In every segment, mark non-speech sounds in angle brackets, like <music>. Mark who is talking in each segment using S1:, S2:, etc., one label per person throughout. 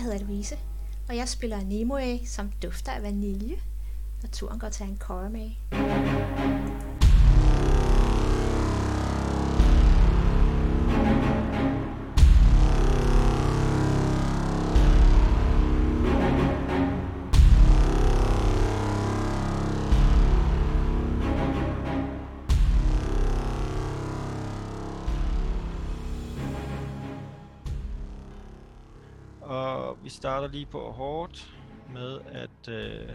S1: hedder Louise, og jeg spiller Nemoe, som dufter af vanilje, når turen går til en med.
S2: Og vi starter lige på hårdt med, at... Øh,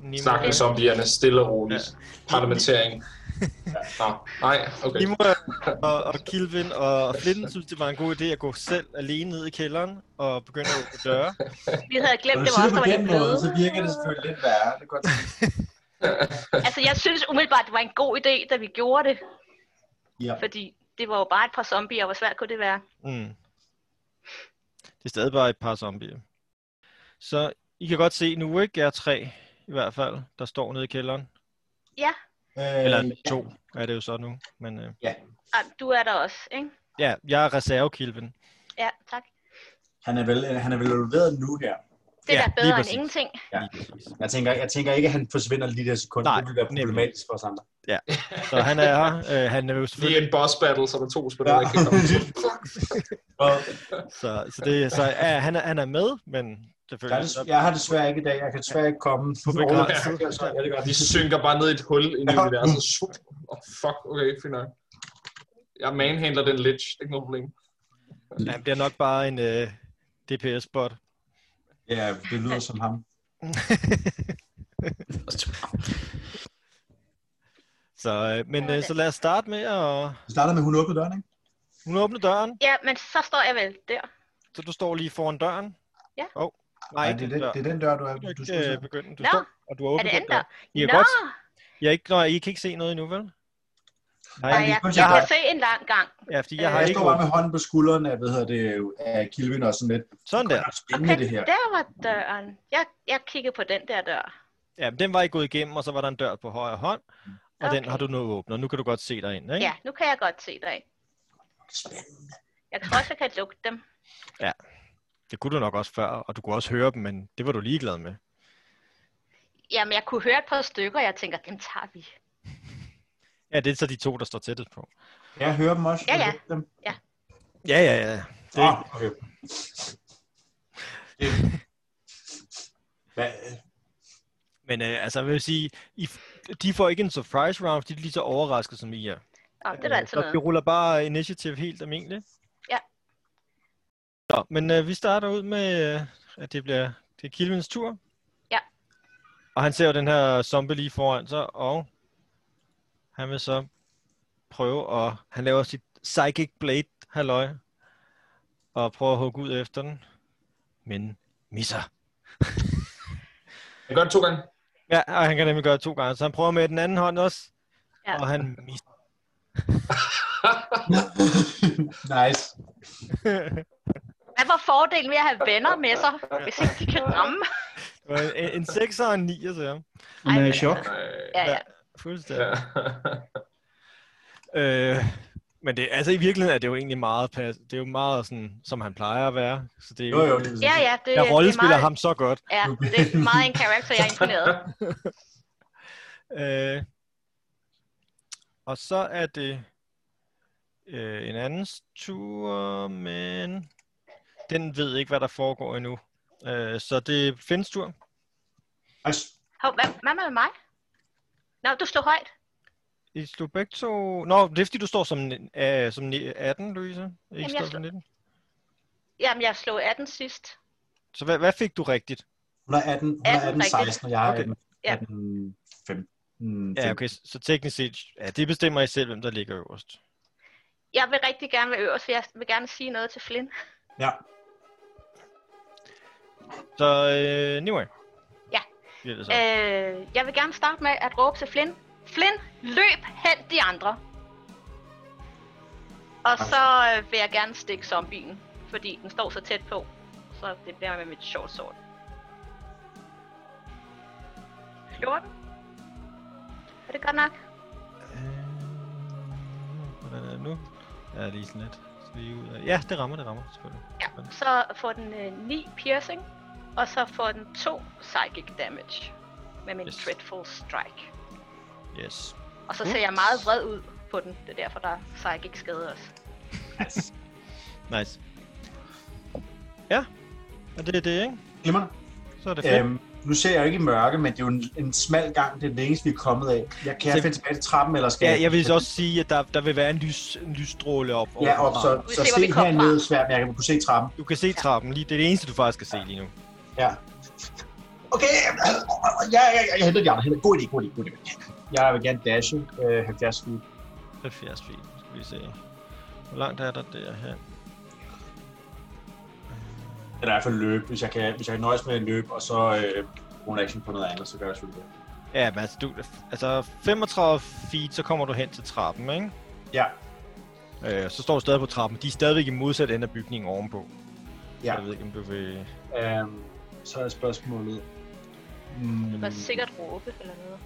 S2: Nimue,
S3: Snak med zombierne, stille og roligt. Parlamentering. Ja, nå. Nej, okay.
S2: Nimue og, og Kilvin og, og Flitten synes, det var en god idé at gå selv alene ned i kælderen og begynde at åbne døre.
S4: Vi havde glemt,
S5: Når du
S4: det var også, der
S5: siger det på
S4: var
S5: den
S4: lidt
S5: måde,
S4: bløde.
S5: så virker det selvfølgelig lidt værre. Det <laughs> går til.
S4: Altså, jeg synes umiddelbart, det var en god idé, da vi gjorde det.
S5: Ja.
S4: Fordi det var jo bare et par zombier, og hvor svært kunne det være?
S2: Mm. Det er stadig bare et par zombier. Så I kan godt se nu, ikke? Jeg er tre i hvert fald, der står nede i kælderen.
S4: Ja,
S5: Øh,
S2: Eller to er det jo så nu. Men øh,
S4: Ej, du er der også, ikke?
S2: ja, jeg er reservekilven.
S4: Ja, tak.
S5: Han er vel, han er vel involveret nu her.
S4: Det er
S2: Ja,
S4: da
S2: lige
S4: bedre end
S2: præcis.
S4: ingenting.
S5: Ja.
S2: Lige præcis.
S5: Jeg tænker, jeg tænker ikke, at han forsvinder lige det sekund.
S2: Nej,
S5: det vil være
S2: nemlig.
S5: problematisk for os andre.
S2: Så han er her. Øh, han er jo
S3: Lige
S2: selvfølgelig...
S3: en boss battle, så er der to spillere,
S5: Ja.
S3: der ikke kan komme.
S5: Og
S2: Så, så, det, så ja, han, er, han er med, men
S5: jeg,
S2: selvfølgelig...
S5: er, jeg har desværre ikke i dag. Jeg kan desværre ikke komme.
S2: Hvorfor ikke?
S5: Roland, ja, det er godt.
S3: Vi synker bare ned i et hul i
S5: Ja.
S3: universet. Svup. Åh, fuck, okay, fint nok. Jeg manhandler den lich, det er ikke noget problem.
S2: Ja, han bliver nok bare en øh, DPS-bot.
S5: Ja, det lyder som ham.
S2: <laughs> så, øh, men øh, så lad os starte med at...
S5: Vi starter med, at hun åbner døren, ikke?
S2: Hun åbner døren,
S4: Ja, men så står jeg vel der.
S2: så du står lige foran døren.
S4: Ja.
S2: Oh, nej,
S5: Nej, det er, den, det er den dør, du er.
S2: Du
S5: Du
S2: kan
S5: skal
S2: ikke øh,
S5: se.
S2: begynde. Du
S4: Nå,
S2: står, og du har
S4: Er det
S2: åbnet den
S4: andet?
S2: dør. I kan
S4: Nå,
S2: godt... Jeg er ikke, når, I kan ikke se noget endnu, vel? Nej,
S4: nej,
S5: det er
S4: jeg,
S5: kun
S4: jeg
S5: sådan-
S4: kan se en lang gang.
S2: ja, fordi jeg har
S4: Øh,
S5: Jeg
S2: ikke...
S5: står bare med hånden på skulderen af, hvad hedder det, af Kilvin og sådan lidt.
S2: Sådan der.
S5: Det er spændende,
S4: Okay,
S5: det her.
S4: der var døren. Jeg, jeg kiggede på den der dør.
S2: Ja, men den var I gået igennem, og så var der en dør på højre hånd, og okay. den
S4: Okay.
S2: har du nu åbnet, og nu kan du godt se derinde, ikke?
S4: Ja, nu kan jeg godt se dig.
S5: Spændende.
S4: Jeg tror også, jeg kan lugte dem.
S2: Det kunne du nok også før, og du kunne også høre dem, men det var du ligeglad med.
S4: Jamen, jeg kunne høre et par stykker, og jeg tænker, dem tager vi.
S2: Ja, det er så de to, der står tættest på.
S5: Kan jeg hører dem også?
S4: Ja, ja.
S5: Jeg hører Dem.
S2: Ja, ja, ja. Det,
S5: Ah, okay. Det- Hvad?
S2: Men øh, altså, jeg vil sige, I, de får ikke en surprise round, fordi de er lige så overrasket, som I er.
S4: Nå, det er da altid
S2: så vi
S4: noget.
S2: ruller bare initiativ helt almindeligt.
S4: Ja.
S2: Så, men øh, vi starter ud med, øh, at det bliver det er Kilvins tur.
S4: Ja.
S2: Og han ser jo den her zombie lige foran sig, og han vil så prøve, og han laver sit Psychic Blade, halløj, og prøver at hugge ud efter den, men misser.
S3: Jeg gør det to gange.
S2: Ja, og han kan nemlig gøre det to gange, så han prøver med den anden hånd også,
S4: Ja.
S2: og han misser.
S5: <laughs> nice.
S4: Hvad var fordelen ved at have venner med sig, hvis ikke de kan ramme?
S2: Det var en, en 6 og en 9, så jeg.
S5: Hun er
S4: Ej,
S5: i chok.
S3: Øh,
S4: Ja, ja.
S2: Fuldstændig.
S3: ja.
S2: Øh, men det, altså i virkeligheden er det jo egentlig meget, pas, det er jo meget sådan, som han plejer at være. Så det er
S5: Jo, jo. lige præcis.
S4: Ja, ja, det,
S2: jeg rollespiller
S4: det er meget,
S2: ham så godt.
S4: Ja, det er meget en karakter, jeg er imponeret.
S2: Øh, og så er det øh, en andens tur, men den ved ikke, hvad der foregår endnu. Øh, så det er Finns tur.
S5: Nice.
S4: Hov, hvad, hvad med mig? Nå, du stod højt.
S2: I slog begge to... Nå, det er fordi, du står som, en- øh, som ni- 18, Louise.
S4: jeg
S2: Ikke står
S4: slår-
S2: som 19.
S4: Jamen, jeg slog 18 sidst.
S2: Så hvad, hvad fik du rigtigt?
S5: Hun er 18, hun er
S4: 18,
S5: 18
S4: rigtigt.
S5: 16, og jeg er
S2: Okay.
S5: 18,
S4: Ja.
S5: 18 15.
S2: Ja, okay, så teknisk set, ja, det bestemmer I selv, hvem der ligger øverst.
S4: Jeg vil rigtig gerne være øverst, for jeg vil gerne sige noget til Flynn.
S5: Ja.
S2: Så, øh, anyway.
S4: Ja.
S2: Bliver det så. Øh.
S4: Øh, jeg vil gerne starte med at råbe til Flynn. Flynn, løb hen de andre. Og så øh, vil jeg gerne stikke zombien, fordi den står så tæt på. Så det bliver med mit short sword. 14. Er det godt nok?
S2: Hvordan er det nu? Ja, lige sådan lidt. Så flyve ud af. Ja, det rammer, det rammer selvfølgelig.
S4: Så får den øh, 9 piercing, og så får den 2 psychic damage med min
S2: Yes.
S4: yes. Dreadful Strike.
S2: Yes.
S4: Og så ser jeg meget vred ud på den. Det er derfor, der er psychic skade også.
S2: Nice. Ja, og det er det, ikke?
S5: Glimmer.
S2: Så er det fedt.
S5: Øhm, nu ser jeg jo ikke i mørke, men det er jo en, en smal gang, det er længst, vi er kommet af. Jeg
S2: Så-
S5: kan jeg finde tilbage til trappen, eller skal
S2: Ja, jeg vil så også sige, at der, der vil være en, lys, en lysstråle op.
S5: Ja,
S2: overfor
S5: op, så,
S2: Maren.
S4: Vi
S5: så
S4: ser, hvor vi
S5: se
S4: kom
S5: hernede,
S4: fra.
S5: svært, men jeg kan kunne se trappen.
S2: Du kan se trappen lige. Det er det eneste, du faktisk kan se lige nu.
S5: Ja. Okay, ja, ja, ja, jeg henter de andre. Henter. God idé, god idé, god idé. Jeg vil gerne dashe øh, 70 feet.
S2: 70 feet. Nu skal vi se. Hvor langt er der derhen?
S5: Eller i hvert fald løbe, hvis jeg kan, hvis jeg kan nøjes med at løbe, og så øh, bruge en action på noget andet, så gør jeg selvfølgelig det.
S2: Ja, men altså, du, altså 35 feet, så kommer du hen til trappen, ikke?
S5: Ja,
S2: Øh, så står du stadig på trappen. De er stadigvæk i modsat ende af bygningen ovenpå.
S5: ja.
S2: Jeg ved ikke, om du vil...
S5: Øh, så er spørgsmålet... Mm,
S4: Det var sikkert råbe eller noget.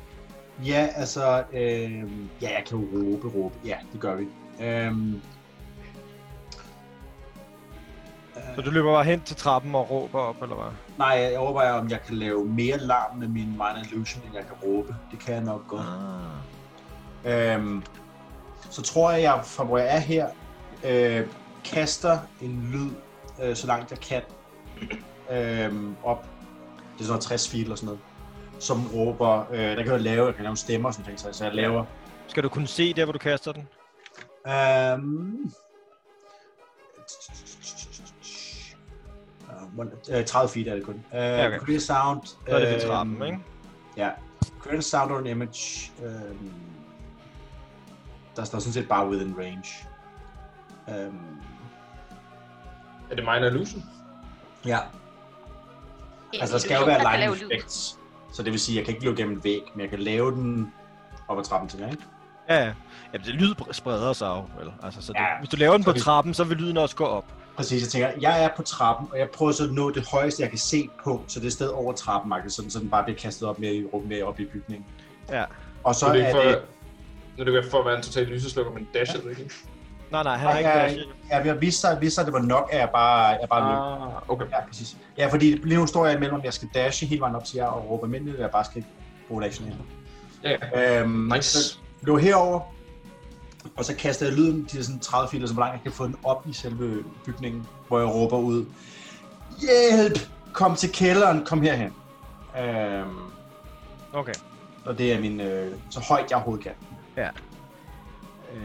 S5: Ja, altså... Øh, ja, jeg kan jo råbe, råbe. Ja, det gør vi. Øh, øh,
S2: Så du løber bare hen til trappen og råber op, eller hvad?
S5: nej, jeg overvejer, om jeg kan lave mere larm med min Mind Illusion, end jeg kan råbe. Det kan jeg nok godt.
S2: Ah.
S5: Øhm, så tror jeg, jeg fra hvor jeg er her, øh, kaster en lyd, øh, så langt jeg kan, øhm, op. Det er sådan noget 60 feet eller sådan noget. Som råber, øh, der kan jeg lave, jeg kan lave stemmer og sådan ting, så- så jeg laver.
S2: Skal du kunne se der, hvor du kaster den?
S5: Øhm, Øh, hvor- øh, 30 feet er det kun. Øh,
S2: Ja, okay.
S5: okay. Create sound.
S2: Så er det ved
S5: øhm,
S2: trappen, ikke?
S5: Ja. Create a sound or an image. Øhm, der står sådan set bare within range. Øhm,
S3: Er det minor illusion?
S5: ja.
S4: En
S5: Altså, der skal jo
S4: illusion,
S5: være
S4: der kan lave
S5: lightning
S4: lyd.
S5: effects. Så det vil sige, at jeg kan ikke løbe gennem en væg, men jeg kan lave den op ad trappen til jer, ikke?
S2: Ja, ja. Jamen, det lyd spreder sig jo, vel? Altså, så det, ja,
S5: Ja,
S2: hvis du laver den på
S5: så det-
S2: trappen, så vil lyden også gå op.
S5: Præcis, jeg tænker, jeg er på trappen, og jeg prøver så at nå det højeste, jeg kan se på, så det er sted over trappen, Markus, sådan, så den bare bliver kastet op mere, i- mere op i bygningen.
S2: Ja.
S5: Og så
S3: Nu er det
S5: er
S3: ikke for,
S5: det,
S3: nu er det ikke for at være en total lyseslukker, men dasher du ikke?
S2: Nej, nej, han har
S5: Ej,
S2: ikke
S5: ej,
S2: flash.
S5: ja, jeg vidste sig, vidste sig, at det var nok, at jeg bare, jeg bare løb.
S3: Ah, okay.
S5: Ja, præcis. Ja, fordi lige nu står jeg imellem, om jeg skal dashe hele vejen op til jer og råbe almindeligt, eller jeg bare skal bruge et action her.
S3: Ja, ja.
S5: Øhm,
S3: Nice.
S5: Så løb herover, og så kaster jeg lyden til sådan 30 feet, eller så hvor langt jeg kan få den op i selve bygningen, hvor jeg råber ud, Hjælp! Kom til kælderen, kom herhen. Øhm,
S2: Okay.
S5: og det er min, øh, så højt jeg overhovedet kan.
S2: Øh,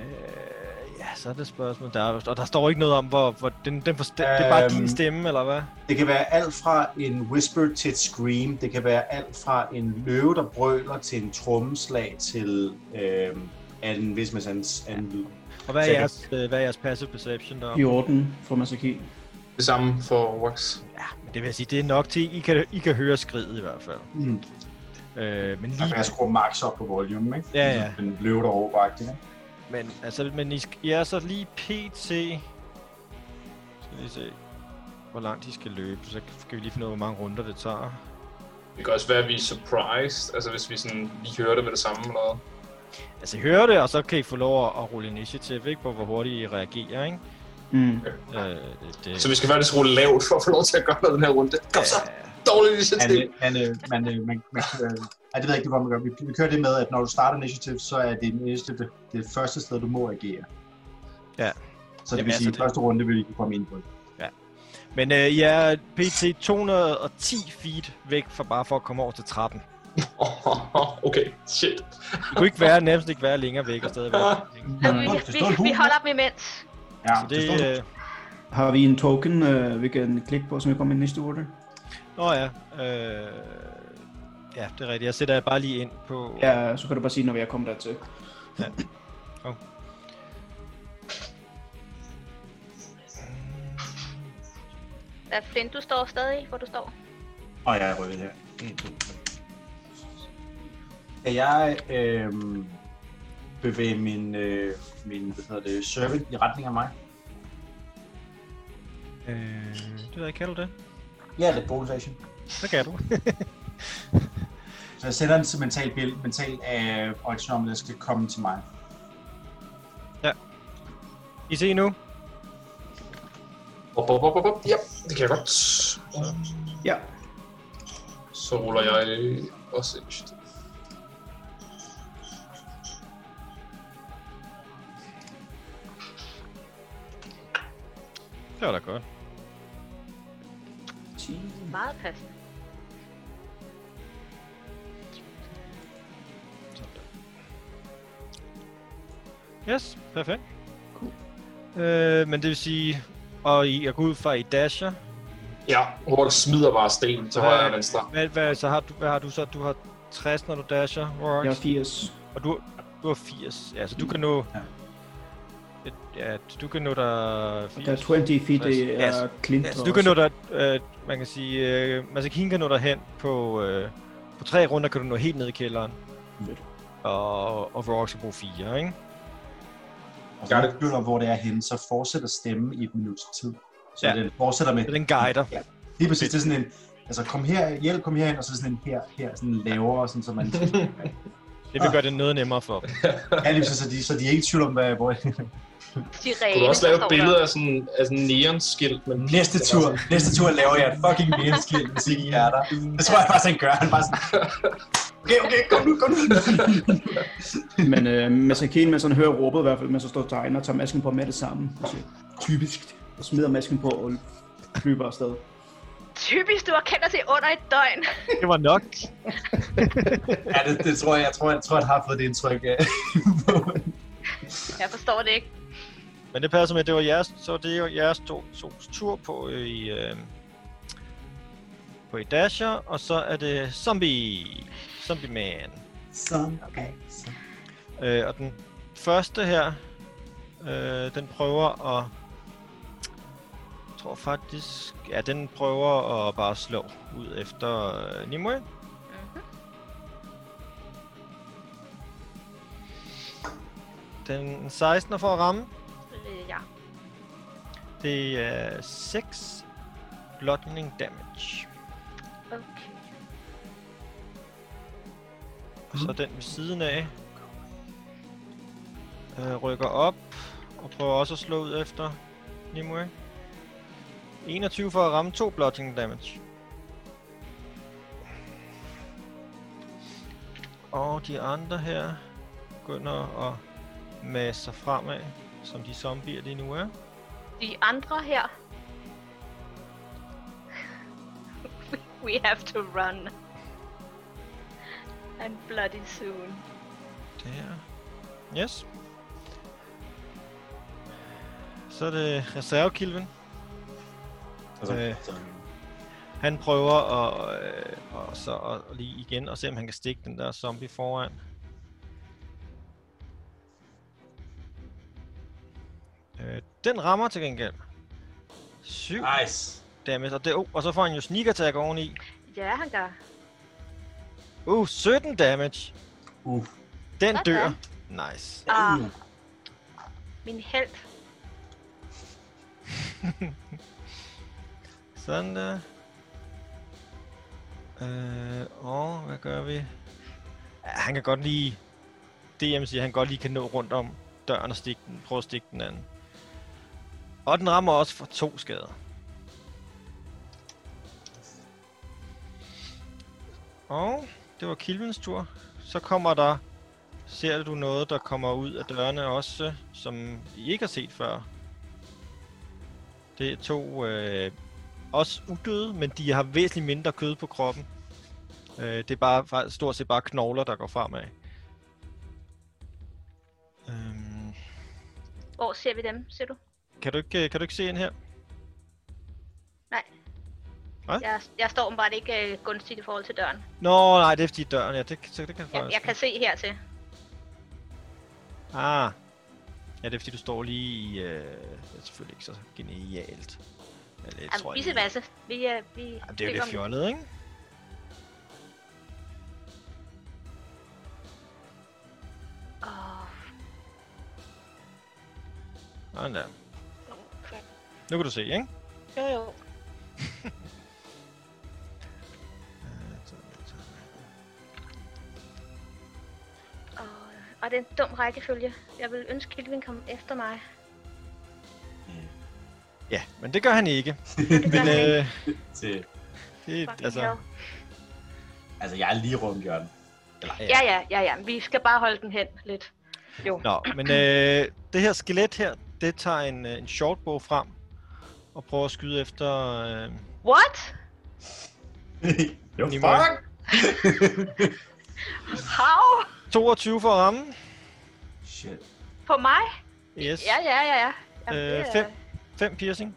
S2: ja, så er det spørgsmål. Der er, og der står ikke noget om, hvor, hvor den, den forste, det er bare
S5: Øhm.
S2: din stemme, eller hvad?
S5: Det kan være alt fra en whisper til et scream. Det kan være alt fra en løve, der brøler, til en trommeslag, til øh, anden, hvis man hans anden lyd.
S2: Og hvad er
S5: Sikkert.
S2: jeres, øh, hvad er jeres passive perception der?
S6: I orden for Masaki.
S3: Det samme for Wax.
S2: Men det vil jeg sige, det er nok til, I kan, I kan høre skridet i hvert fald.
S5: Mm.
S2: Øh, men
S5: Der
S2: lige,
S5: kan jeg skrue max op på volume, ikke?
S2: Ja, ja.
S5: Den løve, der overbragte ikke?
S2: men, altså, men I, sk- I er så lige pt. Skal vi se, hvor langt de skal løbe. Så skal vi lige finde ud af, hvor mange runder det tager.
S3: Det kan også være, at vi er surprised, altså hvis vi sådan lige hører det med det samme eller noget.
S2: Altså, I hører det, og så kan I få lov at, at rulle initiativ, ikke? På, hvor hurtigt I reagerer, ikke?
S6: Mm.
S2: Øh, det,
S3: Så Altså, vi skal faktisk rulle lavt for at få lov til at gøre noget den her runde. Kom så! Dårligt
S5: Man,
S3: initiativ!
S5: man, øh, man, øh, man, man, øh, ej, det ved jeg ikke, hvor man gør. Vi, vi kører det med, at når du starter initiativ, så er det initiativ det, det første sted, du må agere.
S2: Ja.
S5: Så det
S2: Jamen,
S5: vil
S2: altså,
S5: sige, at
S2: det-
S5: første runde vil vi ikke komme ind på.
S2: men øh, I er pt. 210 feet væk for bare for at komme over til trappen.
S3: Åh, <laughs> okay, shit.
S2: I kunne ikke være, nærmest ikke være længere væk og stadig være længere.
S4: Altså, vi,
S5: Hold, det
S4: vi,
S5: står en
S4: vi
S5: hund.
S4: holder dem imens.
S5: Ja,
S2: Så det, øh,
S6: Har vi en token, øh, vi kan klikke på, som vi kommer ind næste order?
S2: Nå ja, øh, ja, det er rigtigt. Jeg sætter jer bare lige ind på...
S6: Ja, så kan du bare sige, når vi er kommet dertil.
S4: Ja, Flint, du står stadig, hvor du står.
S5: Og jeg er rød her. 1, 2, 3. Kan jeg øh, bevæge min, øh, min hvad hedder det, servant i retning af mig?
S2: Øh, det ved jeg, kan du det?
S5: Ja, det er bonus action.
S2: Så kan du.
S5: Så jeg sender den til mental, bill, mental øh, action om, at jeg skal komme til mig.
S2: I se nu?
S3: Op, op, op, op, op. Ja, det kan jeg godt.
S6: Ja.
S3: Så ruller jeg også initiativ.
S2: Det var da godt.
S4: Meget passende.
S2: Yes, perfekt. Cool. Øh, men det vil sige, og I er gået ud fra, I dasher.
S3: Ja, Rourke smider bare sten til højre og
S2: Hvad-
S3: venstre.
S2: Hvad, hvad, så har du, hvad har du så? Du har 60, når du dasher, Rorax.
S6: Jeg er 80.
S2: Og du, du har 80. Ja, så du kan nå...
S6: Ja.
S2: Ja, du kan nå der... 80.
S6: Der er 20 feet, det
S2: Yes.
S6: er Clint.
S2: Ja, så du kan nå der... Øh, man kan sige... Øh, Masakin kan nå der hen på... Øh, på tre runder kan du nå helt ned i kælderen.
S6: Fedt.
S2: Og, og Rorax skal bruge fire, ikke?
S5: Og så er det hvor det er henne, så fortsætter stemmen i et minuts tid. Så
S2: Ja.
S5: ja. den fortsætter med,
S2: Så den guider.
S5: lige præcis, det er sådan en, altså kom her, hjælp, kom herhen, og så er det sådan en her, her, sådan lavere, sådan, så man,
S2: Det vil gøre det noget nemmere for dem.
S5: ja, lige præcis, så de, så de er ikke i tvivl om, hvad, hvor,
S4: Sirene,
S3: Du kan også lave et
S4: der står
S3: billede
S4: der.
S3: af sådan, af sådan en neon-skilt, men
S5: næste tur, næste tur laver jeg et fucking meneskilt, hvis ikke I er der. Det tror jeg faktisk, han gør, han bare sådan, okay, okay, kom nu, kom nu.
S6: <laughs> Men øh, Masakin, man sådan hører råbet i hvert fald, man så står og tegner og tager masken på med det samme. Og siger, Typisk. Og smider masken på og løber afsted.
S4: Typisk, du har kendt os i under et døgn.
S2: Det var nok.
S5: Ja, det, det tror jeg, jeg tror, jeg, jeg tror, han har fået det indtryk øh, af.
S2: Øh.
S4: Jeg forstår det ikke.
S2: Men det passer med, at det var jeres, så det er jo jeres to, to tur på øh, i, øh, på i Dasher, og så er det Zombie, Zombie Man.
S5: så, okay, så.
S2: Øh, og den første her, øh, den prøver at, jeg tror faktisk, ja, den prøver at bare slå ud efter øh, Nimue. Den 16 er for at ramme.
S4: Øh, ja.
S2: Det er 6 bludgeoning damage.
S4: Okay.
S2: Og så den ved siden af øh, rykker op og prøver også at slå ud efter Nimue. 21 for at ramme 2 bludgeoning damage. Og de andre her begynder at masse sig fremad, som de zombier lige nu er.
S4: De andre her. <laughs> We have to run. And bloody soon.
S2: Der. Yes. Så er det reservekilven.
S5: Altså,
S2: Øh.
S5: så.
S2: Han prøver at, øh, og så at, lige igen og se, om han kan stikke den der zombie foran. Øh, den rammer til gengæld. 7
S5: Nice.
S2: damage, og, det, oh, og så får han jo sneak attack oveni.
S4: Ja, han gør.
S2: Uh, 17 damage.
S5: Uh.
S2: Den
S4: Sådan.
S2: dør. Nice.
S4: Ah,
S5: Mm.
S4: min held.
S2: Sådan der. Øh, og hvad gør vi? Ja, han kan godt lige... DM siger, at han godt lige kan nå rundt om døren og stikke den. Prøve at stikke den anden. Og den rammer også for to skader. Og det var Kilvens tur. Så kommer der... Ser du noget, der kommer ud af dørene også, som I ikke har set før? Det er to øh, også udøde, men de har væsentligt mindre kød på kroppen. Øh, det er bare faktisk stort set bare knogler, der går fremad. Øhm,
S4: Hvor ser vi dem, ser du?
S2: kan, du ikke, øh, kan du ikke se ind her?
S4: Nej.
S2: Hvad?
S4: Jeg, jeg står åbenbart ikke øh, gunstigt i forhold til døren.
S2: Nå, nej, det er fordi døren, ja, det, så det kan jeg
S4: Jeg,
S2: faktisk.
S4: jeg kan se hertil.
S2: Ah. Ja, det er fordi du står lige i... Øh, det er selvfølgelig ikke så genialt. Eller, det
S4: Jamen, vi ser
S2: egentlig-
S4: masse. Vi, øh, vi
S2: Jamen, det er jo lidt
S4: kommer-
S2: fjollet, ikke?
S4: Åh,
S2: Sådan der.
S4: okay.
S2: Nu kan du se, ikke?
S4: Jo, jo. Og, og det er
S2: <laughs>
S4: en dum rækkefølge. Jeg vil ønske, at Kilvin kom efter mig.
S2: Ja, men det gør han ikke.
S4: Det gør
S2: Men,
S4: han ikke.
S2: øh,
S5: Til,
S2: det,
S4: Fucking
S2: altså,
S4: hell.
S5: altså, jeg er lige rundt hjørnet. Eller,
S4: Ja, ja, ja, ja. Vi skal bare holde den hen lidt. Jo.
S2: Nå, men øh, det her skelet her, det tager en, øh, en shortbow frem og prøver at skyde efter øh,
S4: What?
S5: jo,
S2: Nimoy.
S5: fuck!
S4: How?
S2: 22 for at ramme.
S5: Shit.
S4: På mig?
S2: Yes.
S4: Ja, ja, ja, ja. Jamen, det
S2: Øh,
S4: er-
S2: 5 fem piercing.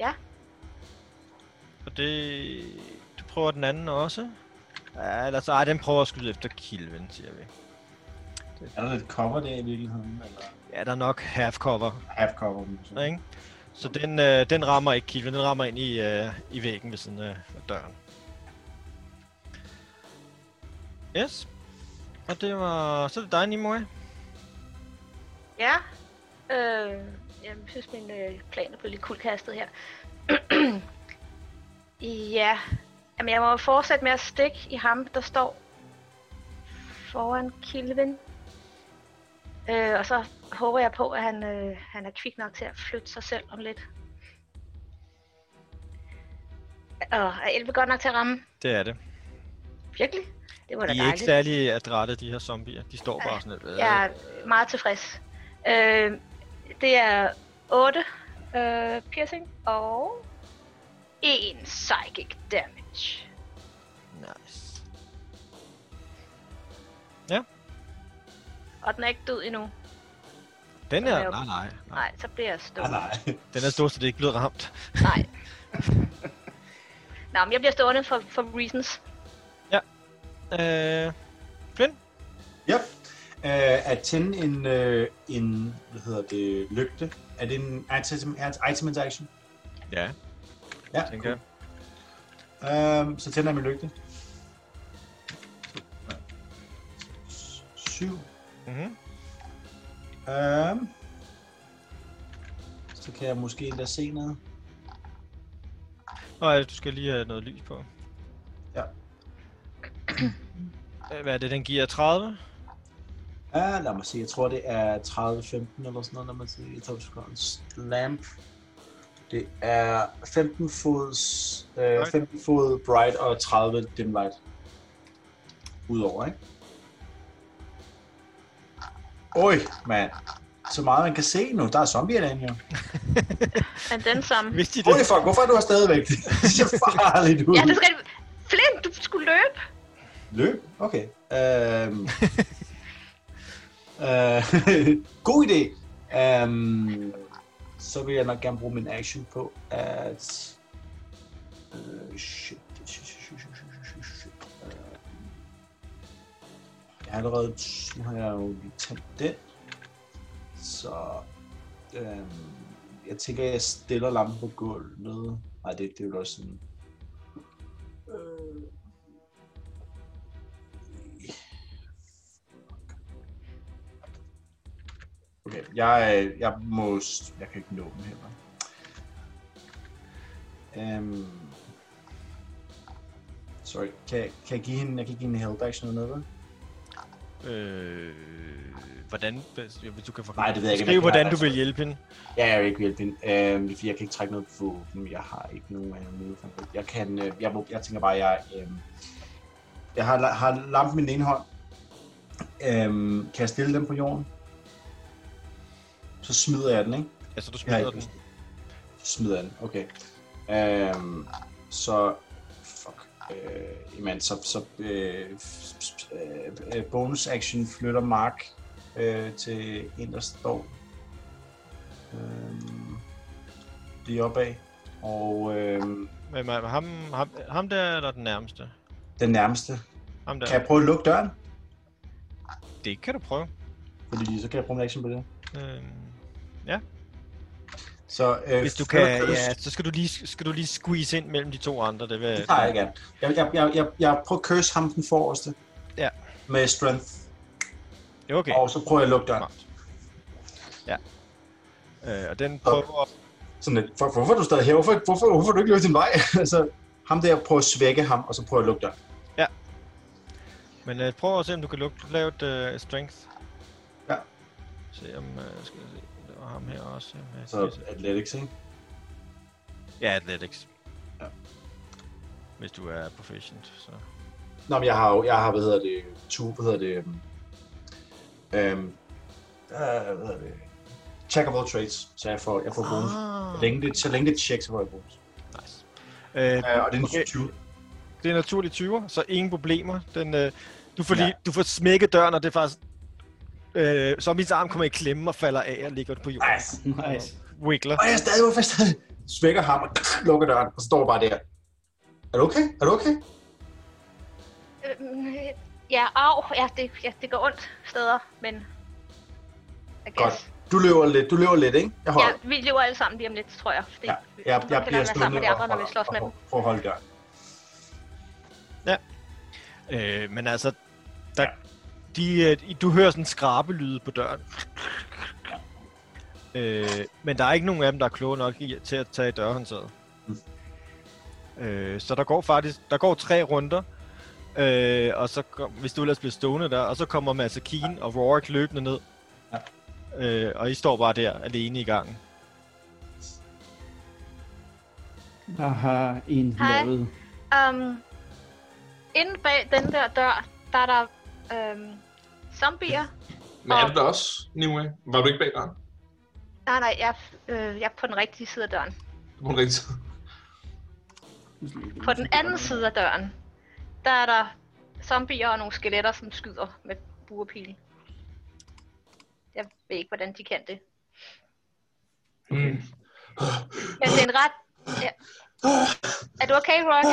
S4: Ja.
S2: Og det... Du prøver den anden også. Ja, eller så... Ej, den prøver at skyde efter Kilven, siger vi.
S5: Er der lidt cover der i virkeligheden? Eller
S2: Ja, der er nok half cover,
S5: half cover? måske?
S2: ikke? Så den, øh, den rammer ikke Kilven, den rammer ind i, øh, i væggen ved siden af af døren. Yes. Og det var... Så er det dig, Nimue.
S4: Ja. Øh, jeg synes, min øh, plan er blevet lidt kuldkastet her. <clears throat> ja. Jamen, jeg må jo fortsætte med at stikke i ham, der står foran Kilvin. Øh, og så håber jeg på, at han, øh, han er kvik nok til at flytte sig selv om lidt. Og er 11 godt nok til at ramme?
S2: Det er det.
S4: Virkelig? Det var da
S2: De er ikke
S4: dejligt.
S2: særlig adrette, de her zombier. De står bare sådan lidt... Øh,
S4: Jeg er meget tilfreds. Øh, det er 8 øh, piercing og 1 psychic damage.
S2: Nice.
S4: Og den er ikke død endnu.
S2: Den
S4: Så
S2: er...
S4: laver-
S2: Nej, nej, nej.
S4: Nej, så bliver jeg
S5: Ah,
S4: stående.
S5: nej. <laughs>
S2: Den er stort set ikke blevet ramt.
S4: Nej. Nå, men jeg bliver stående for, for reasons.
S2: Øh, Flynn?
S5: Yep. Uh, at tænde en, uh, en, hvad hedder det, lygte. Er det en item, er- item action?
S2: Ja,
S5: Ja,
S2: tænker jeg.
S5: Øhm, så tænder jeg min lygte. 7.
S2: Mhm.
S5: Øhm, så kan jeg måske endda se noget.
S2: Nej, du skal lige have noget lys på.
S5: Ja.
S2: Øh, <clears throat> Hvad er det, den giver 30?
S5: Ja, lad mig se. Jeg tror, det er 30-15 eller sådan noget, når man siger i topscoren. Slamp. Det er 15 fods, øh,
S2: Bright.
S5: 15 fod bright og 30 dim light. Udover, ikke? Oj, mand. Så meget man kan se nu. Der er zombier derinde, jo.
S4: Men den samme.
S2: Hvis de
S5: Holy
S2: det?
S5: fuck, hvorfor er du her stadigvæk? Det ser farligt ud.
S4: Ja, det skal... Flint, du skulle løbe!
S5: Løb? Okay. Øhm. øh, <laughs> god idé. Øhm, så vil jeg nok gerne bruge min action på at... Øh, shit. shit, shit, shit, shit, shit, shit, shit. Øh, Jeg har allerede... Nu har jeg jo lige tændt den. Så... Øhm, jeg tænker, jeg stiller lampen på gulvet. Nej, det, det er jo også sådan... Øh, Okay, jeg, øh, jeg må... s- Jeg kan ikke nå dem heller. Øhm... Sorry, kan, jeg- kan jeg give hende, jeg kan ikke give hende help action eller noget, vel?
S2: Øh, hvordan? Hvis hvis du kan forklare.
S5: Nej, det ved jeg ikke,
S2: Skriv,
S5: men det har
S2: hvordan
S5: jeg
S2: du vil
S5: altså.
S2: hjælpe hende.
S5: Ja, jeg vil ikke hjælpe hende, øhm, det er fordi jeg kan ikke trække noget på dem. Jeg har ikke nogen af dem. Jeg kan... Øh, jeg, må- jeg tænker bare, jeg... Øhm, jeg har, la- har lampen i den ene hånd. Øhm, kan jeg stille den på jorden? Så smider jeg den, ikke?
S2: Altså, du
S5: Jeg har
S2: smider
S5: ikke
S2: den.
S5: lyst. Smider jeg den, okay. Øhm, så... Fuck. Øh, jamen, så... så øh, f- f- øh, øh, bonus action flytter Mark øh, til en, der står øh, lige opad. Og øh,
S2: Med, med, med ham, ham, ham der, eller den nærmeste?
S5: den nærmeste.
S2: Ham der.
S5: Kan jeg prøve at lukke døren?
S2: Det kan du prøve.
S5: Fordi så kan jeg bruge en action på det.
S2: Øh,
S5: Så, øh,
S2: hvis du kan,
S5: flytter Curtis-
S2: ja, så skal du, lige, skal du lige squeeze ind mellem de to andre. Det, vil,
S5: Det tager jeg gerne. Jeg, jeg, jeg, jeg, jeg prøver at curse ham den forreste.
S2: Ja.
S5: Med strength.
S2: Ja, Okay.
S5: Og så prøver jeg at lukke døren.
S2: Smart. Ja. Øh, og den prøver...
S5: sådan lidt, "Fuck, hvorfor er du stadig her? Hvorfor, hvorfor, hvorfor er du ikke løbet din vej? <laughs> altså, ham der prøver at svække ham, og så prøver jeg at lukke døren.
S2: Men øh, prøv at se, om du kan lukke, lave et øh, strength.
S5: Ja.
S2: Se om... Øh, skal jeg se. Der. og ham her også. øh, Med
S5: Så athletics, ikke?
S2: Ja, athletics.
S5: Ja.
S2: Hvis du er proficient, så...
S5: Nå, men jeg har jo, jeg har, hvad hedder det, tu, hvad hedder det, øhm, øhm, øh, hvad hedder det, check of all trades, så jeg får, jeg får bonus. Så længe det, så længe det checks, så får jeg bonus.
S2: Nice. Øh,
S5: Øh, og det er en
S2: Okay.
S5: 20.
S2: det er naturligt 20, så ingen problemer. Den, øh, du, får
S5: Ja.
S2: lige, du får smækket døren, og det er faktisk... Øh, så min arm kommer i klemme og falder af og ligger på jorden.
S5: Nice.
S6: Nice.
S2: Wiggler.
S5: Og jeg er stadig, hvorfor er jeg stadig? Smækker ham og <laughs> lukker døren, og står bare der. Er du okay? Er du okay?
S4: Øhm, øh, ja, au, ja det, ja, det går ondt steder, men... I guess.
S5: Godt. Du løber lidt, du løber lidt, ikke? Jeg holder.
S4: Ja, vi lever alle sammen lige om lidt, tror jeg. Fordi
S5: Ja, jeg,
S4: nu
S5: jeg
S4: kan
S5: bliver
S4: være sammen
S5: stående
S4: med de
S5: og,
S4: andre, når vi
S5: holder-
S4: slås med
S5: og
S4: dem.
S5: prøver at holde døren.
S2: Øh, men altså, der, de, øh, du hører sådan en skrabelyde på døren. Øh, men der er ikke nogen af dem, der er kloge nok i, til at tage i dørhåndtaget. Øh, så der går faktisk der går tre runder, øh, og så kom, hvis du ellers bliver stående der, og så kommer Masakine og Rorik løbende ned.
S5: Ja.
S2: Øh, og I står bare der alene i gangen.
S6: Hvad har en
S4: Hej.
S6: lavet?
S4: Um, inde bag den der dør, der er der øhm, zombier.
S3: Men er du der også, Nimue? Var du ikke bag døren?
S4: Nej, nej, jeg, øh, jeg er på den rigtige side af døren.
S3: Du må rigtig sige.
S4: På den anden side af døren, der er der zombier og nogle skeletter, som skyder med buerpile. Jeg ved ikke, hvordan de kan det.
S3: Mm.
S4: Men det er en ret... Ja. Er du okay, Rock?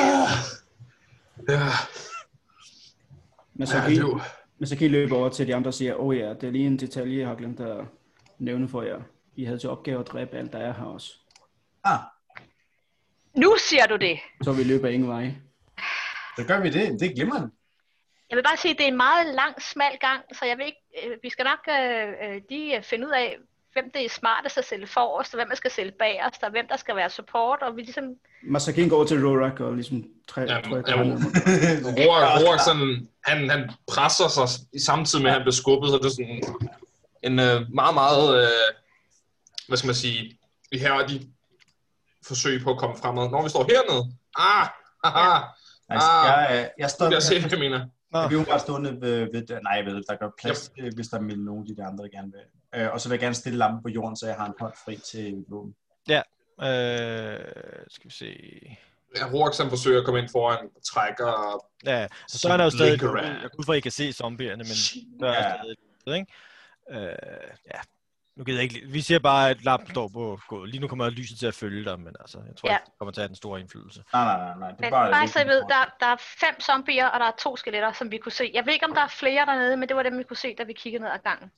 S3: Ja,
S6: Men så
S3: ja,
S6: kan,
S3: det er jo...
S6: men så kan I løbe over til de andre og sige, åh oh ja, det er lige en detalje, jeg har glemt at nævne for jer. I havde til opgave at dræbe alt, der er her også.
S5: Ah,
S4: Nu siger du det!
S6: Så vi løber ingen vej.
S5: så gør vi det. Det glemmer
S3: <laughs>
S5: han.
S4: Jeg vil bare sige, at det er en meget lang, smal gang, så jeg vil ikke, øh, vi skal nok øh, øh, lige øh, finde ud af, hvem det er smartest at sælge forrest, og hvem man skal sælge bagerst, og hvem der skal være support, og vi ligesom...
S6: Masakin går over til Rorak og ligesom træ,
S3: Ja,
S6: træ,
S3: ja,
S6: træ,
S3: Ah. Roar, Roar sådan, han, han presser sig i samtidig med, at han bliver skubbet, så det er sådan en øh, meget, meget, øh, hvad skal man sige, vi her de forsøg på at komme fremad. Når vi står hernede, ah, haha,
S5: Altså,
S3: Ah.
S5: jeg, øh, jeg står...
S3: du kan se, hvad jeg mener.
S5: Jeg bliver jo bare stående ved, ved døren. Nej, jeg ved, der gør plads, yep. hvis der er nogen af de andre, der gerne vil. Øh, og så vil jeg gerne stille lampen på jorden, så jeg har en hånd fri til mit våben.
S2: Øh, skal vi se...
S3: Ja, Roar, han forsøger at komme ind foran, trækker,
S2: Ja, så Søren er jo stadig...
S3: Linger
S2: Jeg
S3: af.
S2: kan ud fra, at I kan se zombierne, men Søren er
S5: Ja.
S2: stadig... ude, Ikke? Øh, ja. Nu gider jeg ikke... lige- Vi ser bare, at lampen står på gulvet. Lige nu kommer lyset til at følge dig, men altså, jeg tror
S4: Ja.
S2: ja. ikke, det kommer til at have den store indflydelse.
S5: Nej, nej, nej, nej. Det
S4: Men
S5: er bare...
S4: bare så I ved, der, der er fem zombier, og der er to skeletter, som vi kunne se. Jeg ved ikke, om der er flere dernede, men det var dem, vi kunne se, da vi kiggede ned ad gangen.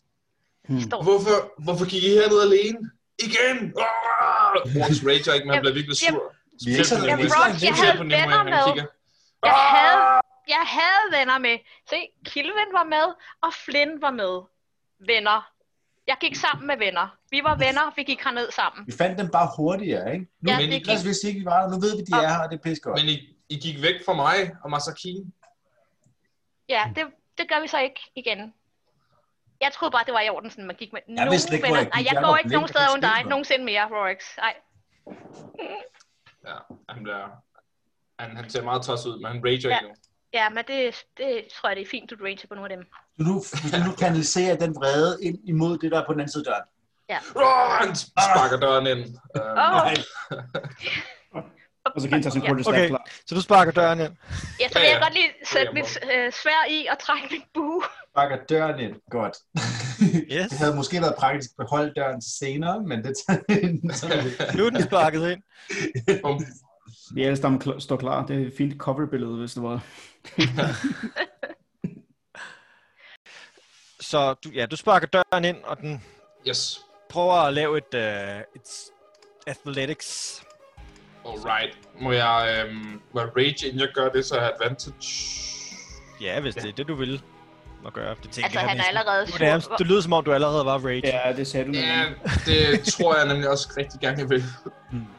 S6: Hmm.
S4: De står.
S3: hvorfor, hvorfor gik I hernede alene? Igen! Ah! Roar rager ikke, men han
S4: Jamen,
S3: bliver virkelig sur.
S5: Vi er ikke
S3: Specielt
S5: sådan-
S3: på
S5: Ja,
S3: Nimue.
S5: Roar,
S4: jeg
S3: Specielt
S4: havde
S3: på Nimue,
S4: venner
S3: han
S4: med.
S3: kigger. Ah!
S4: Jeg havde, jeg havde venner med. Se, Kilven var med, og Flynn var med. Venner. Jeg gik sammen med venner. Vi var venner, vi gik herned sammen.
S5: Vi fandt dem bare hurtigere, ikke?
S3: Nu,
S4: Ja,
S3: men, I,
S4: det
S5: Ellers vidste ikke, vi var der. Nu ved vi, de er her, og det er pisse godt.
S3: men I, I gik væk fra mig og Masakine.
S4: Ja, det, det gør vi så ikke igen. Jeg troede bare, det var i orden, sådan man gik med.
S5: Jeg vidste ikke, hvor jeg gik.
S4: Nej, jeg,
S5: Jeg
S4: går
S5: var
S4: ikke
S5: blind,
S4: nogen
S5: jeg
S4: steder
S5: kunne
S4: uden
S5: ikke
S4: dig.
S5: se noget.
S4: Nogensinde mere, Rorix. Nej.
S3: Ja, han bliver... Han, han ser meget tosset ud, men han rager
S4: Ja.
S3: ikke nu.
S4: Ja, men det, det tror jeg, det er fint, du ranger på nogle af dem.
S5: Så nu, hvis du nu kanaliserer den vrede ind imod det, der er på den anden side af døren.
S3: Roar, han sparker døren ind. Øhm,
S4: Åh, oh,
S5: Nej.
S6: Og så kan I tage sin quarter
S2: Okay.
S6: okay. klar.
S2: Så du sparker døren ind.
S4: ja, så
S3: Ja,
S4: vil jeg
S3: ja.
S4: godt lige sætte mit øh, svær i og trække mit bue.
S5: Bakker døren ind. Godt.
S2: <laughs> Yes.
S5: Det havde måske været praktisk at beholde døren til senere, men det tager
S2: Nu er den sparket ind.
S3: bum.
S6: Vi alle sammen kl- står klar. Det er et fint coverbillede, hvis det var.
S2: Så du, ja, du sparker døren ind, og den
S3: yes.
S2: prøver at lave et, uh, et s- athletics.
S3: Alright. Må jeg, øhm, må jeg rage, inden jeg gør det, så jeg har advantage?
S2: Ja, hvis ja. det er det, du vil at gøre. Det tænker
S4: Altså,
S2: jeg
S4: han er
S2: næsten.
S4: allerede
S2: Du, er nærmest,
S4: sur.
S2: du lyder som om, du allerede var rage. Ja.
S6: Ja, det sagde du.
S3: Ja,
S6: Yeah.
S3: det tror jeg nemlig også rigtig gerne, jeg vil.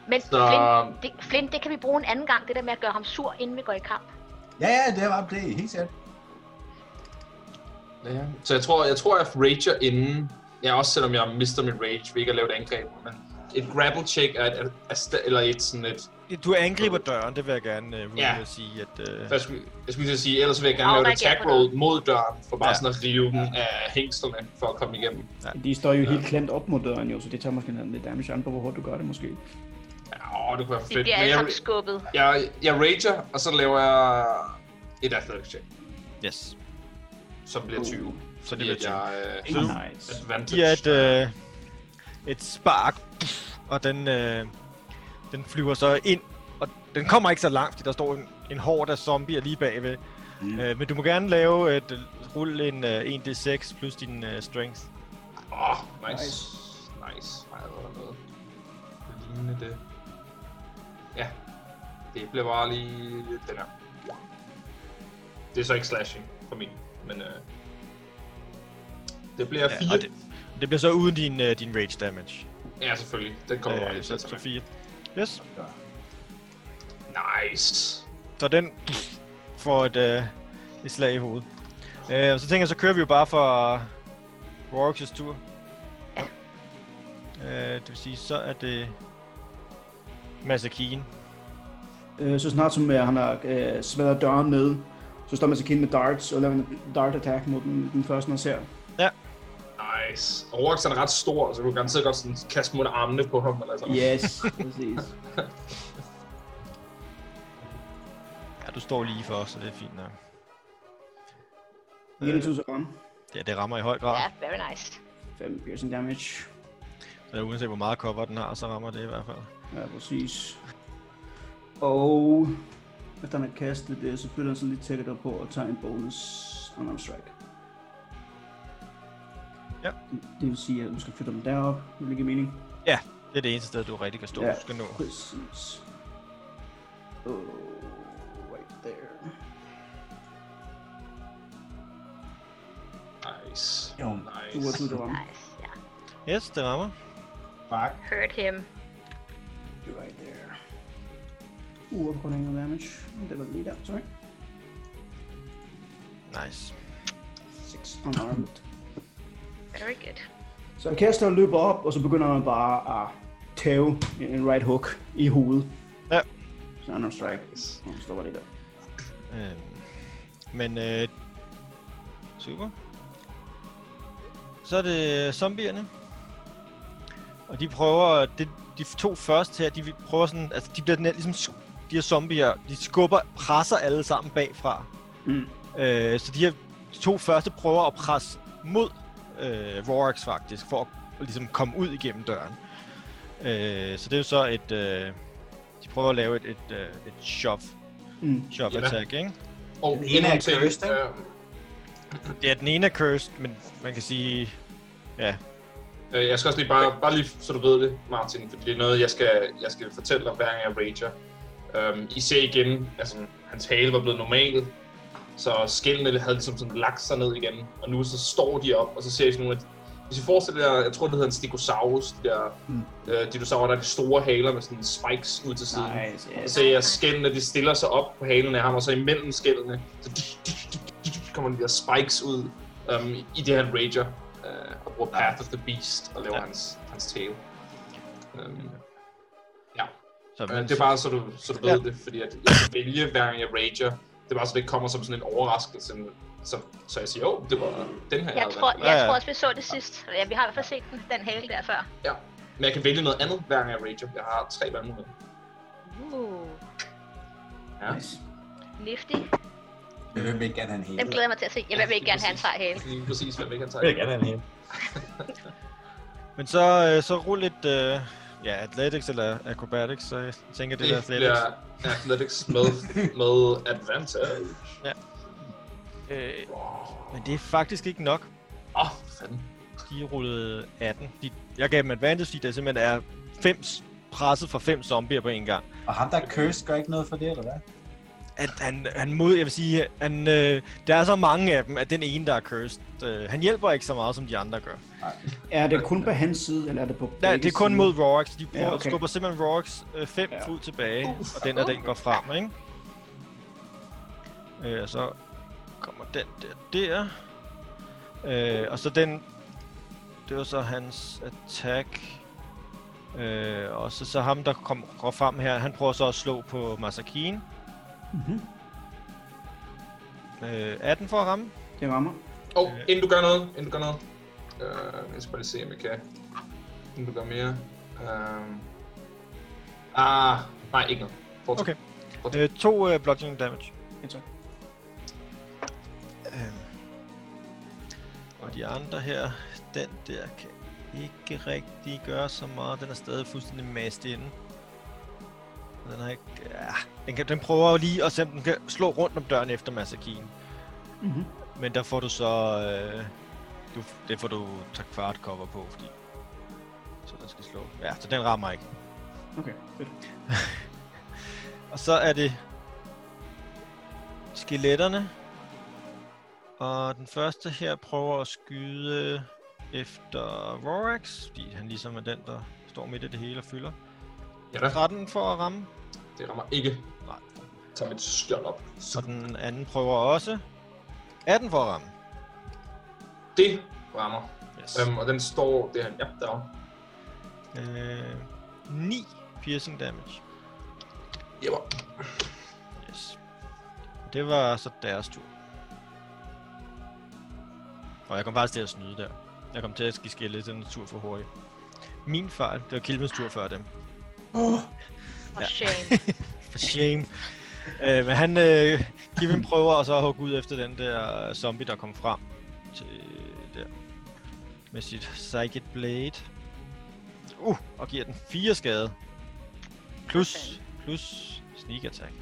S4: Men
S3: Så
S4: Flynn, det, Flynn, det kan vi bruge en anden gang, det der med at gøre ham sur, inden vi går i kamp.
S5: Ja, ja, det var det. Helt sikkert.
S3: Ja. Så jeg tror, jeg tror, jeg rager inden. Ja, også selvom jeg mister mit rage ved ikke at lave et angreb. Men et grapple check er et, er, eller et sådan et...
S2: Du angriber døren, det vil jeg gerne uh,
S3: Ja.
S2: ja. sige. At, uh,
S3: Jeg skulle, jeg skulle lige til at sige, ellers vil jeg gerne
S4: Åh,
S3: lave et
S4: der ikke er
S3: attack
S4: på noget.
S3: roll mod døren, for bare
S2: Ja.
S3: sådan at rive den af hængslerne for at komme igennem.
S6: De står jo helt klemt op mod døren jo, så det tager måske noget lidt damage an på, hvor hårdt du gør det måske.
S3: Ja, åh, det kunne være
S4: De
S3: fedt.
S4: bliver
S3: Men
S4: alle sammen
S3: jeg,
S4: skubbet.
S3: jeg, jeg rager, og så laver jeg et athletics check,
S2: yes.
S3: som bliver 20.
S2: Uh, Så det
S3: Fordi
S2: bliver
S3: at
S2: 20.
S3: jeg øh,
S6: Nice.
S3: advantage.
S2: giver et, øh, et spark, og den, øh, den flyver så ind. Og den kommer ikke så langt, fordi der står en, en hård af zombier lige bagved. Mm. Øh, men du må gerne lave et rulle en øh, 1d6 plus din øh, strength.
S3: Åh, oh, nice. Nice. Ej, hvor er der noget lignende det. Ja. Det blev bare lige den her. Det er så ikke slashing for min, men øh, det bliver
S2: Ja,
S3: 4.
S2: og det, det bliver så uden din, øh, din rage damage.
S3: Ja, selvfølgelig. Den kommer øh,
S2: Øh, så, så 4. Yes.
S3: Nice.
S2: Så den pff, får et, øh, et slag i hovedet. Øh, og så tænker jeg, så kører vi jo bare for Rorks' tur.
S4: Ja.
S2: Øh, det vil sige, så er det Masakine.
S6: Øh, så snart som øh, han har øh, smadret døren ned, så står man så med darts og laver en dart attack mod den, den første, man ser.
S3: Nice. Og Rorax han er ret stor, så du kan garanteret godt sådan kaste mod armene på ham. Eller sådan.
S6: Yes, præcis.
S2: Ja, du står lige for os, så det er fint nok.
S6: 21 så ramme.
S2: Ja, det rammer i høj grad.
S4: Ja,
S2: Ja.
S4: very nice.
S6: 5 piercing damage.
S2: Så uanset hvor meget cover den har, så rammer det i hvert fald.
S6: Ja, præcis. Og efter han har kastet det, så flytter han sig lige tækket op på og tager en bonus unarmed strike.
S2: Ja.
S6: Det vil sige, at du skal flytte dem derop. Det vil give mening.
S2: Ja, det er det eneste sted, du rigtig kan stå. Ja. Du skal nå.
S6: Præcis. Oh, right there.
S3: Nice.
S5: Jo.
S6: Du var
S3: Nice.
S6: du, det var.
S4: Nice, ja.
S2: Yes, det rammer.
S5: Bak.
S4: Hurt him.
S6: You're right there. Uh, og på grund af noget damage. Det var lige der, sorry.
S2: Nice.
S6: 6 unarmed.
S4: Very good.
S6: Så Kester løber op, og så begynder han bare at tæve en right hook i hovedet.
S2: Ja.
S6: Så han er strike. Og så stopper det der.
S2: Øhm, men øh, super. Så er det zombierne. Og de prøver, det, de to første her, de vil- prøver sådan, altså de bliver den her, ligesom, sk- de her zombier, de skubber, presser alle sammen bagfra.
S6: Mm.
S2: Øh, så de her to første prøver at presse mod øh, Rorax faktisk, for at ligesom komme ud igennem døren. Øh, så det er jo så et, øh, de prøver at lave et, et, øh, et shove,
S6: Mm.
S2: shove
S3: Ja.
S2: attack, ikke?
S3: Og
S5: Den ene er
S3: endnu en ting,
S5: cursed, ikke?
S3: øh,
S2: Ja, den ene er cursed, men man kan sige... Ja,
S3: Øh, Jeg skal også lige bare, bare lige, så du ved det, Martin, for det er noget, jeg skal, jeg skal fortælle dig, hver gang jeg rager. Øhm, I ser igen, altså hans hale var blevet normal, så skældene havde ligesom sådan lagt sig ned igen, og nu så står de op, og så ser I sådan nogle af de, hvis I forestiller jer, jeg tror det hedder en stegosaurus, de der mm. øh, dinosaurer, der er de store haler med sådan spikes ud til siden.
S6: Nice,
S3: Og
S6: yes.
S3: så ser jeg skældene, de stiller sig op på halen af ham, og så imellem skældene, så kommer de der spikes ud um, i det, han rager, uh, og bruger Path of the Beast og laver ja.
S2: Ja.
S3: hans, hans tale. Um, ja,
S2: så
S3: uh, det er bare så du, så du ved det, fordi at jeg skal vælge, hver gang jeg rager. Det er bare så, det ikke kommer som sådan en overraskelse, så, så jeg siger, åh, oh, det var den her,
S4: Jeg
S3: havde
S4: tror,
S3: valgt."
S2: Ja,
S4: jeg
S2: ja.
S4: tror også, vi så det sidst. Ja, vi har i hvert fald set den, den hale der før.
S3: Ja. Men jeg kan vælge noget andet, hver gang jeg rager. Jeg har tre valgmuligheder.
S4: Uh,
S3: Ja.
S6: Nice.
S4: nifty.
S5: Jeg vil ikke gerne have en
S4: Dem
S5: hele.
S4: glæder jeg mig til at se. Jeg vil ikke gerne have en sej hale.
S3: Lige præcis, hvem ikke han tager.
S5: Jeg vil gerne have en hele.
S2: Men så, øh, så rul et... Øh, ja, Athletics eller Acrobatics, så jeg tænker, det, det er
S3: Det
S2: Athletics.
S3: bliver Athletics med, med advantage.
S2: Øh, men det er faktisk ikke nok.
S3: Åh, oh, fanden.
S2: De rullede 18. De, jeg gav dem advantage, fordi der simpelthen er fem s- presset fra fem zombier på en gang.
S5: Og ham, der er cursed, gør ikke noget for det, eller hvad?
S2: At han, han mod, jeg vil sige, han, øh, der er så mange af dem, at den ene, der er cursed, øh, han hjælper ikke så meget, som de andre gør.
S6: Er det kun på hans side, eller er det på
S2: Nej,
S6: begge
S2: det er kun
S6: sider?
S2: mod Rorax. De prøver,
S6: Ja,
S2: ja,
S6: okay.
S2: okay. skubber simpelthen Rorax 5 øh,
S6: Ja.
S2: ja. fod tilbage, og den er den går frem, ikke? Øh, og så kommer den der, der. Øh, og så den Det var så hans attack. Øh, og så, så ham, der kom, går frem her, han prøver så at slå på Masakine.
S6: Mm-hmm.
S2: Øh, 18 for at ramme.
S6: Det rammer.
S3: Og oh, inden du gør noget, inden du gør noget. Uh, jeg skal bare lige se, om jeg kan. Inden du gør mere. Uh, ah, nej, ikke noget. Fortsæt.
S2: Okay. Øh, to øh, bludgeoning damage.
S6: Ja, tak.
S2: Øh. Og de andre her, den der kan ikke rigtig gøre så meget. Den er stadig fuldstændig mast inde. Og Den har ikke... Ja, den, kan, den prøver jo lige at se, om den kan slå rundt om døren efter Masakine.
S6: Mm-hmm.
S2: Men der får du så... Øh, du, det får du tak kvart cover på, fordi... Så den skal slå. Ja, så den rammer ikke.
S6: Okay, fedt.
S2: Og så er det skeletterne. Og den første her prøver at skyde efter Rorax, fordi han ligesom er den, der står midt i det hele og fylder.
S3: Ja, da.
S2: 13 for at ramme,
S3: Det rammer ikke.
S2: Nej.
S3: Tag mit skjold op.
S2: og den anden prøver også. 18 for at ramme.
S3: Det rammer.
S2: Yes.
S3: Um, og den står der. Ja, derovre.
S2: Øh, 9 piercing damage.
S3: Jepper.
S2: Yes. Det var så deres tur. Og jeg kom faktisk til at snyde der. Jeg kom til at give skille den tur for hurtigt. Min fejl. Det var Kilvens tur før dem.
S4: Og
S2: Ja.
S4: shame.
S2: For shame. Øh, men han øh, giver en prøver og så at hugge ud efter den der zombie, der kom frem til øh, der. Med sit Psychic Blade. Uh, og giver den 4 skade. Plus, plus sneak attack.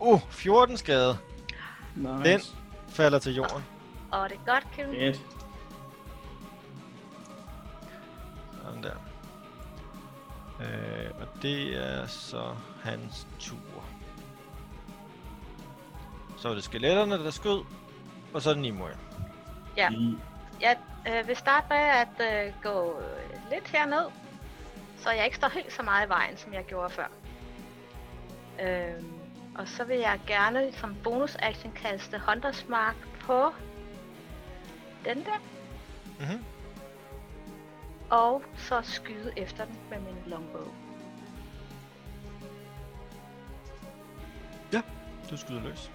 S2: Uh, 14 skade.
S6: Nice.
S2: Den falder til jorden.
S4: Og det er godt, Kim.
S6: Fedt.
S2: Sådan der. Øh, og det er så hans tur. Så er det skeletterne, der skød, og så er det Nimue.
S4: Ja. Jeg øh, vil starte med at øh, gå øh, lidt herned, så jeg ikke står helt så meget i vejen, som jeg gjorde før. Øh, og så vil jeg gerne som bonus-action kaste Hunters Mark på den der.
S2: Mhm.
S4: Og så skyde efter den med min longbow.
S2: Du skyder løs.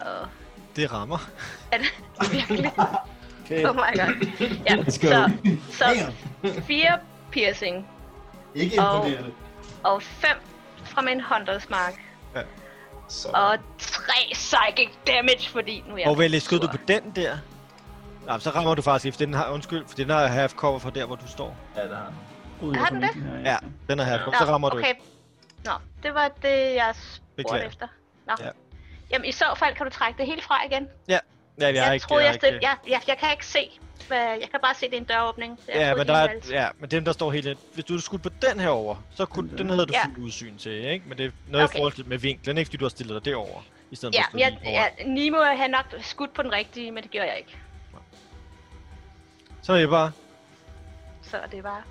S4: Og
S2: Det rammer.
S4: er det
S5: <laughs>
S4: virkelig?
S6: Okay.
S4: Oh my god. Ja,
S5: Let's go.
S4: så, så fire piercing
S5: Ikke
S4: Og-
S5: imponerende.
S4: og fem fra min Hunters Mark.
S3: Så.
S4: Og 3 psychic damage, fordi nu er jeg...
S2: og vel, skød du
S4: sur.
S2: på den der? Nej, så rammer du faktisk ikke, for den har, undskyld, for den har half cover fra der, hvor du står.
S5: Ja, det har
S6: Gud, jeg
S4: Har
S6: kom
S4: den
S6: ikke her,
S2: Ja, den har half
S3: Ja.
S2: cover, så rammer du
S4: okay.
S2: ikke.
S4: Nå, det var det, jeg spurgte
S2: Beklager.
S4: efter. Nå.
S2: Ja.
S4: Ja. Jamen i så fald kan du trække det hele fra igen.
S2: Ja, jeg,
S4: jeg
S2: er ikke,
S4: troede,
S2: jeg,
S4: jeg,
S2: er
S4: stille,
S2: ikke,
S4: jeg, jeg, jeg kan ikke se. hvad- Jeg kan bare se, det er en døråbning. så jeg
S2: ja,
S4: troede,
S2: men
S4: de
S2: der
S4: havde
S2: er,
S4: valgt-
S2: ja, men dem, der står helt ind. Hvis du skulle på den her over, så kunne, den havde du
S4: Ja.
S2: fuld udsyn til, ikke? Men det er noget okay.
S4: Okay.
S2: i forhold til med vinklen, ikke? Fordi du har stillet dig derover i stedet
S4: Ja,
S2: for at stå
S4: jeg,
S2: lige foran.
S4: ja, Nimo havde nok skudt på den rigtige, men det gjorde jeg ikke.
S2: Så er det bare.
S4: Så det var...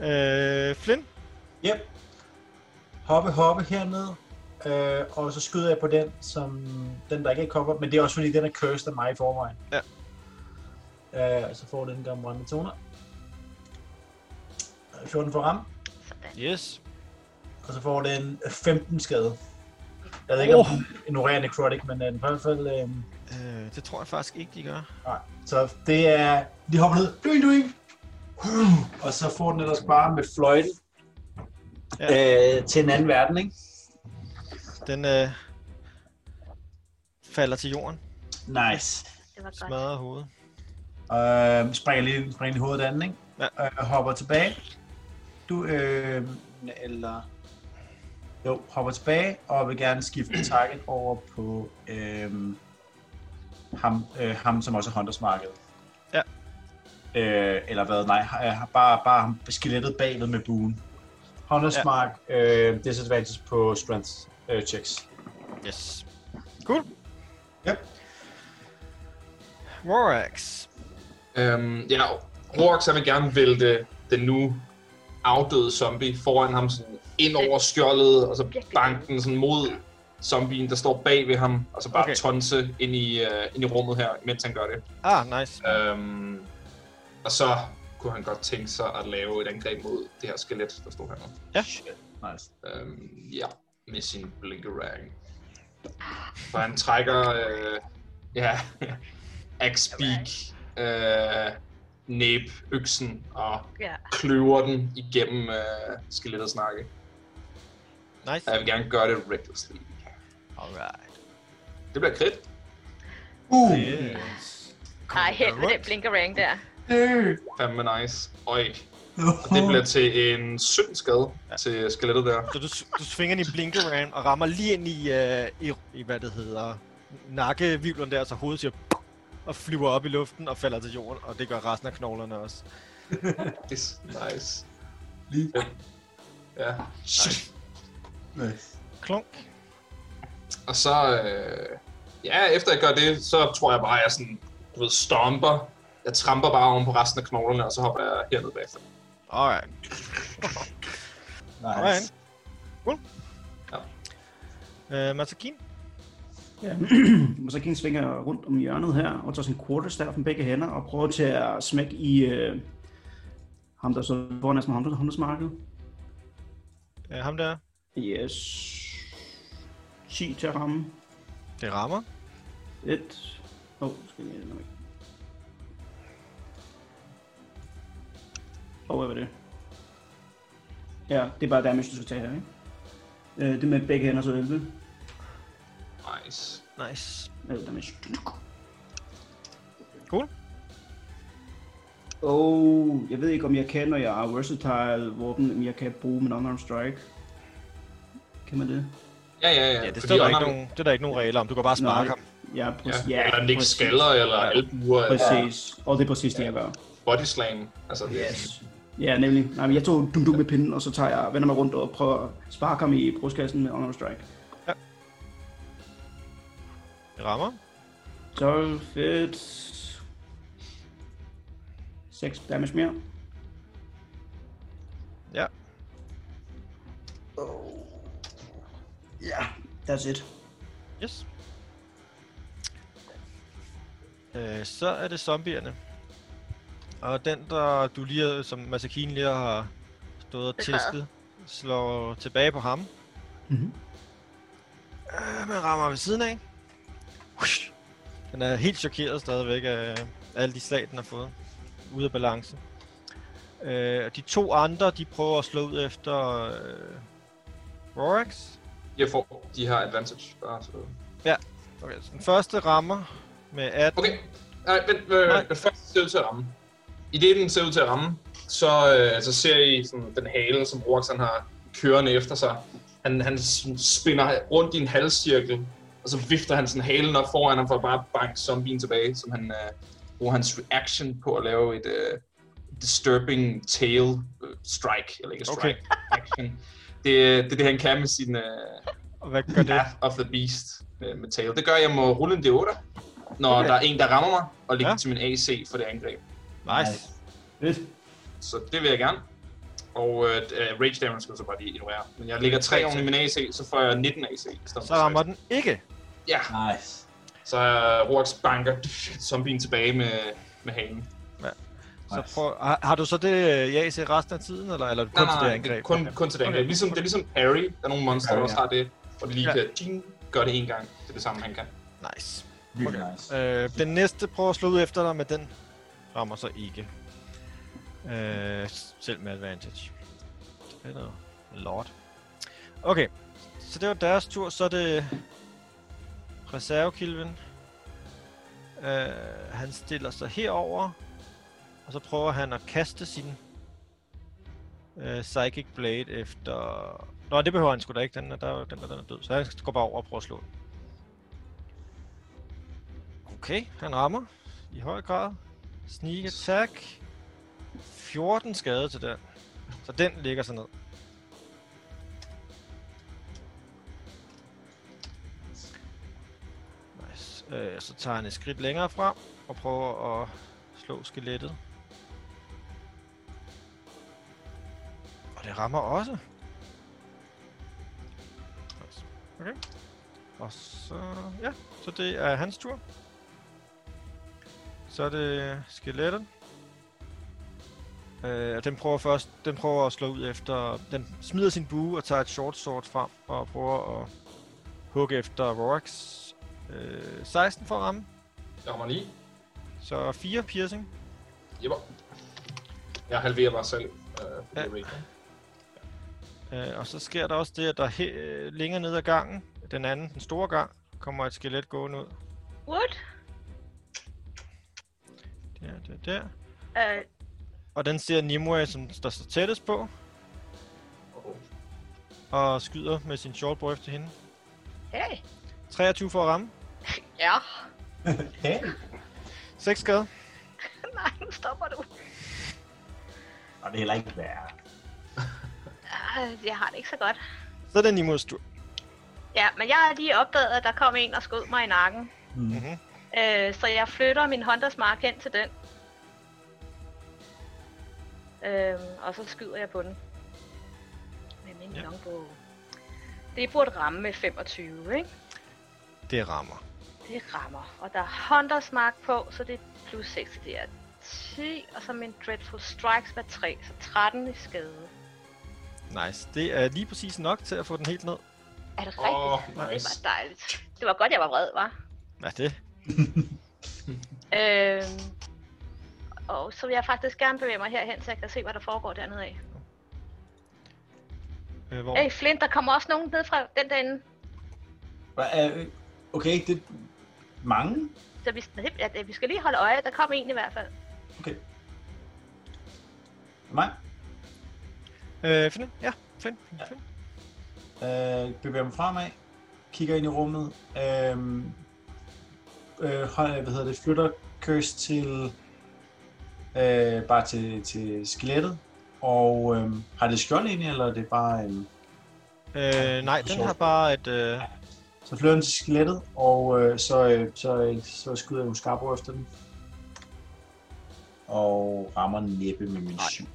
S2: Øh, Flynn?
S5: Yep. Hoppe, hoppe herned. Øh, og så skyder jeg på den, som den, der ikke er cover, men det er også fordi, den er cursed af mig i forvejen.
S2: Ja.
S5: Øh, så får den gamle brændende toner. 14 for ram,
S4: Sådan.
S2: Yes.
S5: og så får den 15 skade. Jeg ved ikke, om
S2: Oh.
S5: den ignorerer necrotic, men øh, den i hvert fald... Øh,
S2: Øh, det tror jeg faktisk ikke, de gør.
S5: nej. Så det er... De hopper ned. Doing, doing. Og så får den ellers bare med fløjten ja. øh, til en anden verden, ikke?
S2: Den øh, falder til jorden,
S5: Nice.
S4: Det var godt.
S2: smadrer hovedet.
S5: Øh, springer lige, springer lige hovedet af den, ikke?
S2: Ja.
S5: Øh, hopper tilbage. Du, øh, eller... Jo, hopper tilbage og vil gerne skifte target over på øh, ham, øh, ham, som også er Hunters Market.
S2: Ja.
S5: Øh, eller hvad, nej, øh, bare, bare ham skelettet bagved med buen. Hunters
S2: Ja.
S5: ja. Mark, øh, disadvantage på strength øh, checks.
S2: Yes. Cool.
S5: Yep.
S2: Rorax.
S3: Øhm, ja, Horvax han vil gerne vælte den nu afdøde zombie foran ham sådan ind over skjoldet, og så banken sådan mod zombien, der står bag ved ham, og så bare
S2: Okay.
S3: okay. tonse ind i, øh, ind i rummet her, mens han gør det.
S2: Ah, nice.
S3: Øhm, og så kunne han godt tænke sig at lave et angreb mod det her skelet, der stod hernede.
S2: Ja.
S5: Nice.
S3: Øhm, ja, med sin blinkerang. For han trækker, øh, ja, <laughs> axe beak, øh, næb, øksen og
S4: Ja.
S3: kløver den igennem øh, skelettets nakke.
S2: Nice.
S3: Og Jeg vil gerne gøre det recklessly.
S2: Alright.
S3: Det bliver krit.
S5: Uh,
S2: Yes.
S4: Ej, <laughs> helt med den blinkerang der.
S3: Fandme nice. Øj. Og det bliver til en 17 skade ja. til skelettet der.
S2: Så du, du svinger din blinkeram og rammer lige ind i, øh, i, i hvad det hedder, nakkevivlen der, så hovedet siger pop, og flyver op i luften og falder til jorden, og det gør resten af knoglerne også.
S3: Nice. nice.
S5: Lige.
S3: Ja.
S5: Nice.
S2: Klunk.
S3: Og så, øh, ja, efter jeg gør det, så tror jeg bare, at jeg sådan, du ved, stomper. Jeg tramper bare oven på resten af knoglerne, og så hopper jeg herned bagefter.
S2: Alright.
S5: nice.
S2: Alright. Cool.
S3: Ja.
S2: Ja. Øh, Masakin?
S6: Ja. <clears throat> Masakin svinger rundt om hjørnet her og tager sin quarterstaff med begge hænder og prøver til at smække i øh, ham, der så foran os med håndels- håndelsmarkedet.
S2: Øh, ham der?
S6: Yes. 10 til at ramme.
S2: Det rammer.
S6: 1. Åh, oh, skal jeg lige... Åh, hvad var det? Ja, det er bare damage, du skal tage her, ikke? Øh, det er med begge hænder, så 11.
S3: Nice.
S2: Nice.
S6: 11 damage.
S2: Cool.
S6: Og jeg ved ikke, om jeg kan, når jeg er versatile våben, om jeg kan bruge min unarmed strike. Kan man det?
S3: Ja, ja, ja.
S2: Ja, det,
S3: Fordi
S2: står der ikke
S3: unarmed-
S2: nogen, det er der ikke nogen regler om. Du kan bare
S6: Nej,
S2: sparke ham.
S6: ja, præcis.
S3: Ja, eller nikke
S6: præcis.
S3: skaller, eller
S2: Ja.
S3: albuer, eller
S6: Præcis, og det er præcis det, jeg gør.
S3: body slam. Altså, det,
S6: Ja, nemlig. Nej, men jeg tog dum dum med pinden, og så tager jeg, vender mig rundt og prøver at sparke ham i brystkassen med unarmed strike.
S2: Det rammer.
S6: 12, fedt. 6 damage mere.
S2: Ja.
S6: Ja, that's it.
S2: Yes. Øh, så er det zombierne. Og den, der du lige, har- som Masakine lige har stået og
S4: Besvaret.
S2: tæsket, slår tilbage på ham.
S6: Mhm.
S2: Øh, man rammer ved siden af. Whoosh. Den er helt chokeret stadigvæk af alle de slag, den har fået. Ude af balance. Øh, og de to andre, de prøver at slå ud efter øh, Rorax.
S3: jeg får, de har advantage. Bare, så.
S2: Okay, så den første rammer med 18.
S3: Okay, nej, vent, vent,
S2: Nej.
S3: vent. Den første ser ud til at ramme. I det, den ser ud til at ramme, så, øh, så ser I sådan, den hale, som Roxanne har kørende efter sig. Han, han sådan spinder rundt i en halvcirkel, og så vifter han sådan halen op foran ham for at bare banke zombien tilbage, som han øh, bruger hans reaction på at lave et øh, disturbing tail øh, strike, eller ikke strike,
S2: Okay.
S3: okay. action. Det, det er det, han kan med sin øh,
S2: Og hvad gør det?
S3: Path of the Beast øh, med tail. Det gør, at jeg må rulle en D8, når
S2: Okay.
S3: okay. der er en, der rammer mig, og lægge
S2: Ja.
S3: ja. til min AC for det angreb.
S2: Nice.
S6: Fedt.
S3: Så det vil jeg gerne. Og øh, d- øh, Rage Damage skal jeg så bare lige ignorere. Men jeg lægger 3 oven i min AC, så får jeg 19 AC. i stedet for
S2: Så rammer
S3: 16.
S2: den ikke.
S3: Ja,
S5: Nice.
S3: så øh, Roax banker <laughs> zombien tilbage med, med halen.
S2: Så prøv, har, har, du så det øh, i AC resten af tiden, eller, eller er det kun til det
S3: det er
S2: angreb?
S3: kun, kun til det angreb.
S2: Okay.
S3: Ligesom, det er ligesom parry. Der er nogle monster, der
S5: Parry,
S3: også
S5: ja.
S3: har det. Og de lige
S2: Ja.
S3: kan ding, gøre det en gang. Det er det samme, han kan.
S2: Nice.
S5: Virkelig
S2: Okay.
S5: nice.
S2: Øh, den næste prøver at slå ud efter dig, men den rammer så ikke. Øh, s- selv med advantage. Det er noget lort. Okay, så det var deres tur. Så er det reservekilven. Øh, han stiller sig herover, og så prøver han at kaste sin øh, Psychic Blade efter... Nå, det behøver han sgu da ikke. Den er, der, er jo- den, der, den er død. Så han går bare over og prøver at slå den. Okay, han rammer i høj grad. Sneak attack. 14 skade til den. Så den ligger sig ned. Nice. Øh, så tager han et skridt længere frem og prøver at slå skelettet. Og det rammer også. Nice. Okay. Og så... Ja, så det er hans tur. Så er det skeletten. Øh, og den prøver først, den prøver at slå ud efter, den smider sin bue og tager et short sword frem og prøver at hugge efter Rorax. Øh, 16 for at ramme,
S3: Jeg rammer 9.
S2: så 4 piercing.
S3: Jepper. Jeg halverer mig selv. Øh,
S2: Ja.
S3: ja.
S2: Øh, og så sker der også det, at der he- øh, længere ned ad gangen, den anden, den store gang, kommer et skelet gående ud.
S4: What?
S2: Der, der, der.
S4: Øh,
S2: Og den ser Nimue, som der står tættest på, og skyder med sin shortbow efter hende.
S4: hey.
S2: 23 for at ramme.
S4: Ja.
S5: Ja.
S2: 6 skade.
S4: <laughs> Nej, nu stopper du.
S5: Og det er heller ikke værre.
S4: Øh, Jeg har det ikke så godt.
S2: Så er det Nimues tur.
S4: Ja, men jeg har lige opdaget, at der kom en og skød mig i nakken.
S2: Mhm.
S4: Øh, så jeg flytter min Hondas Mark hen til den. Øhm, og så skyder jeg på den. Med min
S2: Ja.
S4: ja. longbow. Det burde ramme med 25, ikke?
S2: Det rammer.
S4: Det rammer. Og der er Hunters Mark på, så det er plus 6, så det er 10. Og så min Dreadful Strikes var 3, så 13 i skade.
S2: Nice. Det er lige præcis nok til at få den helt ned.
S4: Er det
S3: Åh,
S4: rigtigt?
S3: nice.
S4: Det var dejligt. Det var godt, jeg var vred, var.
S2: Hvad er det?
S4: Øhm, og så vil jeg faktisk gerne bevæge mig herhen, så jeg kan se, hvad der foregår dernede af.
S2: Øh, hvor?
S4: Hey Flint, der kommer også nogen ned fra den derinde.
S5: Hva- er- Okay, det er mange.
S4: Så vi, ja, vi skal lige holde øje. Der kommer en i hvert fald.
S5: Okay. Mig?
S2: Øh, Flynn? Ja, Flynn. Flynn, Flynn.
S5: Øh, bevæger mig fremad, kigger ind i rummet, øh, øh, hold- hvad hedder det, flytter Curse til, øh, bare til, til skelettet, og øh, har det skjold ind i, eller er det bare, øh,
S2: Øh, nej, den har bare et... Øh,
S5: så flytter den til skelettet, og øh, så, øh, så, øh, så skyder jeg en skarbo efter den, og rammer næppe med min
S2: Nej.
S5: syv.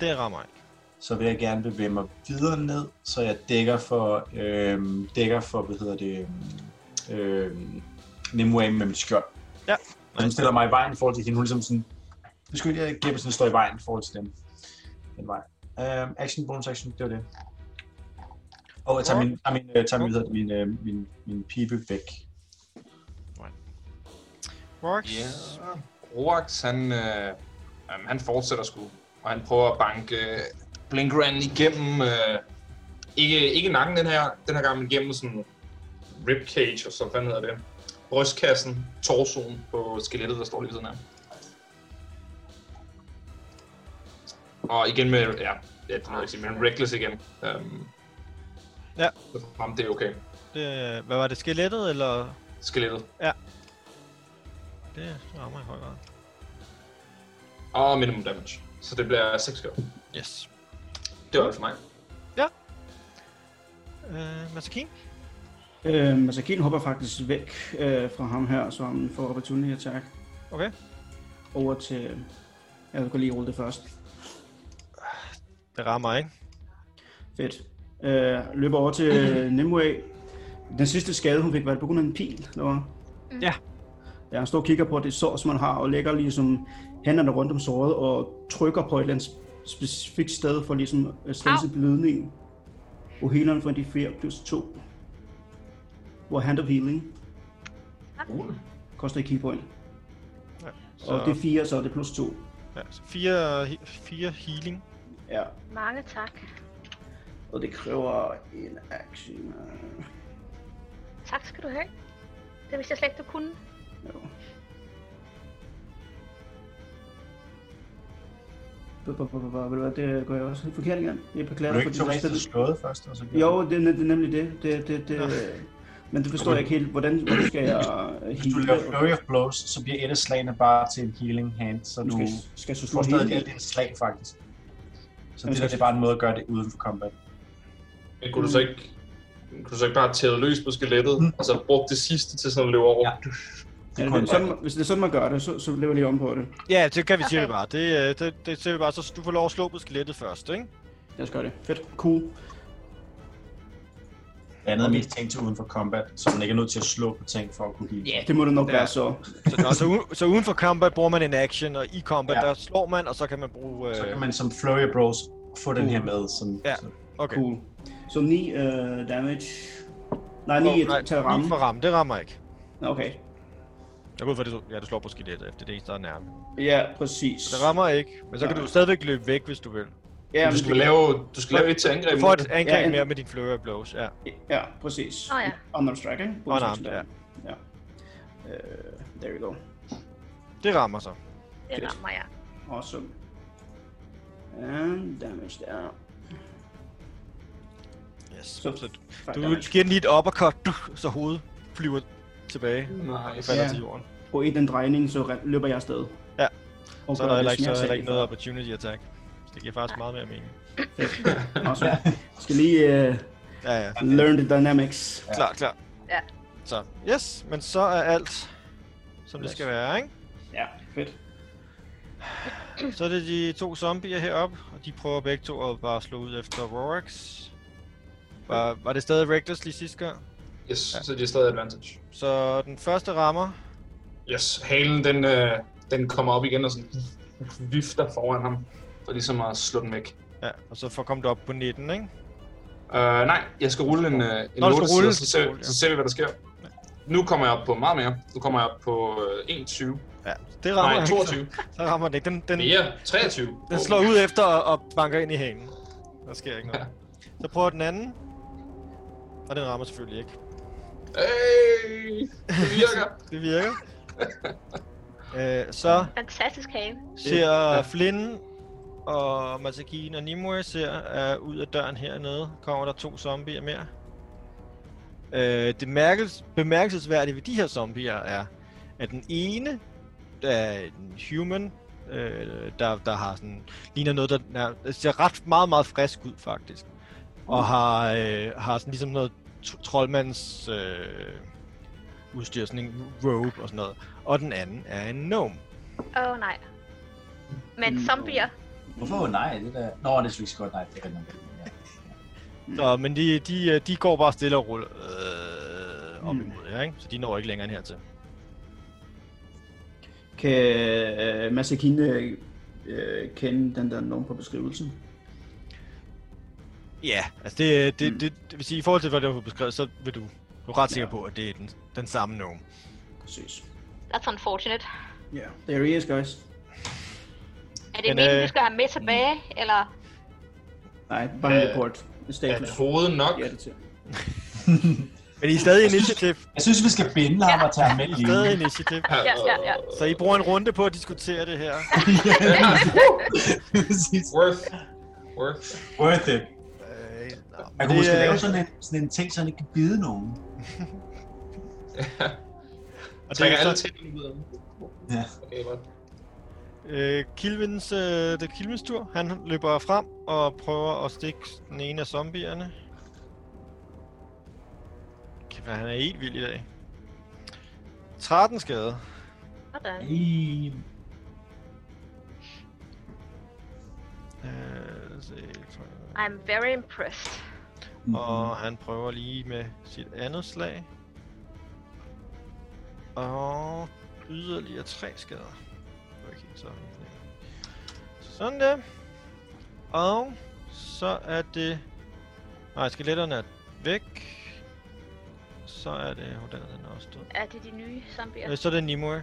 S2: det rammer ikke.
S5: så vil jeg gerne bevæge mig videre ned, så jeg dækker for, øhm, dækker for hvad hedder det, øhm, Nimue med mit skjold.
S2: Ja.
S5: Og hun stiller mig i vejen i forhold til hende. Hun er ligesom sådan, beskyld, jeg gemmer sådan, står i vejen i forhold til dem. Den vej. Øhm, action, bonus action, det var det. Og jeg tager min, tager min, øh, tager min, hvad hedder det, min, øh, min, min pibe væk.
S2: Rox?
S3: Ja. Roax, han, øh, jamen, han fortsætter sgu. Og han prøver at banke øh, Blinkran igennem. Øh, ikke, ikke nakken den her, den her gang, men igennem sådan ribcage, og så fanden hedder det. Brystkassen, torsoen på skelettet, der står lige ved siden af. Og igen med, ja, ja det må jeg ikke sige, men reckless igen. Um,
S2: Ja.
S3: Så jamen, det er okay.
S2: Det, hvad var det? Skelettet, eller...
S3: Skelettet.
S2: Det rammer i høj grad.
S3: Og minimum damage. Så det bliver 6 skade.
S2: Yes.
S3: Det var det for mig.
S2: Øh, Masakin?
S6: Øh, altså, Kiel hopper faktisk væk øh, fra ham her, så han får opportunity attack
S2: Okay.
S6: over til... Jeg vil godt lige rulle det først.
S2: Det rammer, ikke?
S6: Fedt. Øh, løber over til Nimue. Den sidste skade, hun fik, var det på grund af en pil, eller hvad?
S2: Ja.
S6: Ja, han står og kigger på det sår, som han har, og lægger ligesom hænderne rundt om såret og trykker på et eller andet specifikt sted for ligesom at stanse blødningen. Og healeren får en D4 plus 2. Hvor hand of healing koster et keypoint.
S2: Ja,
S6: Så... Og det er 4, så er det plus 2.
S2: ja, så fire, he- fire healing.
S6: Ja,
S4: Mange tak.
S6: og det kræver en action. øh,
S4: Tak skal du have. Det vidste jeg slet ikke, du kunne.
S6: Jo. Bup, bup, bup, bup, bup, bup, Det gør jeg også helt forkert igen. Jeg
S5: Er
S6: beklager
S5: du
S6: for
S5: ikke
S6: det.
S5: Therese, der
S6: det
S5: slået først? Og så gjorde
S6: jo, det, er ne- det er nemlig det. det, det, det
S2: Nå.
S6: men det forstår jeg ikke helt. Hvordan, hvordan skal jeg
S5: du- Hvis du laver
S6: hele?
S5: Flurry of Blows, så bliver et af slagene bare til en healing hand, så
S6: Nu
S5: du...
S6: skal, skal jeg så
S5: Du får
S6: slå
S5: stadig alt
S6: hele.
S5: dit slag, faktisk. Så
S6: Men
S5: det der,
S6: skal-
S5: det er bare en måde at gøre det uden for combat.
S3: Men kunne du så ikke, kunne du så ikke bare tæde løs på skelettet,
S2: Hmm.
S3: mm. og så bruge det sidste til sådan at løbe over?
S5: Ja.
S3: Ja.
S6: Ja, det,
S5: kunne
S6: er sådan, hvis det er sådan, man gør det, så, så laver jeg lige om på det.
S2: Ja, det kan vi okay. sige
S4: Okay.
S2: det bare. Det, øh, det, det siger vi bare, så du får lov at slå på skelettet først, ikke?
S6: Lad os gøre det. Fedt. Cool.
S5: andet er mest ting til uden for combat, så man ikke er nødt til at slå på ting for at kunne heal.
S6: Det må det nok
S2: Ja.
S6: være så.
S2: Så, nå, så, u- så uden for combat bruger man en action, og i combat,
S5: Ja.
S2: ja. der slår man, og så kan man bruge... Øh,
S5: Så kan man som Flurry Bros få den her med. Som,
S2: Uh. Ja.
S5: så-
S2: Okay.
S6: Cool. Så 9 uh, damage. Nej,
S2: Åh,
S6: 9 oh, til at
S2: lige
S6: ramme.
S2: for ramme, det rammer ikke.
S6: Okay.
S2: Jeg går ud fra, at det, ja, det slår på skelettet, efter det eneste, der er nærmest.
S6: Ja, præcis.
S2: Det rammer ikke, men så kan
S6: Nej.
S2: du stadigvæk løbe væk, hvis du vil.
S6: Ja,
S3: Du
S6: men
S3: skal
S6: det-
S3: lave, du skal lave et til angreb.
S2: Du får
S3: mod
S2: et angreb
S6: Ja,
S2: mere med din flurry of blows, ja.
S6: Ja, præcis.
S4: Nå ja.
S6: Unarmed strike, ikke?
S2: Unarmed, ja.
S6: ja. Uh, there we go.
S2: Det rammer så.
S4: Det rammer jeg.
S6: Awesome. And damage der.
S2: Yes. Så,
S6: Så-
S2: så
S6: Fuck,
S2: du
S6: damage.
S2: giver den lige et uppercut, du- så hovedet flyver tilbage
S3: den.
S2: og
S3: Nice.
S2: falder
S6: Ja.
S2: til jorden.
S6: På en den drejning, så re- løber jeg afsted.
S2: Ja.
S6: Og
S2: Så er der heller ikke, så er der
S6: jeg sagde
S2: heller ikke noget
S6: før.
S2: opportunity attack. Så det giver faktisk meget mere mening.
S6: Awesome. Jeg skal lige uh,
S2: Ja, ja.
S6: learn the dynamics.
S2: Klar, klar.
S4: Ja.
S2: Så, yes, men så er alt, som det skal være, ikke?
S6: Ja, fedt.
S2: <clears throat> Så er det de to zombier heroppe, og de prøver begge to at bare slå ud efter Rorax. Var, var det stadig Reckless lige sidste gang?
S3: Yes, så det er stadig advantage.
S2: Så den første rammer,
S3: Yes, halen den, øh, den kommer op igen og sådan vifter foran ham, for ligesom at slå den væk.
S2: ja, og så får kom du op på 19, ikke?
S3: Uh, nej, jeg skal rulle en, øh, en
S2: Nå, du skal rulle.
S3: rulle, så, ser, så ser vi, hvad der sker. Nu kommer jeg op på meget mere. Nu kommer jeg op på øh, 21.
S2: Ja, det rammer
S3: Nej,
S2: han.
S3: 22.
S2: Så rammer den ikke. Den, den,
S3: Mere. 23.
S2: den slår ud efter og, og banker ind i hængen. Der sker ikke noget. Så prøver den anden. Og den rammer selvfølgelig ikke.
S3: Hey, det
S2: <laughs>
S3: virker.
S2: Det virker. øh, så
S4: Fantastisk hane.
S2: ser Flynn og Masagin og Nimue ser at ud af døren hernede. Kommer der to zombier mere. Øh, det mærkes, bemærkelsesværdige ved de her zombier er, at den ene der er en human, øh, der, der har sådan, ligner noget, der, der, der ser ret meget, meget frisk ud faktisk. Og har, øh, har sådan ligesom noget tro- troldmands øh, udstyr, sådan en robe og sådan noget. Og den anden er en gnome.
S4: Åh oh, nej.
S2: Mm.
S4: Men zombier.
S7: Hvorfor nej? Det der... Nå, det synes jeg godt, nej, det er rigtigt. nok. Ja.
S2: Så, men de, de, øh, de går bare stille og ruller øh, op
S7: Mm.
S2: imod jer, ikke? Så de når ikke længere end hertil.
S6: Kan uh, Masakine uh, kende den der norm på beskrivelsen?
S2: Ja, altså det,
S7: Mm.
S2: det, det, det, vil sige, i forhold til, hvad det var beskrevet, så vil du, du er ret sikker på, at det er den, den samme gnome.
S6: Præcis.
S4: That's unfortunate.
S6: Ja, yeah. there he is, guys.
S4: Er det
S2: Men,
S4: meningen,
S2: øh,
S4: vi skal have ham med tilbage, eller?
S6: Nej, bare en
S3: Øh,
S6: report. En
S3: Er
S6: statement.
S3: det hovedet nok?
S6: Ja, det til.
S2: Men I er stadig initiativ.
S7: Jeg synes, vi skal binde ham og tage ham med
S2: I er
S7: lige.
S2: stadig initiativ.
S4: Ja, ja, ja.
S2: Så I bruger en runde på at diskutere det her.
S7: Præcis.
S3: Worth. Worth.
S7: <laughs> Worth it.
S2: Øh, nå,
S7: Man
S2: men
S7: kunne
S2: det,
S7: måske
S2: øh,
S7: lave sådan en, sådan en ting, så han ikke kan bide nogen.
S2: og det
S3: Trækker
S2: er
S3: alle
S2: så,
S3: tænderne ud af dem.
S7: Ja.
S3: Okay, godt.
S2: øh, Kilvins, øh, det er Kilvins tur. Han løber frem og prøver at stikke den ene af zombierne. Kæft, han er helt vild i dag. 13 skade.
S4: Sådan.
S7: I...
S2: Øh, lad os se, jeg tror-
S4: I'm very impressed.
S5: Mm-hmm.
S2: Og han prøver lige med sit andet slag. Og yderligere tre skader. Okay, så er han ikke nær. Sådan der. Og så er det... Nej, skeletterne er væk. Så er det... Hvordan er den også død?
S4: Er det de nye zombier?
S2: Øh, Så er det Nimue.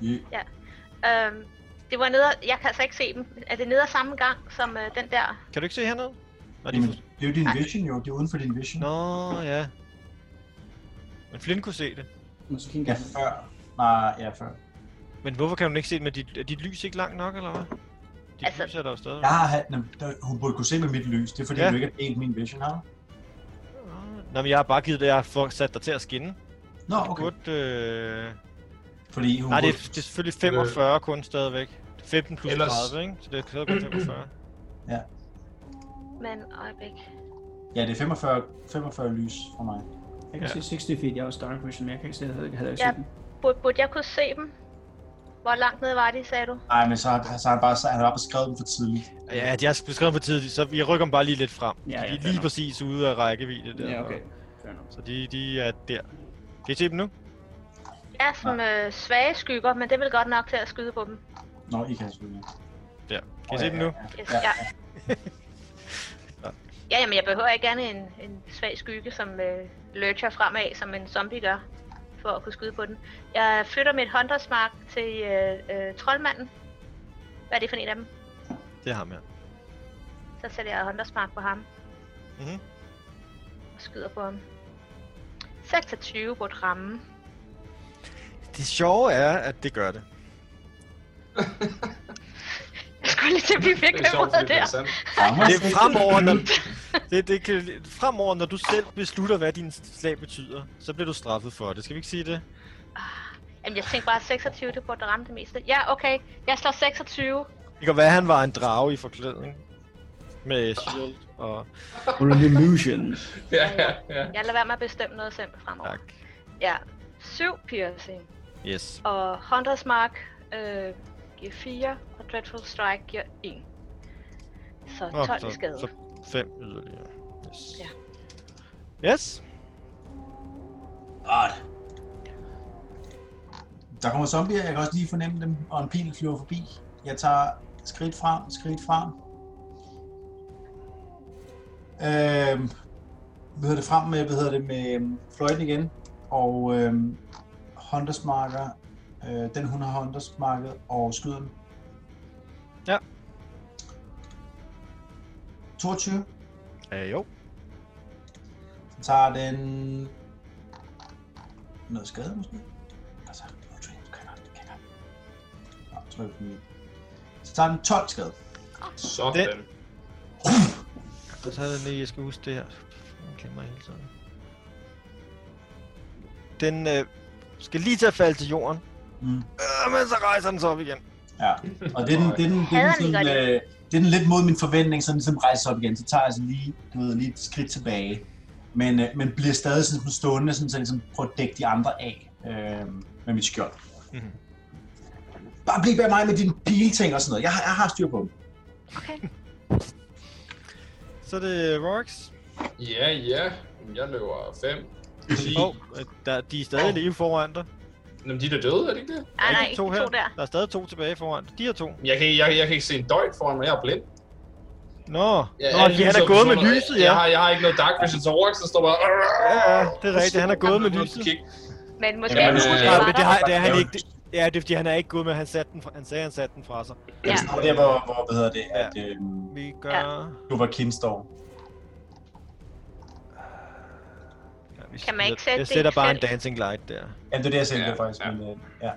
S7: Mm.
S4: Øhm, det var nede, jeg kan altså ikke se dem. Er det nede af samme gang som øh, den der?
S2: Kan du ikke se hernede? Nå, de...
S7: Jamen,
S2: for-
S7: det er jo din vision jo, det er uden for din vision.
S2: Nå ja. Men Flynn kunne se det.
S6: Masakine
S7: Ja,
S6: kan
S7: før. Nej, ja, før.
S2: Men hvorfor kan hun ikke se det med dit, er dit lys ikke langt nok, eller hvad? Dit
S4: Altså-
S2: lys er der jo stadig.
S7: Jeg har haft, nem- der- hun burde kunne se med mit lys, det er fordi,
S2: Ja.
S7: du ikke har delt min vision her.
S2: Ah, Nå, men jeg har bare givet det, jeg har for- sat dig til at skinne.
S7: Nå,
S2: Okay.
S7: okay.
S2: Godt, øh...
S7: Fordi hun
S2: Nej, det er,
S7: burde-
S2: det er selvfølgelig 45 øh. kun stadigvæk. Det er 15 plus
S3: Ellers-
S2: 30, ikke? Så det er stadig kun 45.
S4: Men øjeblik.
S7: Ja, det er 45, 45 lys for mig.
S6: Jeg kan
S2: Ja.
S6: se 60 feet, jeg er også dark vision, men jeg kan ikke se, jeg havde, jeg havde ikke
S4: Ja.
S6: set den.
S4: Burde, burde jeg kunne se dem? Hvor langt nede var de, sagde du?
S7: Nej, men så har, så har han bare så, han har bare beskrevet dem for tidligt.
S2: Ja, de har beskrevet for tidligt, så jeg rykker dem bare lige lidt frem.
S6: Ja,
S2: Ja,
S6: ja,
S2: ja, de er
S6: fair
S2: lige
S6: nok.
S2: præcis ude af rækkevidde der.
S6: Ja, okay. fair nok.
S2: Så de, de er der. Kan I se dem nu?
S4: er sådan øh, svage skygger, men det vil godt nok til at skyde på dem.
S5: Nå, I kan selvfølgelig.
S2: Der. Kan I se dem nu?
S4: Yes,
S5: Ja.
S4: ja. Ja, jamen jeg behøver ikke gerne en, en svag skygge, som øh, lurcher fremad, som en zombie gør, for at kunne skyde på den. Jeg flytter mit håndtersmark til øh, øh, troldmanden. Hvad er det for en af dem?
S2: Det er ham her.
S4: Så sætter jeg håndtersmark på ham.
S2: Mhm.
S4: Og skyder på ham. 26 burde ramme.
S2: Det sjove er, at det gør det.
S4: Jeg skulle lige til at blive
S3: Det er sjovt,
S4: virkelig
S3: fordi det
S4: der.
S3: er sandt. <laughs>
S2: Det er fremover, når, <laughs> det, det kan, fremover, når du selv beslutter, hvad din slag betyder, så bliver du straffet for det. Skal vi ikke sige det?
S4: Jamen jeg tænkte bare, at 26 det burde ramme det meste. Ja, okay. Jeg slår 26.
S2: Det kan være, at han var en drage i forklædning. Med shield og...
S6: All illusions.
S3: Ja, ja, ja.
S4: Jeg lader være med at bestemme noget selv fremover.
S2: Tak.
S4: Ja. 7 piercing.
S2: Yes.
S4: Og Hunters Mark øh, giver 4, og Dreadful Strike giver 1. Så 12 i skade.
S2: så fem yderligere. Yes.
S4: Ja.
S2: Yes.
S5: Godt. Der kommer zombier, jeg kan også lige fornemme dem, og en pil flyver forbi. Jeg tager skridt frem, skridt frem. Øhm, hvad hedder det frem med, hvad hedder det med øhm, fløjten igen, og øhm, Hunters marker, øh, den hun har Hunters market, og skyder den.
S2: Ja.
S5: 22.
S2: Øh, jo.
S5: Så tager den... Noget skade måske? Altså, no train, kan nok, kan nok. Nå, tryk på min. Så tager den 12 skade.
S3: Sådan.
S2: Og så er det lige, jeg skal huske det her. Jeg glemmer hele tiden. Den øh, skal lige til at falde til jorden.
S5: Mm.
S2: Øh, men så rejser den sig op igen.
S5: Ja, og det er den, det er den, det er
S4: Hader
S5: den,
S4: den
S5: sådan,
S4: godt.
S5: øh, det er den lidt mod min forventning, sådan ligesom rejser op igen. Så tager jeg sådan lige, du ved, lige et skridt tilbage. Men, øh, men bliver stadig sådan, sådan stående, sådan, så jeg ligesom prøver at dække de andre af øh, med mit skjold.
S2: Mhm.
S5: Bare bliv bag mig med dine pilting og sådan noget. Jeg har, jeg har styr på dem.
S4: Okay.
S2: Så er det øh, Rox.
S3: Ja, ja. Jeg løber 5.
S2: Åh, øh, der, de er stadig i live foran dig.
S3: Jamen, de er da døde, er det ikke det?
S4: Ej, Ah, nej,
S2: to
S4: to,
S2: her.
S4: to der.
S2: Der er stadig to tilbage foran dig. De her to.
S3: Jeg kan, ikke- jeg, jeg kan ikke se en døjt foran mig, jeg er blind.
S2: Nå,
S3: Jeg,
S2: Nå de, han er gået med lyset, ja.
S3: ligesom Jeg har, jeg har ikke noget dark vision, så Rorik så står bare...
S2: Ja, ja, det er rigtigt. Han er gået med lyset.
S3: Kig.
S4: Men måske
S3: Jamen,
S4: Jamen,
S3: øh,
S4: skulle
S2: Ja, men det,
S4: har...
S2: har, det er han ikke. Det, ja, det er fordi, han er ikke gået med, han, satte den fra, han sagde, han satte den fra sig.
S5: Ja.
S4: Ja.
S5: Det er der, hvor, hvor hvad hedder det, at øh,
S2: Vi gør... Ja.
S5: du var kindstår.
S2: vi
S4: Kan man ikke sætte
S2: Jeg
S4: det i
S2: sætter bare en
S4: felt?
S2: dancing light der.
S5: Ja, det er det, jeg selv
S3: Ja,
S5: ja, faktisk.
S3: ja.
S5: Ja. Men, øh, ja.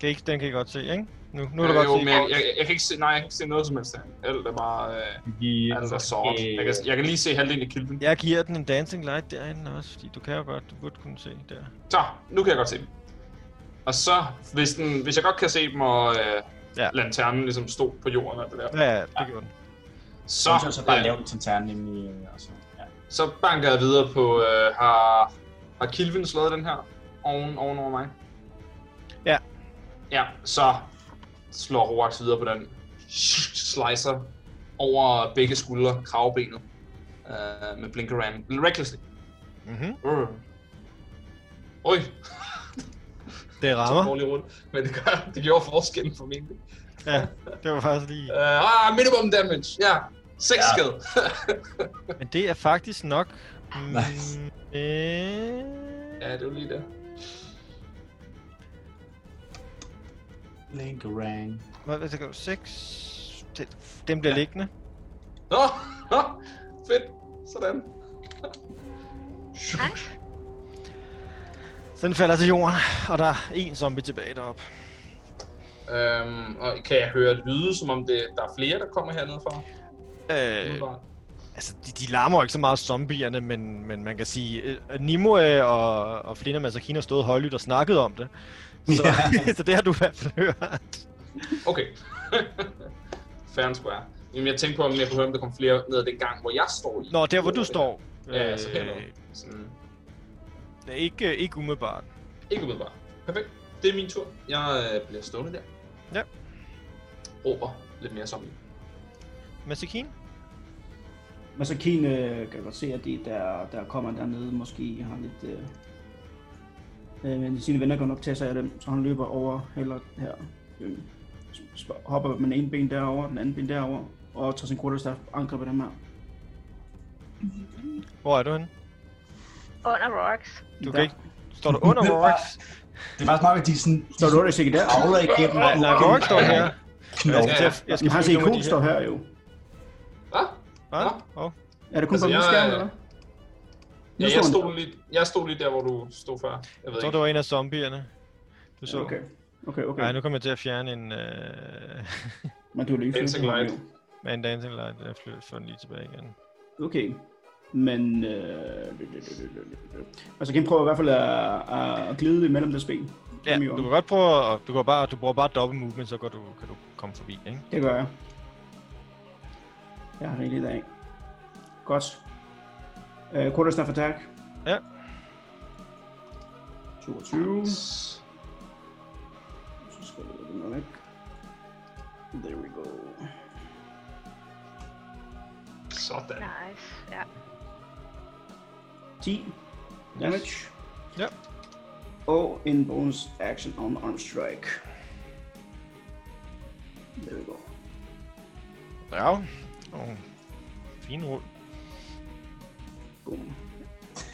S2: Kan I, ikke- den kan I godt se, ikke? Nu, nu er
S3: Øh,
S2: det godt
S3: jo,
S2: se.
S3: men jeg, jeg, jeg, kan ikke se, nej, jeg kan ikke se noget som helst. Alt er bare... Øh,
S8: Vi,
S3: alt er sort. Jeg kan, jeg kan lige se halvdelen af kilden.
S2: Jeg giver den en dancing light derinde også, fordi du kan jo godt, du burde kunne se der.
S3: Så, nu kan jeg godt se dem. Og så, hvis, den, hvis jeg godt kan se dem, og øh,
S2: Ja.
S3: ja. lanternen ligesom stod på jorden og alt det der,
S2: Ja, det gjorde den.
S3: så,
S5: Så, så bare
S3: øh,
S5: lave til ternen ind i... øh, Og så, ja.
S3: så banker jeg videre på, øh, har, har Kilvin slået den her oven, oven over mig?
S2: Ja.
S3: Ja, så slår Horax videre på den. Slicer over begge skuldre, kravbenet. Øh, med blinkeran. Recklessly.
S2: Mhm,
S3: Uh. Oj,
S2: det
S3: så
S2: rammer.
S3: dårlig rundt. Men det, gør, det gjorde forskellen formentlig.
S2: Ja, det var faktisk lige...
S3: Uh, ah, minimum damage. Ja, 6 ja.
S5: Ja.
S3: skade.
S2: Men det er faktisk nok...
S3: <laughs>
S5: Nice.
S2: Mm, øh,
S3: ja, det var lige det.
S5: Linkerang.
S2: Hvad hvad skal du? 6... Den bliver liggende.
S3: Nå, nå, fedt. Sådan.
S2: Så den falder til jorden, og der er en zombie tilbage deroppe.
S3: Øhm, og kan jeg høre lyde, som om det, der er flere, der kommer hernede fra?
S2: Øh, altså, de, de larmer jo ikke så meget zombierne, men, men man kan sige, øh, at Nimue og, og Flinner Masakina stod højlydt og snakkede om det. Så, ja. <laughs> så det har du i hvert fald hørt.
S3: Okay. <laughs> Fair and square. Jamen, jeg tænkte på, om jeg kunne høre, om der kom flere ned ad den gang, hvor jeg står i.
S2: Nå, der hvor du
S3: Det
S2: står.
S3: Ja, så
S2: øh,
S3: herovre. Sådan,
S2: det er ikke, øh, ikke umiddelbart.
S3: ikke umiddelbart. Perfekt. Det er min tur. Jeg øh, bliver stående der.
S2: Ja.
S3: Råber lidt mere som
S2: Masakine?
S6: Men så Keen øh, kan godt se, at de der, der kommer dernede måske har lidt... Øh, øh, men sine venner går nok tage sig af dem, så han løber over, eller her. Øh, sp- hopper med den ene ben derover, den anden ben derover, og tager sin quarterstaff og angriber dem her.
S2: Hvor er du henne?
S4: Under rocks.
S2: Du
S6: Der.
S2: kan ikke... Står du <laughs> under Rorax?
S7: Det er bare nok, at de sådan
S6: Så er du ikke sikkert der.
S7: kravler igennem og
S2: Nej, Rorax står her. Jeg
S7: knogler.
S2: skal, til at- jeg skal
S6: Jamen, hans
S2: flytte nogle af
S6: ikon
S2: de her.
S6: står her jo.
S3: Hvad?
S2: Hvad?
S3: Nå.
S2: Åh.
S6: Er det kun
S3: Altså,
S6: altså, på
S3: jeg-
S6: udskærmen,
S3: Ja,
S6: eller? Nu
S3: jeg,
S6: står
S3: stod lige, jeg stod lige der, hvor du stod før. Jeg ved
S2: Jeg tror,
S3: ikke.
S2: det var en af zombierne. Du så.
S6: han. Okay. Okay, okay.
S2: Nej, nu kommer jeg til at fjerne en... Øh, <laughs>
S6: Men du er lige
S3: Dancing
S6: flyttet,
S3: Light.
S6: jo.
S2: med en dancing light. Jeg flytter for den lige tilbage igen.
S6: Okay. Men... Øh... det- det- det- det- det- det. Altså, kan prøve i hvert fald at, at glide imellem deres ben.
S2: Ja,
S6: Kom i orden.
S2: du kan godt prøve at... Du, går bare, du bruger bare dobbelt movement, så går du, kan du komme forbi, ikke?
S6: Det gør jeg. Jeg har rigeligt af. Godt. Øh, quarterstaff attack.
S2: Ja.
S6: 22. Så skal vi have den her væk. There we go.
S3: Sådan.
S4: Nice, ja.
S6: 10 damage.
S2: Ja.
S6: Og en bonus action on arm strike. There we go.
S2: Ja. Oh, fin rull.
S6: Boom.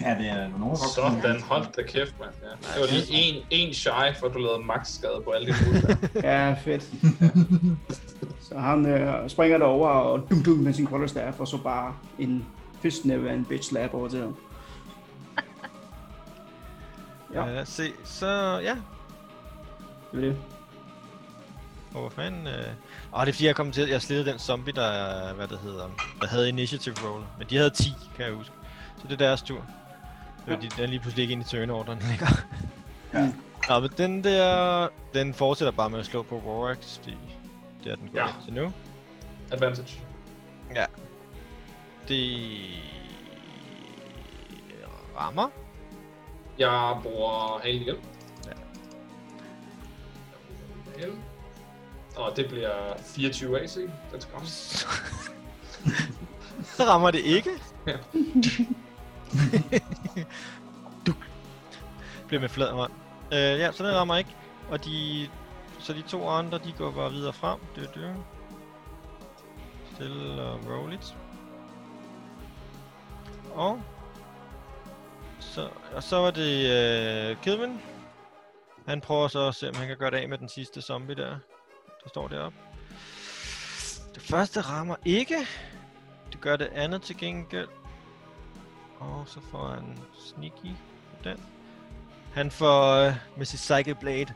S7: Ja, det er nogen.
S3: Sådan, hold da kæft, mand. Ja. Det var lige en, en shy, for du lavede max skade på alle dine muligheder.
S6: Ja, fedt. så han øh, springer derover og dum dum med sin quarterstaff, og så bare en fistnæve af en bitch slap over til ham. Ja.
S2: Ja. Lad os se. Så ja.
S6: Det var det.
S2: Og hvor fanden... Øh... Åh, det er fordi, jeg kom til... Jeg slidede den zombie, der... er- Hvad det hedder... Der havde initiative roll. Men de havde 10, kan jeg huske. Så det er deres tur. Det er fordi, den er lige pludselig ikke inde i turn-orderen <laughs> længere.
S6: Ja.
S2: Nå, men den der... Den fortsætter bare med at slå på Rorax, fordi... Det er den går
S3: Ja.
S2: ja. til nu.
S3: <laughs> Advantage.
S2: Det... Rammer.
S3: Jeg bruger halen igen.
S2: Ja.
S3: Halen. Og det bliver 24 AC. Den skal komme.
S2: Så rammer <laughs> det ikke.
S3: Ja.
S2: du bliver med flad hånd. Øh, ja, så den rammer ikke. Og de, så de to andre, de går bare videre frem. Dø, dø. Stille og roligt. Og så, og så var det øh, Kidman. Han prøver så at se, om han kan gøre det af med den sidste zombie der. Der står deroppe. Det første rammer ikke. Det gør det andet til gengæld. Og så får han sneaky på den. Han får øh, med sit Psychic Blade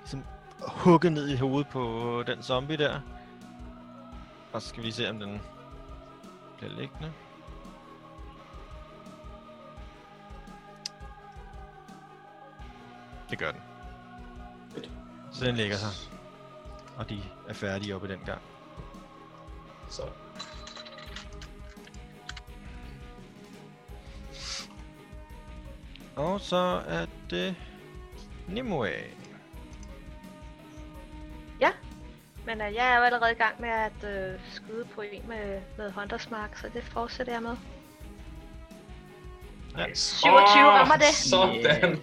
S2: ligesom hugget ned i hovedet på den zombie der. Og så skal vi se, om den bliver liggende. Det gør den. Så den ligger sig. Og de er færdige oppe i den gang.
S3: Så.
S2: Og så er det Nimue.
S4: Men øh, jeg er jo allerede i gang med at øh, skyde på en med, med Hunters Mark, så det fortsætter jeg med.
S3: Nice.
S4: 27 rammer det.
S3: Sådan.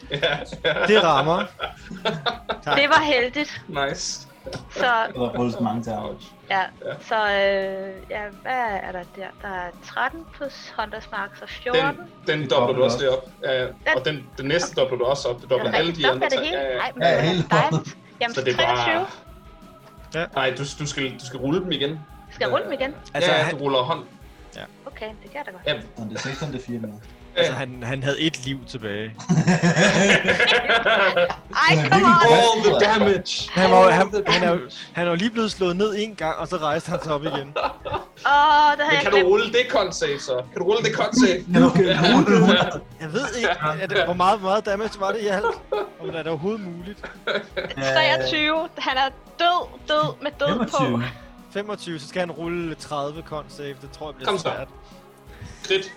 S3: <laughs> Ja, ja.
S2: <laughs> Det rammer.
S3: Ah.
S4: Det var heldigt,
S3: Nice. <laughs>
S4: så
S7: Der er rullet mange der.
S3: Ouch.
S4: ja. Så øh, ja, hvad er der der? Der er 13 plus Hunters Mark, så 14.
S3: Den, den dobler du også lige op. Ja, og den, den næste dobler du også op. Du dobler alle de andre.
S4: er det
S3: tre.
S4: hele?
S3: Ja, ja.
S4: Nej, men
S7: Ja,
S4: det er
S7: hele
S4: dejligt. Jamen,
S3: Så det er
S4: 23.
S3: bare...
S2: Ja.
S3: Nej, du, du, skal, du skal rulle dem igen.
S4: Skal jeg rulle dem igen?
S2: Altså,
S3: ja, ja,
S2: han-
S3: du ruller hånd.
S4: Okay, det gør jeg da godt.
S3: Ja,
S7: Sådan, det er 6, det er 4 med.
S2: Altså, han, han havde et liv tilbage.
S4: Ej, come on!
S3: All the damage.
S2: Han var, jo- han, han, er, jo- han er jo lige blevet slået ned en gang, og så rejste han sig op igen.
S4: Åh, oh, det
S3: Men
S4: havde jeg
S3: kan du
S4: glemt.
S3: rulle det con save så? Kan du rulle det con save?
S2: Jeg ved ikke, er det, hvor meget, hvor meget damage var det i alt. Om det er det overhovedet muligt.
S4: 23. Han er død, død med død på.
S7: 25.
S2: 25, så skal han rulle 30 con save. Det tror jeg bliver
S3: Kom så.
S2: svært.
S3: Krit.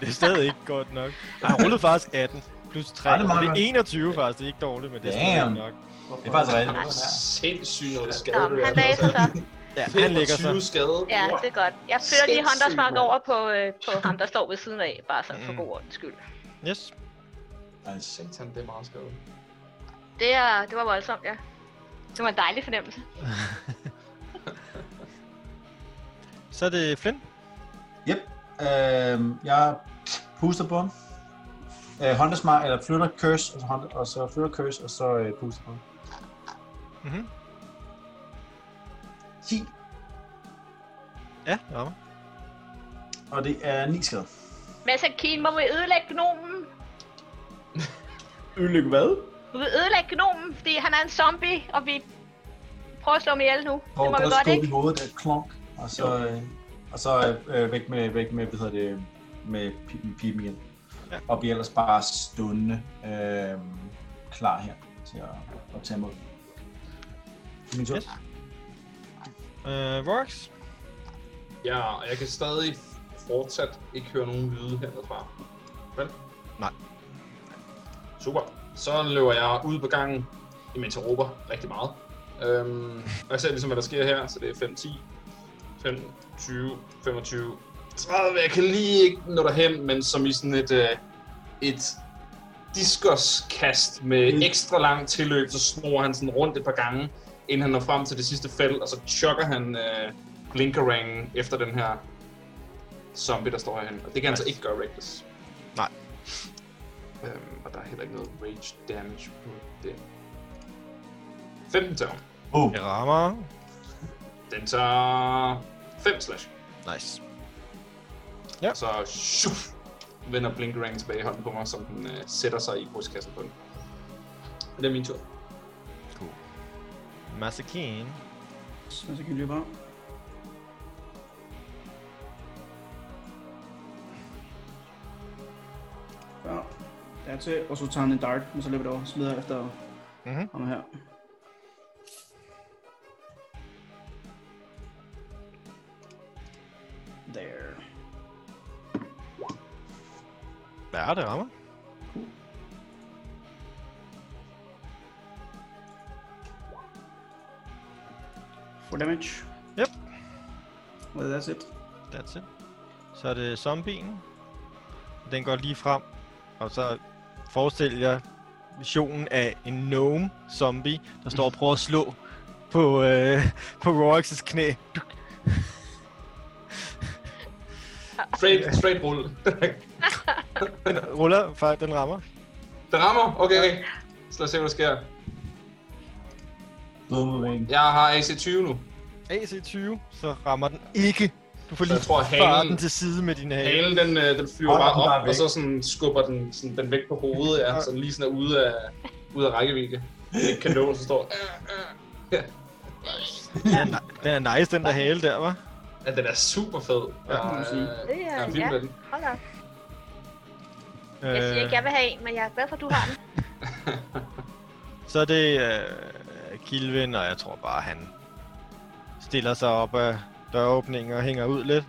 S2: Det er stadig ikke godt nok. Nej, han rullede faktisk 18 plus 3.
S7: Ej,
S2: Det
S7: det er meget
S2: er
S7: godt.
S2: 21 faktisk, det er ikke dårligt, men det er stadig
S7: Damn.
S2: ikke nok.
S7: Det er faktisk rigtigt.
S3: Ah, Sindssygt noget skade. altså.
S4: Nå,
S3: du
S4: han
S3: er.
S4: lagde sig så.
S2: Ja, han ligger
S3: 25
S2: så.
S3: skade.
S4: Ja,
S3: Wow.
S4: det er godt. Jeg fører lige
S3: Sindssygt,
S4: håndtersmark
S3: mand.
S4: over på, øh, på ham, der står ved siden af, bare sådan for
S2: Mm.
S4: god ordens skyld.
S2: Yes.
S3: Ej, satan, det er meget skade.
S4: Det, er, det var voldsomt, ja. Det var en dejlig fornemmelse.
S2: Så er det Flynn.
S5: Yep. Øh, jeg puster på ham. Øh, håndesmart, eller flytter curse, og så, hånd, og så flytter curse, og så øh, puster på ham.
S2: Mhm.
S5: 10,
S2: Ja, det rammer.
S5: og det er 9 skade.
S4: Mads og Keen, må vi ødelægge gnomen?
S6: Ødelægge hvad?
S4: Må vi ødelægge gnomen, fordi han er en zombie, og vi prøver at slå ham ihjel nu.
S5: Hvor
S4: det må
S5: der
S4: vi
S5: er
S4: godt,
S5: skub i
S4: ikke?
S5: hovedet, der er klonk, og så, øh, og så øh, væk med, væk med, hvad hedder det, med pi- med pipen igen.
S2: Ja.
S5: Ja. Og bliver ellers bare stående øh, klar her til at, at tage imod. Det er Min tur.
S2: Yes. Øh, Rox.
S3: Ja, og jeg kan stadig fortsat ikke høre nogen lyde herfra. Vel?
S2: Nej.
S3: Super. Så løber jeg ud på gangen, imens jeg råber rigtig meget. Øhm, og jeg ser ligesom, hvad der sker her, så det er 5, 10, 5, 20, 25, 30. Jeg kan lige ikke nå derhen, men som i sådan et, øh, et diskoskast med ekstra lang tilløb, så snor han sådan rundt et par gange, inden han når frem til det sidste felt, og så chokker han øh, Blinkerang efter den her zombie, der står herhen. Og det kan han så ikke gøre reckless.
S2: Nej.
S3: Øhm, og der er heller ikke noget rage damage på det. 15 tager hun.
S5: Oh,
S2: Det rammer.
S3: Den tager 5 slash.
S2: Nice.
S3: Så shuf, vender Blinkerang tilbage i hånden på mig, som den øh, sætter sig i brystkassen på den. Og det er min tur.
S2: Cool. Masakin.
S6: Så så kan vi løbe om. Ja, der er til, og så tager han en dart, men så løber det over, smider efter
S2: Mhm.
S6: ham her. There.
S2: Ja, det rammer.
S6: For damage.
S2: Yep.
S6: Well, that's it.
S2: That's it. Så er det zombien. Den går lige frem. Og så forestil jer visionen af en gnome zombie, der står og prøver at slå på, øh, på Royx' knæ.
S3: Straight, straight roll.
S2: Den ruller, for den rammer.
S3: den rammer? Okay, okay. Så lad os se, hvad der sker.
S5: blod mod væggen.
S3: Jeg har AC20 nu.
S2: AC20, så rammer den ikke. Du får
S3: Så
S2: lige
S3: jeg tror,
S2: faret den
S3: halen,
S2: til side med din hale.
S3: halen den, øh, den flyver
S5: Hold
S3: bare
S5: op, den er
S3: op,
S5: væk.
S3: og så sådan skubber den, sådan, den væk på hovedet, ja, så den lige sådan er ude af, ude af rækkevidde. Det kan nå, så står
S2: Den er, den er nice, den der hale der, var.
S3: Ja, den er super fed.
S2: Ja,
S6: må man sige.
S3: øh,
S4: Det er-
S3: jeg er vild
S4: ja.
S3: med den.
S4: Hold op. Jeg siger ikke, jeg vil have en, men jeg er glad for, at du har den.
S2: Så er det øh, Kilvin, og jeg tror bare, han stiller sig op af døråbningen og hænger ud lidt.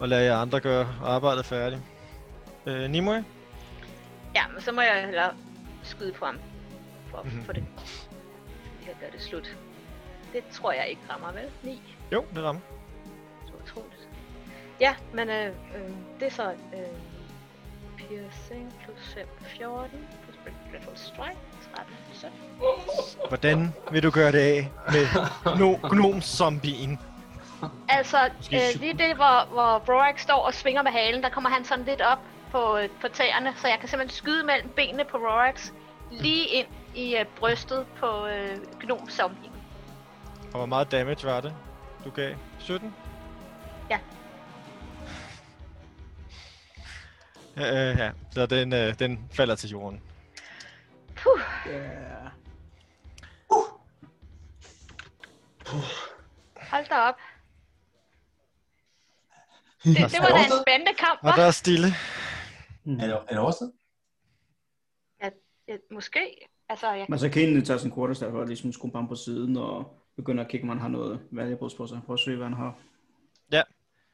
S2: Og lader jer andre gøre arbejdet færdigt. Øh, Nimue?
S4: Ja, men så må jeg hellere skyde på ham. For at
S2: Mhm.
S4: få det. Jeg gør det slut. Det tror jeg ikke rammer, vel? 9.
S2: Jo, det rammer.
S4: Det var utroligt. Ja, men øh, øh, det er så øh, piercing plus 5, 14, plus Rifle Strike, 13, 17.
S2: Hvordan vil du gøre det af med no- gnom-zombien?
S4: Altså, øh, lige det, hvor, hvor Brorak står og svinger med halen, der kommer han sådan lidt op på, øh, på tæerne, så jeg kan simpelthen skyde mellem benene på Rorax, lige ind i øh, brystet på øh, gnomzombien.
S2: Og hvor meget damage var det, du gav? 17?
S4: Ja.
S2: Øh, øh, ja, så den, øh, den falder til jorden.
S4: Puh,
S6: Yeah.
S4: hold da op. Det, det var da en spændende kamp,
S2: Og der
S4: hva'?
S2: er stille.
S5: Er det, er det overstået?
S4: Ja, måske. Altså, jeg
S6: Men så kan egentlig tage sin quarterstaff og ligesom skrue ham på siden og begynde at kigge, om han har noget valuables på sig. Prøv at se, hvad han har.
S2: Ja.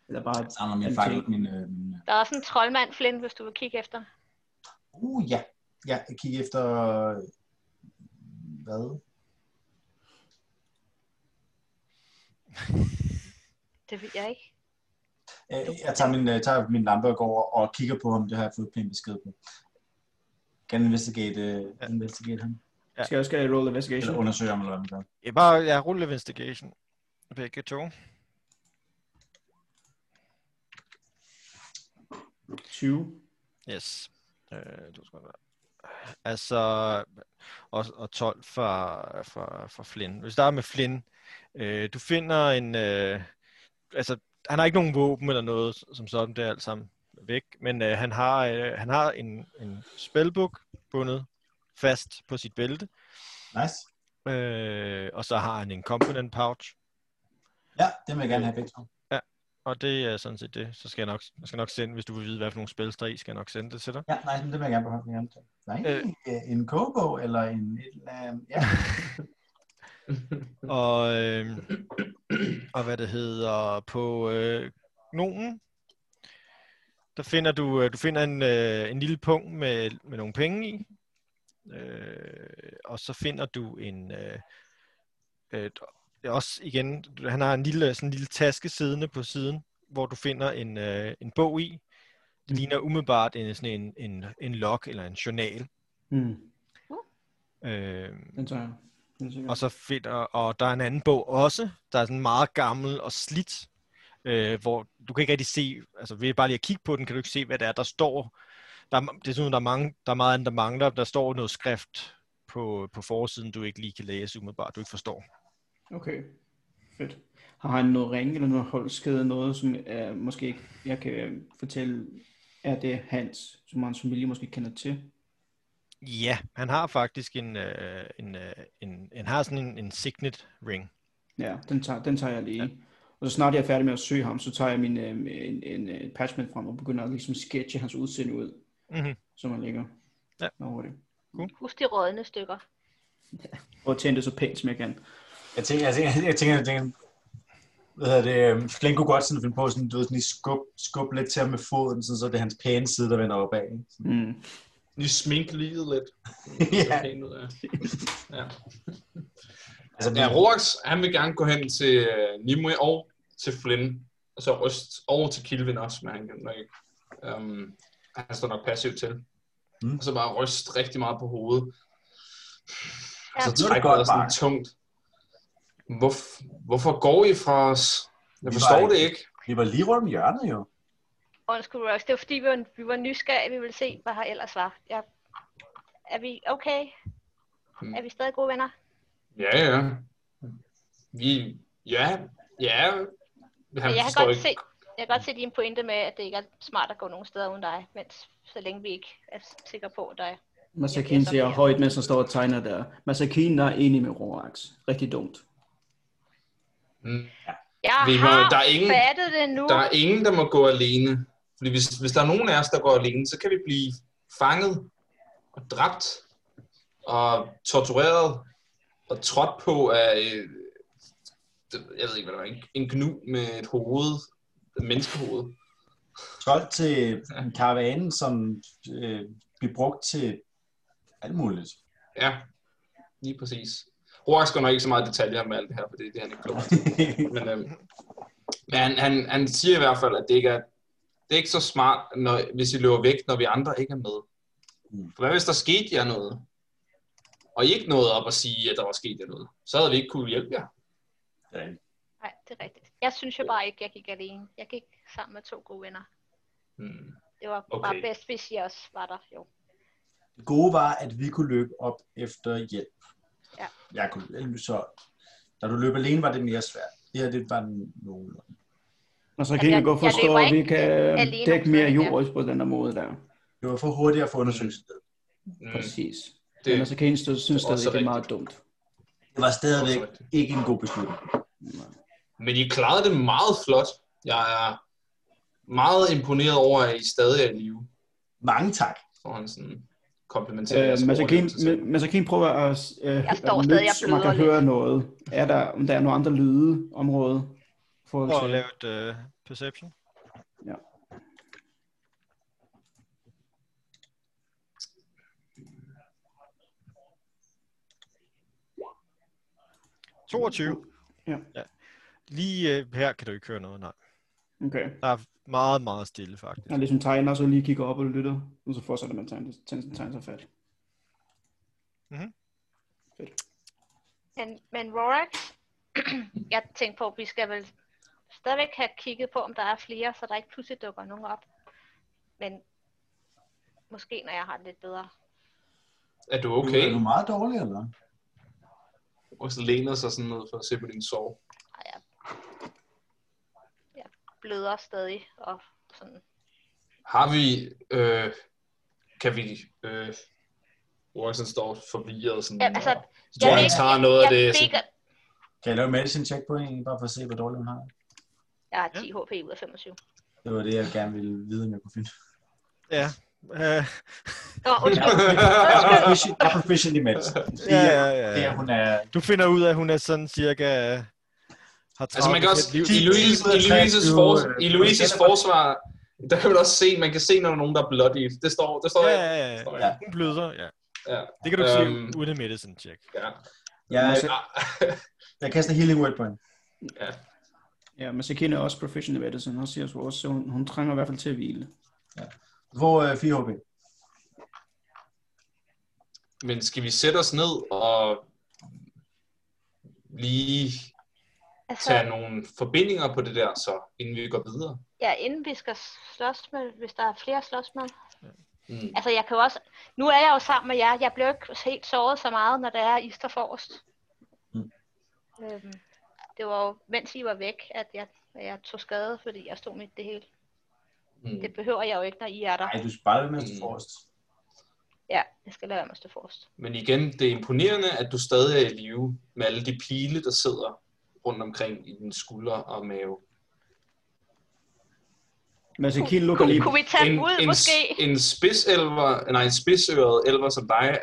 S6: Eller bare...
S5: Samler min
S6: en
S5: fange,
S6: ting.
S5: min... Øh, min
S4: Der er også en troldmand, Flynn, hvis du vil kigge efter.
S5: uh, ja. Ja, jeg kigger efter... Hvad?
S4: Det ved jeg ikke.
S5: Øh, Jeg tager min, øh, tager min lampe og går over og kigger på ham. Det har jeg fået pænt besked på. Kan investigate, ja. investigate ham?
S2: Ja.
S6: Skal jeg, skal jeg roll
S5: Eller
S6: investigation?
S5: undersøge ham, eller hvad man gør.
S2: Jeg bare, jeg ruller investigation. Begge to.
S6: 20.
S2: Yes. Øh, du skal være. Altså, og, og 12 fra, fra, fra Flynn. Vi starter med Flynn. Øh, du finder en, øh, altså, han har ikke nogen våben eller noget, som sådan, det er alt sammen væk, men øh, han har, øh, han har en, en spellbook bundet fast på sit bælte,
S5: Nice.
S2: øh, og så har han en component pouch,
S5: Ja, det vil jeg gerne have begge to.
S2: og det er sådan set det. Så skal jeg nok, jeg skal nok sende, hvis du vil vide, hvad for nogle spil der er i, skal jeg nok sende det til dig.
S5: Ja, nej, men det vil jeg gerne beholde. Jeg gerne tage. Nej,
S2: Øh.
S5: øh. en kobo eller en... et eller andet- Ja.
S2: Og, øh, og hvad det hedder på øh, gnomen, der finder du, øh, du finder en, øh, en lille punkt med, med nogle penge i. Øh, og så finder du en øh, øh, det er også igen, han har en lille, sådan en lille taske siddende på siden, hvor du finder en, øh, en bog i. Det ligner umiddelbart en, sådan en, en, en log eller en journal.
S6: Mm.
S2: Øh,
S6: Den tager jeg. Den tager jeg.
S2: Og så finder, og der er en anden bog også, der er sådan meget gammel og slidt, øh, hvor du kan ikke rigtig se, altså ved bare lige at kigge på den, kan du ikke se, hvad det er, der står. Der er, det er sådan, der er, mange, der er meget andet, der mangler. Der står noget skrift på, på forsiden, du ikke lige kan læse umiddelbart, du ikke forstår.
S6: Okay, fedt. Har han noget ring eller noget holdskæde, noget som er, måske ikke, jeg kan øh, fortælle, er det hans, som hans familie måske kender til?
S2: Ja, han har faktisk en, øh, en, øh, en, en har sådan en, en signet ring.
S6: Ja, den tager, den tager jeg lige. Ja. Og så snart jeg er færdig med at søge ham, så tager jeg min, øh, en, en, øh, parchment frem og begynder at ligesom sketche hans udseende ud,
S2: Mm-hmm.
S6: som han ligger.
S2: Ja.
S6: Over det.
S4: Husk de rådne stykker.
S6: Og tænde det så pænt, som jeg kan.
S5: Jeg tænker, jeg tænker, jeg tænker, jeg tænker hvad hedder det, øhm, Flynn kunne godt sådan finde på, sådan, du ved, sådan lige skub, skub lidt til ham med foden, sådan, så det er hans pæne side, der vender opad. ikke? Sådan.
S6: Mm.
S3: Lige smink livet
S5: <laughs>
S3: lidt.
S5: ja,
S3: ja. ja.
S5: altså,
S3: Ja, Roax, han vil gerne gå hen til øh, Nimue og til Flynn, og så Røst og til Kilvin også, men han kan nok ikke. Um, han står nok passivt til.
S5: Mm.
S3: Mm. Og så bare ryst rigtig meget på hovedet.
S4: Ja.
S3: Ja,
S4: Nu er
S3: og
S4: det
S3: så trækker
S5: godt,
S3: det sådan
S5: Mark.
S3: tungt. Hvor, hvorfor går I fra os? Jeg
S5: Vi
S3: forstår
S5: var
S3: det
S5: ikke-
S3: ikke.
S5: vi var lige rundt om hjørnet jo.
S4: Undskyld, Rox. Det var fordi, vi var, vi var nysgerrige. Vi ville se, hvad her ellers var. Ja. Er vi okay?
S3: Mm.
S4: Er vi stadig gode venner?
S3: Ja, ja. Vi, ja, ja. Han
S4: jeg, kan
S3: forstår
S4: godt
S3: ikke.
S4: se, jeg kan godt se din pointe med, at det ikke er smart at gå nogen steder uden dig, mens, så længe vi ikke er sikre på, at der er
S6: Masakine
S4: Jeg
S6: siger
S4: gætter på, ja.
S6: højt, mens han står og tegner der. Masakine der er enig med Rorax. Rigtig dumt.
S3: Mm.
S4: Jeg
S3: Vi må-
S4: har
S3: der er ingen-
S4: fattet det nu.
S3: Der er ingen, der må gå alene. Fordi hvis, hvis der er nogen af os, der går alene, så kan vi blive fanget og dræbt og tortureret og trådt på af, øh, det- jeg ved ikke, hvad det var, en, en gnu med et hoved, et menneskehoved.
S5: solgt til en karavane, som øh, bliver brugt til alt muligt.
S3: Ja, lige præcis. Roax går nok ikke så meget i detaljer med alt det her, for det er det, han ikke klog til. Men, øhm, men han, han, han siger i hvert fald, at det ikke er, det er ikke så smart, når, hvis I løber væk, når vi andre ikke er med.
S5: Mm.
S3: For hvad hvis der skete jer noget? Og I ikke nåede op og sige, at der var sket jer noget. Så havde vi ikke kunne hjælpe jer.
S4: Nej, det er rigtigt. Jeg synes jo bare ikke, jeg gik alene. Jeg gik sammen med to gode venner.
S3: Hmm.
S4: Det var
S3: Okay.
S4: okay. bare bedst, hvis I også var der. Jo.
S5: det gode var, at vi kunne løbe op efter hjælp.
S4: Ja.
S5: Jeg kunne, så, da du løb alene, var det mere svært. Det her, det var nogen.
S6: Masakine
S4: jeg-
S6: går
S4: jeg
S6: forstå,
S4: løber
S6: at vi
S4: ikke
S6: kan
S4: alene
S6: dække mere
S4: omkring, ja.
S6: jord på den der måde der.
S5: Det var for hurtigt at få undersøgt stedet.
S3: Mm.
S6: Præcis. Det,
S3: Det-
S6: Men altså, Kane synes det
S3: også
S6: stadig, det er
S3: rigtigt.
S6: meget dumt.
S5: Det var stadigvæk
S3: Også rigtigt.
S5: ikke en god beslutning.
S6: Mm.
S3: Men I klarede det meget flot. Jeg er meget imponeret over, at I stadig er i live.
S5: Mange tak.
S3: Så han sådan komplimenterer jeres
S6: Øh,
S3: overlevelse selv.
S6: Masakine prøver at, øh, at
S4: står stadig og
S6: lytte, om man
S4: bløder
S6: kan
S4: lidt.
S6: høre noget. Er der, om der er nogle andre lyde område? For
S2: Prøv at lave et øh, perception. Ja. 22.
S6: Ja.
S2: ja. Lige øh, her kan du ikke høre noget, nej.
S6: Okay.
S2: Der er meget, meget stille faktisk.
S6: Jeg ligesom tegner, så lige kigger op og lytter, og så fortsætter man tegnet, tegnet, tegnet sig fat.
S4: Men, men Rorax, <clears throat> jeg tænkte på, at vi skal vel stadigvæk have kigget på, om der er flere, så der ikke pludselig dukker nogen op. Men måske, når jeg har det lidt bedre.
S3: Er du
S5: Okay. Er du
S3: okay?
S5: meget dårlig, eller hvad?
S3: Og så læner sig sådan noget for at se på din sår.
S4: Og jeg, jeg bløder stadig, og sådan.
S3: Har vi... Øh, kan vi... Øh, Watson står forvirret sådan.
S4: Ja, altså,
S3: og- jeg tror,
S4: ved
S3: han
S4: ikke-
S3: tager noget af
S4: jeg
S3: det.
S4: ved
S3: Sådan,
S4: ikke, at-
S5: Kan jeg lave medicine check på en, bare for at se, hvor dårlig hun har?
S4: Jeg har 10 HP ud af 25.
S5: Det var det, jeg gerne ville vide, om jeg kunne finde.
S2: <laughs> Ja. Øh,
S4: Nå, undskyld.
S5: Jeg er proficient- jeg er proficient i medicine.
S2: ja, ja,
S5: Det
S2: ja,
S5: er,
S2: ja.
S5: hun er...
S2: Du finder ud af, at hun er sådan cirka... øh, Har
S3: <laughs> Altså man kan også,
S2: liv.
S3: i, Louise, i, Louises
S5: Jo,
S3: fors,
S5: øh,
S3: i Louises forsvar, der kan man også se, man kan se, når der er nogen, der er bloody. Det står, det står
S2: Ja,
S3: ja,
S2: ja, ja.
S3: ja.
S2: Hun bløder, ja.
S3: ja,
S2: Det kan du ikke
S3: Øhm.
S2: se uden en medicine check.
S3: ja.
S5: Jeg,
S2: altså-
S3: Ah,
S5: jeg kaster healing word på hende.
S6: Ja, men så kender jeg også professional medicine, og siger så også, så hun, hun trænger i hvert fald til at hvile.
S5: Hvor øh, 4 HP?
S3: Men skal vi sætte os ned og lige
S4: Altså,
S3: tage nogle forbindinger på det der, så inden vi går videre?
S4: ja, inden vi skal slås med, hvis der er flere at slås med.
S3: Mm.
S4: Altså, jeg kan jo også... Nu er jeg jo sammen med jer. Jeg bliver jo ikke helt såret så meget, når der er I står forrest.
S5: Mm.
S4: Øhm, det var jo, mens I var væk, at jeg, at jeg tog skade, fordi jeg stod midt i det hele.
S3: Mm.
S4: Det behøver jeg jo ikke, når I er der.
S5: Nej, du skal bare lade være med at stå
S3: Mm.
S5: forrest.
S4: Ja, jeg skal lade være med at stå forrest.
S3: Men igen, det er imponerende, at du stadig er i live med alle de pile, der sidder rundt omkring i dine skuldre og mave.
S6: Men så Kiel lukker
S4: Kunne,
S6: lige,
S4: kunne vi tage dem ud,
S3: en,
S4: måske?
S3: En spidselver, nej, en spidsøret elver som dig,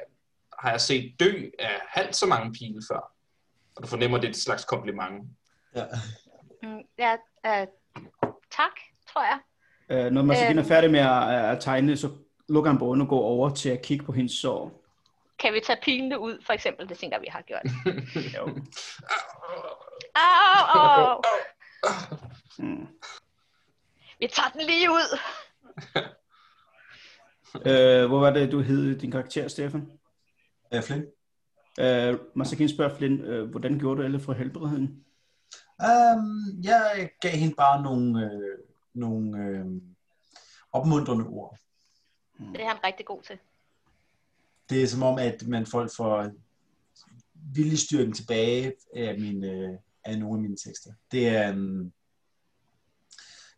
S3: har jeg set dø af halvt så mange pile før. Og du fornemmer, det er et slags kompliment.
S5: Ja.
S4: Mm, ja, øh, tak, tror jeg.
S6: øh, når man så
S4: Øhm.
S6: er færdig med at, at, tegne, så lukker han båden og går over til at kigge på hendes
S2: <laughs>
S6: sår.
S4: Kan vi tage pilene ud, for eksempel? Det tænker jeg, vi har gjort.
S6: Jo.
S4: Au, au, au.
S6: Mm.
S4: Vi tager den lige ud.
S6: Øh, hvor var det, du hed din karakter, Stefan?
S5: Øh, Flynn?
S6: Øh, Masakin spørger Flynn, øh, hvordan gjorde du alle for helbredheden?
S5: Um, jeg gav hende bare nogle, øh, nogle øh, opmuntrende ord.
S4: Det er han rigtig god til.
S5: Det er som om, at man folk får viljestyrken tilbage af, min, øh, af nogle af mine tekster. Det er, um,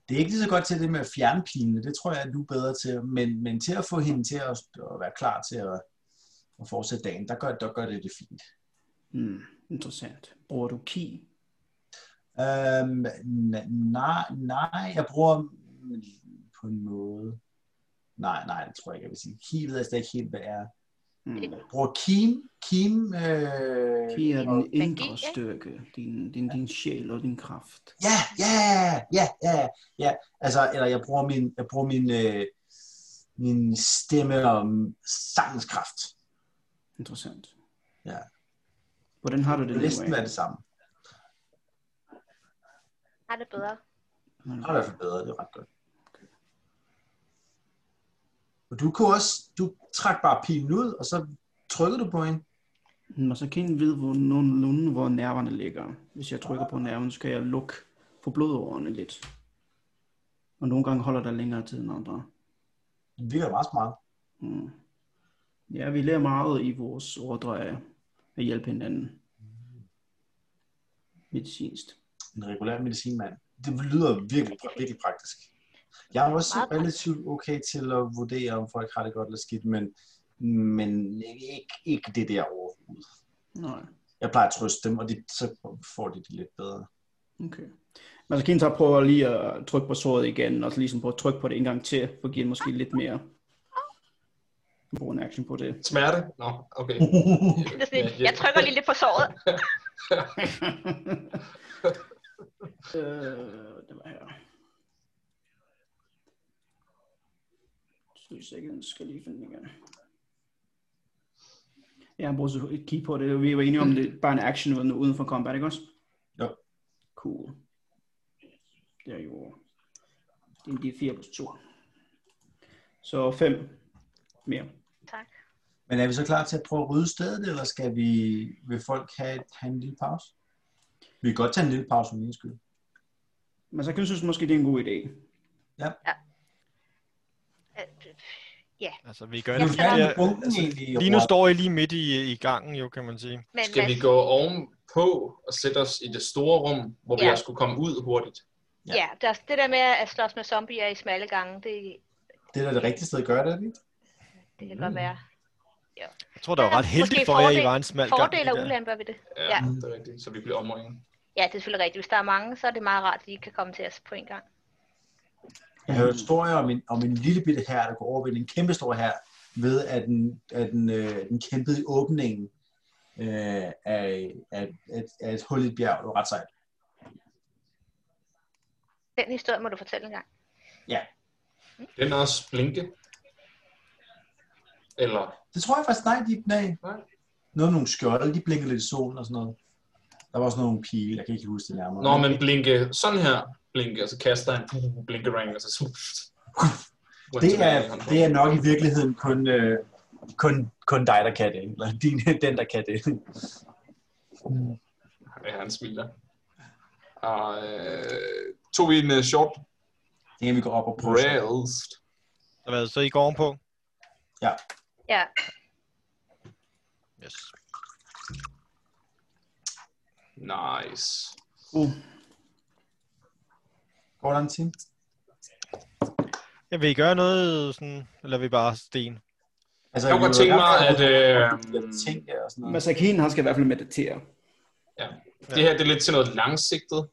S5: det er ikke lige så godt til det med at fjerne pinene, det tror jeg, at du er bedre til, men, men til at få hende til at, at være klar til at, at fortsætte dagen, der gør, der gør det det fint.
S6: Mm, interessant. Bruger du ki?
S5: Øhm, n- nej, nej, jeg bruger mm, på en måde. Nej, nej, det tror jeg ikke, jeg vil sige. Ki ved jeg slet ikke helt, hvad er.
S6: Mm.
S5: Jeg bruger kim, kim, øh,
S6: Ki er
S5: og-
S6: den indre
S4: ikke?
S6: styrke, din, din, din sjæl og din kraft.
S5: Ja, ja, ja, ja, ja. Altså, eller jeg bruger min, jeg bruger min, øh, min stemme og sangens kraft.
S6: Interessant.
S5: Ja.
S6: Hvordan har du det
S5: Det vil næsten
S6: nu?
S5: være
S6: af?
S5: det samme.
S4: Har det bedre.
S5: Det er i hvert fald bedre, det er ret godt. Og du kunne også, du trak bare pilen ud, og så trykkede du på hende.
S6: Hmm. Masakin ved hvor nogenlunde, hvor nerverne ligger. Hvis jeg trykker på nerven, så kan jeg lukke for blodårene lidt. Og nogle gange holder der længere tid end andre.
S5: Det virker meget smart.
S6: Mm. Ja, vi lærer meget i vores ordre af at hjælpe hinanden. Medicinst.
S5: En regulær medicinmand. Det lyder virkelig, virkelig praktisk. Jeg er også
S4: Meget
S5: relativt okay til at vurdere, om folk har det godt eller skidt, men, men ikke, ikke det der overhovedet.
S6: Nej,
S5: Jeg plejer at trøste dem, og de, så får de det lidt bedre.
S6: okay. Masakin så prøver lige at trykke på såret igen, og så ligesom prøver at trykke på det en gang til, for at give den måske lidt mere. Brug en action på det.
S3: Smerte? Nå, okay.
S5: Mhm.
S4: Det er sådan, Jeg trykker lige lidt på såret.
S6: øh, det var her. Two seconds, skal lige finde den igen. Ja, han bruger så et key på det. Vi var enige om, det er bare en action uden, uden for combat, ikke også?
S5: Jo.
S6: Cool. Der jo. Det er de 4 plus 2. Så 5 mere.
S4: Tak.
S5: Men er vi så klar til at prøve at rydde stedet, eller skal vi, vil folk have, have en lille pause? Vi kan godt tage en lille pause, for min skyld.
S6: Men så kan jeg synes måske, det er en god idé.
S4: Øh,
S2: Altså, vi gør
S4: Ja,
S2: det.
S5: Hvad er
S2: Ja, Altså,
S5: bunken egentlig?
S2: lige nu
S5: Robert?
S2: står I lige midt i, i gangen, jo, kan man sige.
S4: Men
S3: Skal vi
S4: Mads-
S3: gå ovenpå og sætte os i det store rum, hvor vi
S4: Ja.
S3: også skulle komme ud hurtigt?
S4: Ja, ja der, det der med at slås med zombier i smalle gange, det,
S5: Det er da det rigtige sted at gøre det, er det ikke?
S4: det kan mm. godt være.
S2: Jeg tror, der var
S4: Ja,
S2: ret heldigt
S4: måske
S2: for jer, I
S4: fordel-
S2: var en smal gang.
S4: Fordele og
S2: lige der.
S4: ulemper ved det.
S3: Ja,
S4: Ja.
S3: ja. det er rigtigt. Så vi bliver omringet.
S4: Ja, det er selvfølgelig rigtigt. Hvis der er mange, så er det meget rart, at de kan komme til os på en gang.
S5: Jeg hørte historier om en, om en lille bitte her, der kunne overvinde en kæmpe stor her, ved at den, at den, øh, den kæmpede i åbningen øh, af, af, af, af, et hul i et bjerg. Det var ret sejt.
S4: Den historie må du fortælle en gang.
S3: Den er også blinke. Eller,
S5: Det tror jeg faktisk, nej, de, nej.
S3: Nej.
S5: Noget med nogle skjolde, de blinker lidt i solen og sådan noget. Der var også nogle pile, jeg kan ikke huske det nærmere.
S3: når man blinke sådan her, blinke, og så kaster en blinkering, og så...
S5: det, er, det er nok i virkeligheden kun, øh, kun, kun dig, der kan det. Eller din, <laughs> den, der kan det.
S3: Ja, han smiler. Og, øh, tog vi en uh, short
S5: Det kan vi gå op og prøve.
S3: rest.
S2: Så Hvad, så I går ovenpå?
S4: Ja,
S2: Yes.
S3: Nice.
S6: Uh,
S5: Går der en time?
S2: Ja, vil I gøre noget sådan, eller vil I bare sten?
S5: Altså,
S3: Jeg kunne
S5: vi
S3: godt
S5: var
S3: tænke
S5: i
S3: mig,
S5: gang med
S3: at øh,
S5: nogle ting der og sådan noget.
S6: Masakinen, han skal i hvert fald meditere.
S3: det her det er lidt til noget langsigtet.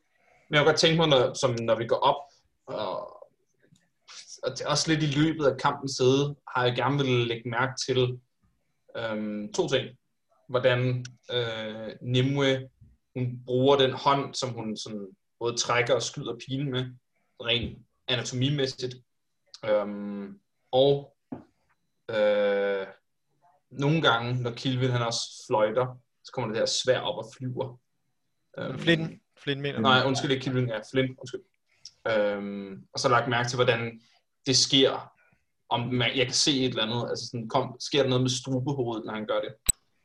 S3: Men jeg kunne godt tænke mig, når, som, når vi går op, og, og det er også lidt i løbet af kampens side, har jeg gerne vil lægge mærke til øhm, to ting. Hvordan øh, Nimue hun bruger den hånd, som hun sådan, både trækker og skyder pilen med, rent anatomimæssigt. Øhm, og øh, nogle gange, når Kilvin han også fløjter, så kommer det der svær op og flyver. Øhm,
S2: Flinten? Flinten
S5: Øhm,
S2: mener du?
S3: Nej, undskyld, ikke Kilvin, ja, Flint, undskyld. Øhm, og så lagt mærke til, hvordan det sker. Om man, jeg kan se et eller andet, altså sådan, kom, sker der noget med strubehovedet, når han gør det?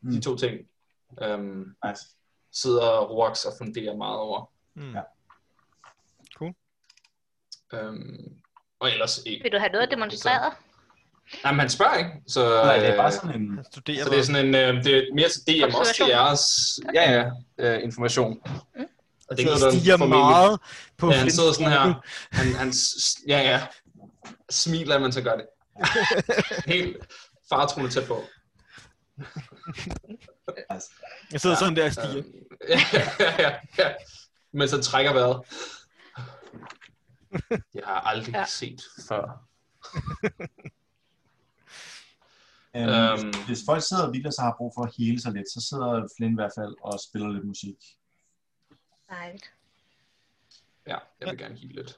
S3: Mm. De
S5: Mm.
S3: to ting øhm,
S5: Nice.
S3: sidder Roax og funderer meget over.
S2: Mm.
S5: Ja.
S3: Øhm, og ellers ikke.
S4: vil du have noget demonstreret?
S3: Jamen, han spørger ikke, så,
S5: Nej, det er bare
S3: øh,
S4: <laughs>
S5: sådan en...
S2: Han studerer
S3: så det er sådan en, øh, det er mere til DM også til
S4: Observation.
S3: jeres ja, ja, øh, information.
S4: Mm.
S3: Og
S2: det
S3: kan du
S2: stiger
S3: formentlig-
S2: meget på
S3: Ja, han sidder sådan her.
S2: Flinten.
S3: Han, han, s- s- ja, ja. Smiler, man så gør
S5: <laughs>
S3: det. Helt fartroende tæt på.
S5: Altså,
S2: Jeg sidder
S3: Ja,
S2: sådan der og
S3: Øh,
S2: stiger.
S3: ja, ja, ja, ja. Men så trækker vejret. Jeg har aldrig
S4: Ja.
S3: ja. set før.
S5: øhm,
S3: Øhm.
S5: Hvis folk sidder og hviler sig og har brug for at hele sig lidt, så sidder Flynn i hvert fald og spiller lidt musik.
S4: Nej.
S3: Ja, jeg vil gerne give lidt.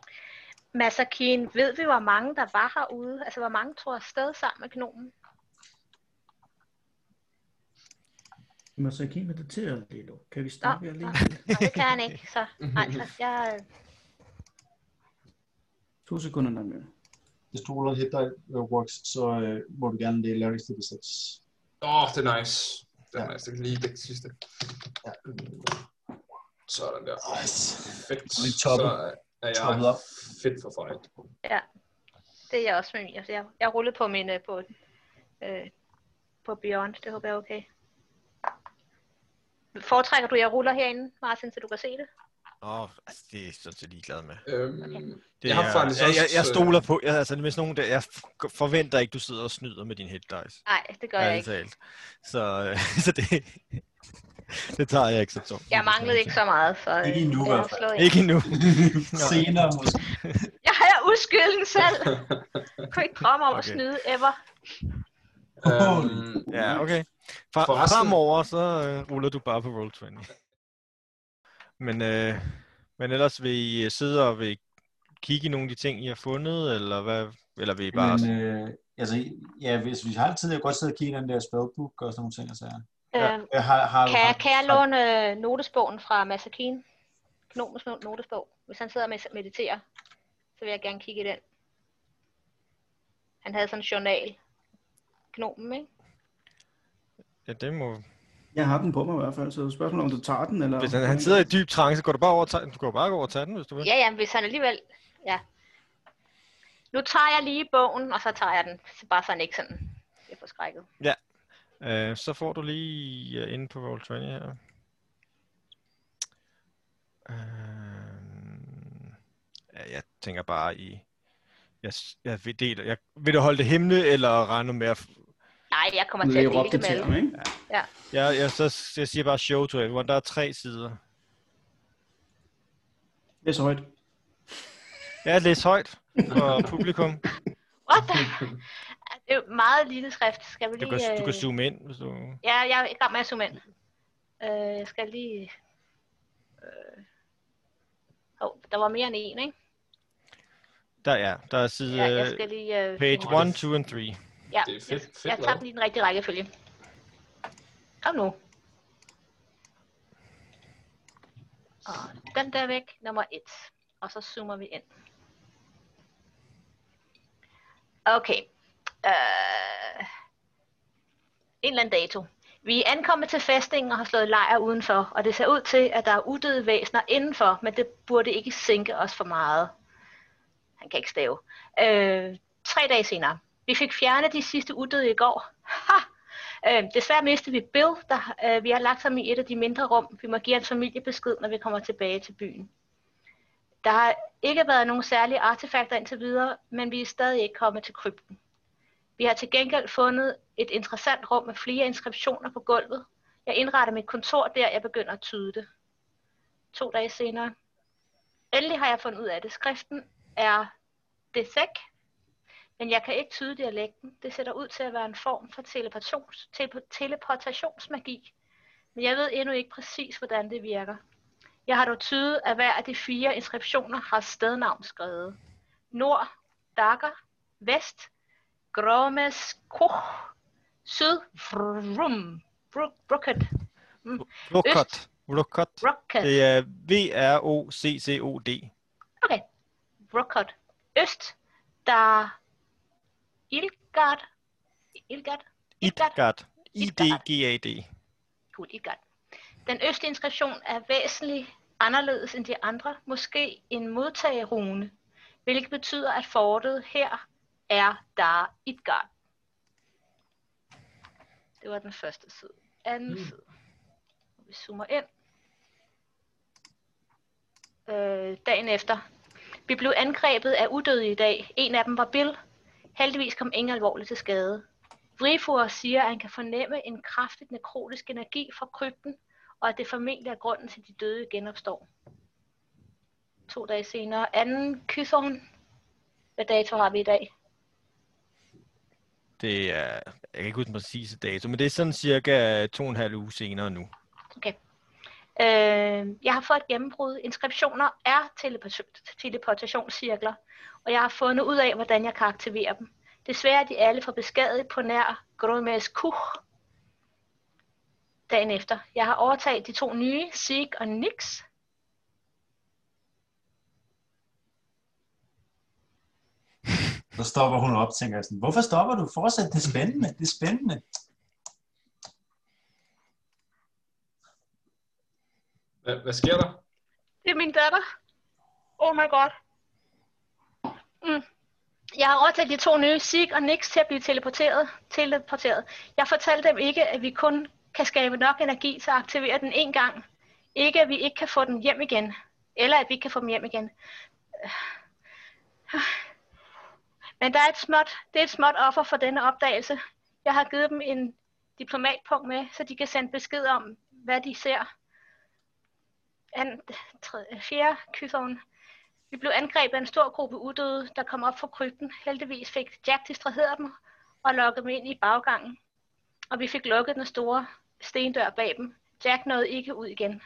S4: Masakin, ved vi, hvor mange der var herude? Altså, hvor mange tror afsted sammen med gnomen?
S6: Masakinen mediterer lidt. Kan
S4: Nå,
S6: vi snakke
S4: nå,
S6: alene?
S4: nå, det kan han ikke, <laughs> så nej, så jeg...
S6: To sekunder der med.
S5: Hvis du ruller hit dig, Works, så øh, må du gerne læ- lave ekstra D6.
S3: Åh, oh, det er nice. Det er
S5: Ja.
S3: nice. Det kan lige det sidste.
S5: Ja.
S3: Sådan der.
S5: Nice.
S3: Perfekt.
S5: Og vi topper.
S3: Så er
S5: Toppet
S3: jeg
S5: op.
S3: fedt for fight.
S4: Ja, det er jeg også med min. Altså, jeg, jeg rullede på min... øh, På, øh, på Beyond, det håber jeg er okay. Foretrækker du, jeg ruller herinde, Martin, så du kan se det?
S2: Åh, oh, altså, det er jeg sådan set ligeglad med.
S3: Øhm,
S2: Det
S3: Jeg har
S2: er-
S3: faktisk
S2: jeg, jeg,
S3: også,
S2: jeg,
S3: øh,
S2: stoler på, jeg, altså med sådan nogen der, jeg f- forventer ikke, du sidder og snyder med din head dice.
S4: Nej, det gør jeg
S2: ærligt
S4: ikke.
S2: Talt. Så, øh, <laughs> så det, det tager jeg ikke så tungt.
S4: Jeg manglede ikke så meget, så...
S5: Ikke
S4: øh,
S5: endnu, i
S4: jeg
S5: hvert
S4: har
S5: fald.
S4: slået
S2: Ikke endnu. <laughs>
S5: Senere måske.
S4: Jeg er uskylden
S5: <laughs>
S4: selv. Jeg kunne ikke drømme om okay. at
S2: Okay.
S4: snyde ever.
S3: øhm,
S2: Ja, okay. Fra,
S3: Forresten-
S2: fremover, så øh, ruller du bare på Roll20. Men, øh, men ellers vil I øh, sidde og vil I kigge i nogle af de ting, I har fundet, eller hvad? Eller vil I bare...
S5: Men,
S2: Men,
S5: øh, altså, ja, hvis vi har tid, jeg kan godt sidde og kigge i den der spellbook og sådan nogle ting. Altså.
S4: Ja.
S5: Øh, har, har,
S4: Kan,
S5: har,
S4: jeg, kan jeg låne øh, notesbogen fra Masakine? gnomens no- notesbog. Hvis han sidder og med- mediterer, så vil jeg gerne kigge i den. Han havde sådan en journal. Gnomen, ikke?
S2: Ja, det må...
S6: Jeg har den på mig i hvert fald, så spørgsmålet om du tager den, eller...
S2: Hvis han, han sidder i dyb trance, går du bare over og tager den. Du går bare over og tager den,
S5: Mm.
S2: hvis du vil.
S4: Ja, ja, hvis han alligevel... Ja. Nu tager jeg lige bogen, og så tager jeg den. Så bare så han ikke sådan bliver forskrækket.
S2: Øh, så får du lige uh, inde på Roll20 her. Øh, ja, jeg tænker bare i... Jeg, s- jeg, vil, deler, jeg vil du holde det hemmelig, eller regne med at... f-
S4: Nej, jeg kommer
S6: og
S4: til at dele
S6: lægger op
S4: det
S6: det
S4: med
S6: til
S4: alle.
S6: ham, ikke?
S2: Jeg, jeg, så, jeg siger bare show to everyone. Der er tre sider.
S6: Det er så højt.
S2: Ja, læs højt
S4: <laughs>
S2: for publikum.
S4: What the? <laughs> Det er jo meget lille skrift. Skal vi
S2: Du
S4: lige...
S2: kan, du kan
S4: øh,
S2: zoome ind, hvis du...
S4: Ja, jeg er i gang med at zoome ind. Øh, jeg skal lige... Øh... Oh, der var mere end en, ikke?
S2: Der, ja, der er side
S4: Ja, jeg
S2: ja,
S4: skal lige... Øh, finde-
S2: page 1, 2 and 3.
S4: Ja,
S3: Det er fedt-
S4: jeg,
S3: fedt
S4: jeg tager
S3: lavet.
S4: dem i den rigtige rækkefølge. Kom nu. Og den der væk, nummer et. Og så zoomer vi ind. Okay. Uh, en eller anden dato. Vi er ankommet til fæstningen og har slået lejr udenfor, og det ser ud til, at der er udøde væsener indenfor, men det burde ikke sænke os for meget. Han kan ikke stave. Øh, tre dage senere. Vi fik fjernet de sidste uddøde i går. Ha! Øh, desværre mistede vi Bill, der øh, vi har lagt ham i et af de mindre rum. Vi må give hans familie besked, når vi kommer tilbage til byen. Der har ikke været nogen særlige artefakter indtil videre, men vi er stadig ikke kommet til krypten. Vi har til gengæld fundet et interessant rum med flere inskriptioner på gulvet. Jeg indretter mit kontor der, jeg begynder at tyde det. To dage senere. Endelig har jeg fundet ud af det. Skriften er Desek, men jeg kan ikke tyde dialekten. Det ser ud til at være en form for teleportations, tele, teleportationsmagi. Men jeg ved endnu ikke præcis, hvordan det virker. Jeg har dog tydet, at hver af de fire inskriptioner har stednavn skrevet. Nord, Dakker, Vest, Gromes, Koch, Syd, Vrum, Bru- Brucket,
S2: Rokot. Rokot.
S4: Brucket,
S2: Det er V-R-O-C-C-O-D.
S4: okay, Brucket, Øst, der Ilgard, Ilgard,
S2: Idgard.
S4: Idgard.
S2: I-D-G-A-D.
S4: Gud i gang. Den østlige inskription er væsentligt anderledes end de andre, måske en modtagerune, hvilket betyder, at fortet her er der Idgard. Det var den første side. Anden mm. side. Vi zoomer ind. Øh, dagen efter. Vi blev angrebet af udøde i dag. En af dem var Bill. Heldigvis kom ingen alvorligt til skade. Vrifur siger, at han kan fornemme en kraftig nekrotisk energi fra krypten, og at det formentlig er grunden til, at de døde genopstår. To dage senere. Anden Kython. Hvad dato har vi i dag?
S2: Det er, jeg kan ikke huske den præcise dato, men det er sådan cirka to og en halv uge senere nu.
S4: Okay. Øh, jeg har fået et gennembrud. Inskriptioner er teleport- teleportationscirkler, og jeg har fundet ud af, hvordan jeg kan aktivere dem. Desværre er de alle for beskadiget på nær Gromes Kuch. Dagen efter. Jeg har overtaget de to nye, Sig og Nix.
S7: Så stopper hun op, tænker jeg sådan, hvorfor stopper du? Fortsæt, det er spændende, det er spændende.
S3: Hvad, hvad sker der?
S4: Det er min datter. Oh my god. Mm. Jeg har overtaget de to nye, Sig og Nix, til at blive teleporteret. teleporteret. Jeg fortalte dem ikke, at vi kun kan skabe nok energi til at aktivere den en gang. Ikke, at vi ikke kan få den hjem igen. Eller at vi ikke kan få dem hjem igen. Men der er et småt, det er et småt offer for denne opdagelse. Jeg har givet dem en diplomatpunkt med, så de kan sende besked om, hvad de ser an, tredje, fjerde kyfon. Vi blev angrebet af en stor gruppe udøde, der kom op fra krypten. Heldigvis fik Jack distraheret dem og lokket dem ind i baggangen. Og vi fik lukket den store stendør bag dem. Jack nåede ikke ud igen.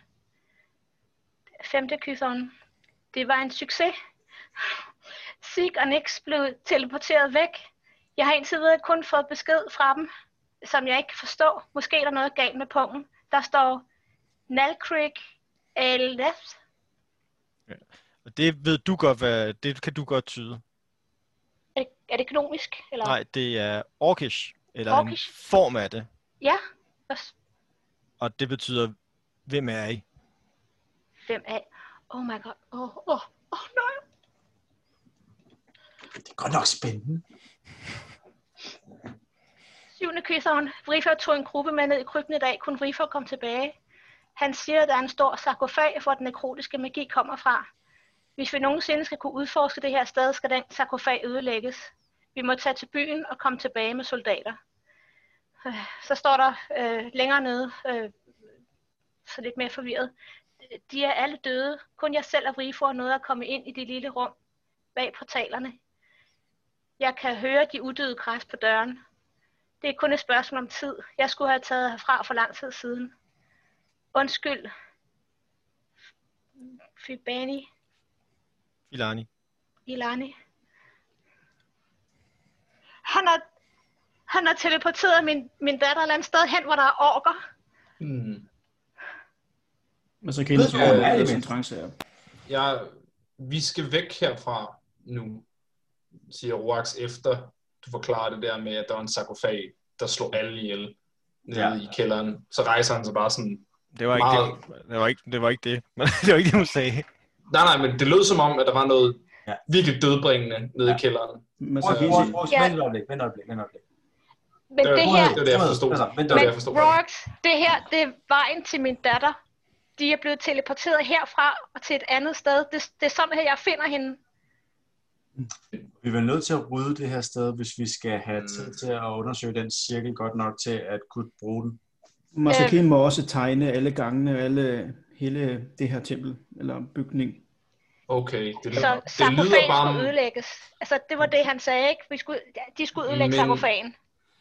S4: Femte kyfon. Det var en succes. Sig og Nix blev teleporteret væk. Jeg har indtil videre kun fået besked fra dem, som jeg ikke kan forstå. Måske er der noget galt med pungen. Der står Nalkrig Aleth
S2: Og det ved du godt, hvad, det kan du godt tyde.
S4: Er det, er det økonomisk? Eller?
S2: Nej, det er orkish, eller
S4: Orkish?
S2: en form af det.
S4: Ja. Hvad s-
S2: Og det betyder, hvem er I?
S4: Hvem af? Oh my god. Åh, oh, oh, oh, nej.
S7: Det er godt nok spændende.
S4: Syvende kysseren. Vrifer tog en gruppe med ned i krybben i dag. Kun Vrifer kom tilbage. Han siger, at der er en stor sarkofag, hvor den nekrotiske magi kommer fra. Hvis vi nogensinde skal kunne udforske det her sted, skal den sarkofag ødelægges. Vi må tage til byen og komme tilbage med soldater. Øh, Så står der øh, længere nede, øh, så lidt mere forvirret. De er alle døde. Kun jeg selv og Vrifo er nået at komme ind i det lille rum bag portalerne. Jeg kan høre de uddøde græs på døren. Det er kun et spørgsmål om tid. Jeg skulle have taget herfra for lang tid siden. Undskyld. Fibani,
S2: Ilani.
S4: Ilani. Han har, han har teleporteret min, min datter et eller andet sted hen, hvor der er orker.
S3: Hmm.
S6: Men så kan jeg
S7: du,
S6: ikke
S7: hvor er
S6: overleve
S7: det?
S6: sin trance her.
S3: Jeg, vi skal væk herfra nu, siger Roax efter du forklarer det der med, at der er en sarkofag, der slår alle ihjel nede
S7: Ja.
S3: ja. i kælderen. Så rejser han sig bare sådan
S2: Det var, ikke det, det var ikke det. Var ikke det. <laughs> Men det var ikke det, hun sagde.
S3: Nej, nej, men det lød som om, at der var noget
S7: Ja.
S3: ja. virkelig dødbringende nede ja. i kælderen.
S6: Men så
S7: Roy,
S6: kan
S7: Roy,
S6: jeg se,
S7: Roy,
S4: Ja.
S7: Vent et øjeblik, vent et øjeblik, vent et øjeblik.
S4: Men det,
S3: var-
S4: det her,
S3: Øh, det var det, jeg forstod.
S7: Altså, vent
S3: Det var det,
S4: men
S3: jeg forstod. godt.
S4: Rox, det her, det er vejen til min datter. De er blevet teleporteret herfra og til et andet sted. Det, det er sådan her, jeg finder hende.
S7: Vi er vel nødt til at rydde det her sted, hvis vi skal have
S3: Mm.
S7: tid til at undersøge den cirkel godt nok til at kunne bruge den.
S6: Masakin må også tegne alle gangene, alle, hele det her tempel, eller bygning.
S3: Okay, det lyder,
S4: Så
S3: det lyder
S4: sarkofagen
S3: bare,
S4: skulle ødelægges. Altså, det var det, han sagde, ikke? Vi skulle, de skulle ødelægge
S3: Men-
S4: sarkofagen.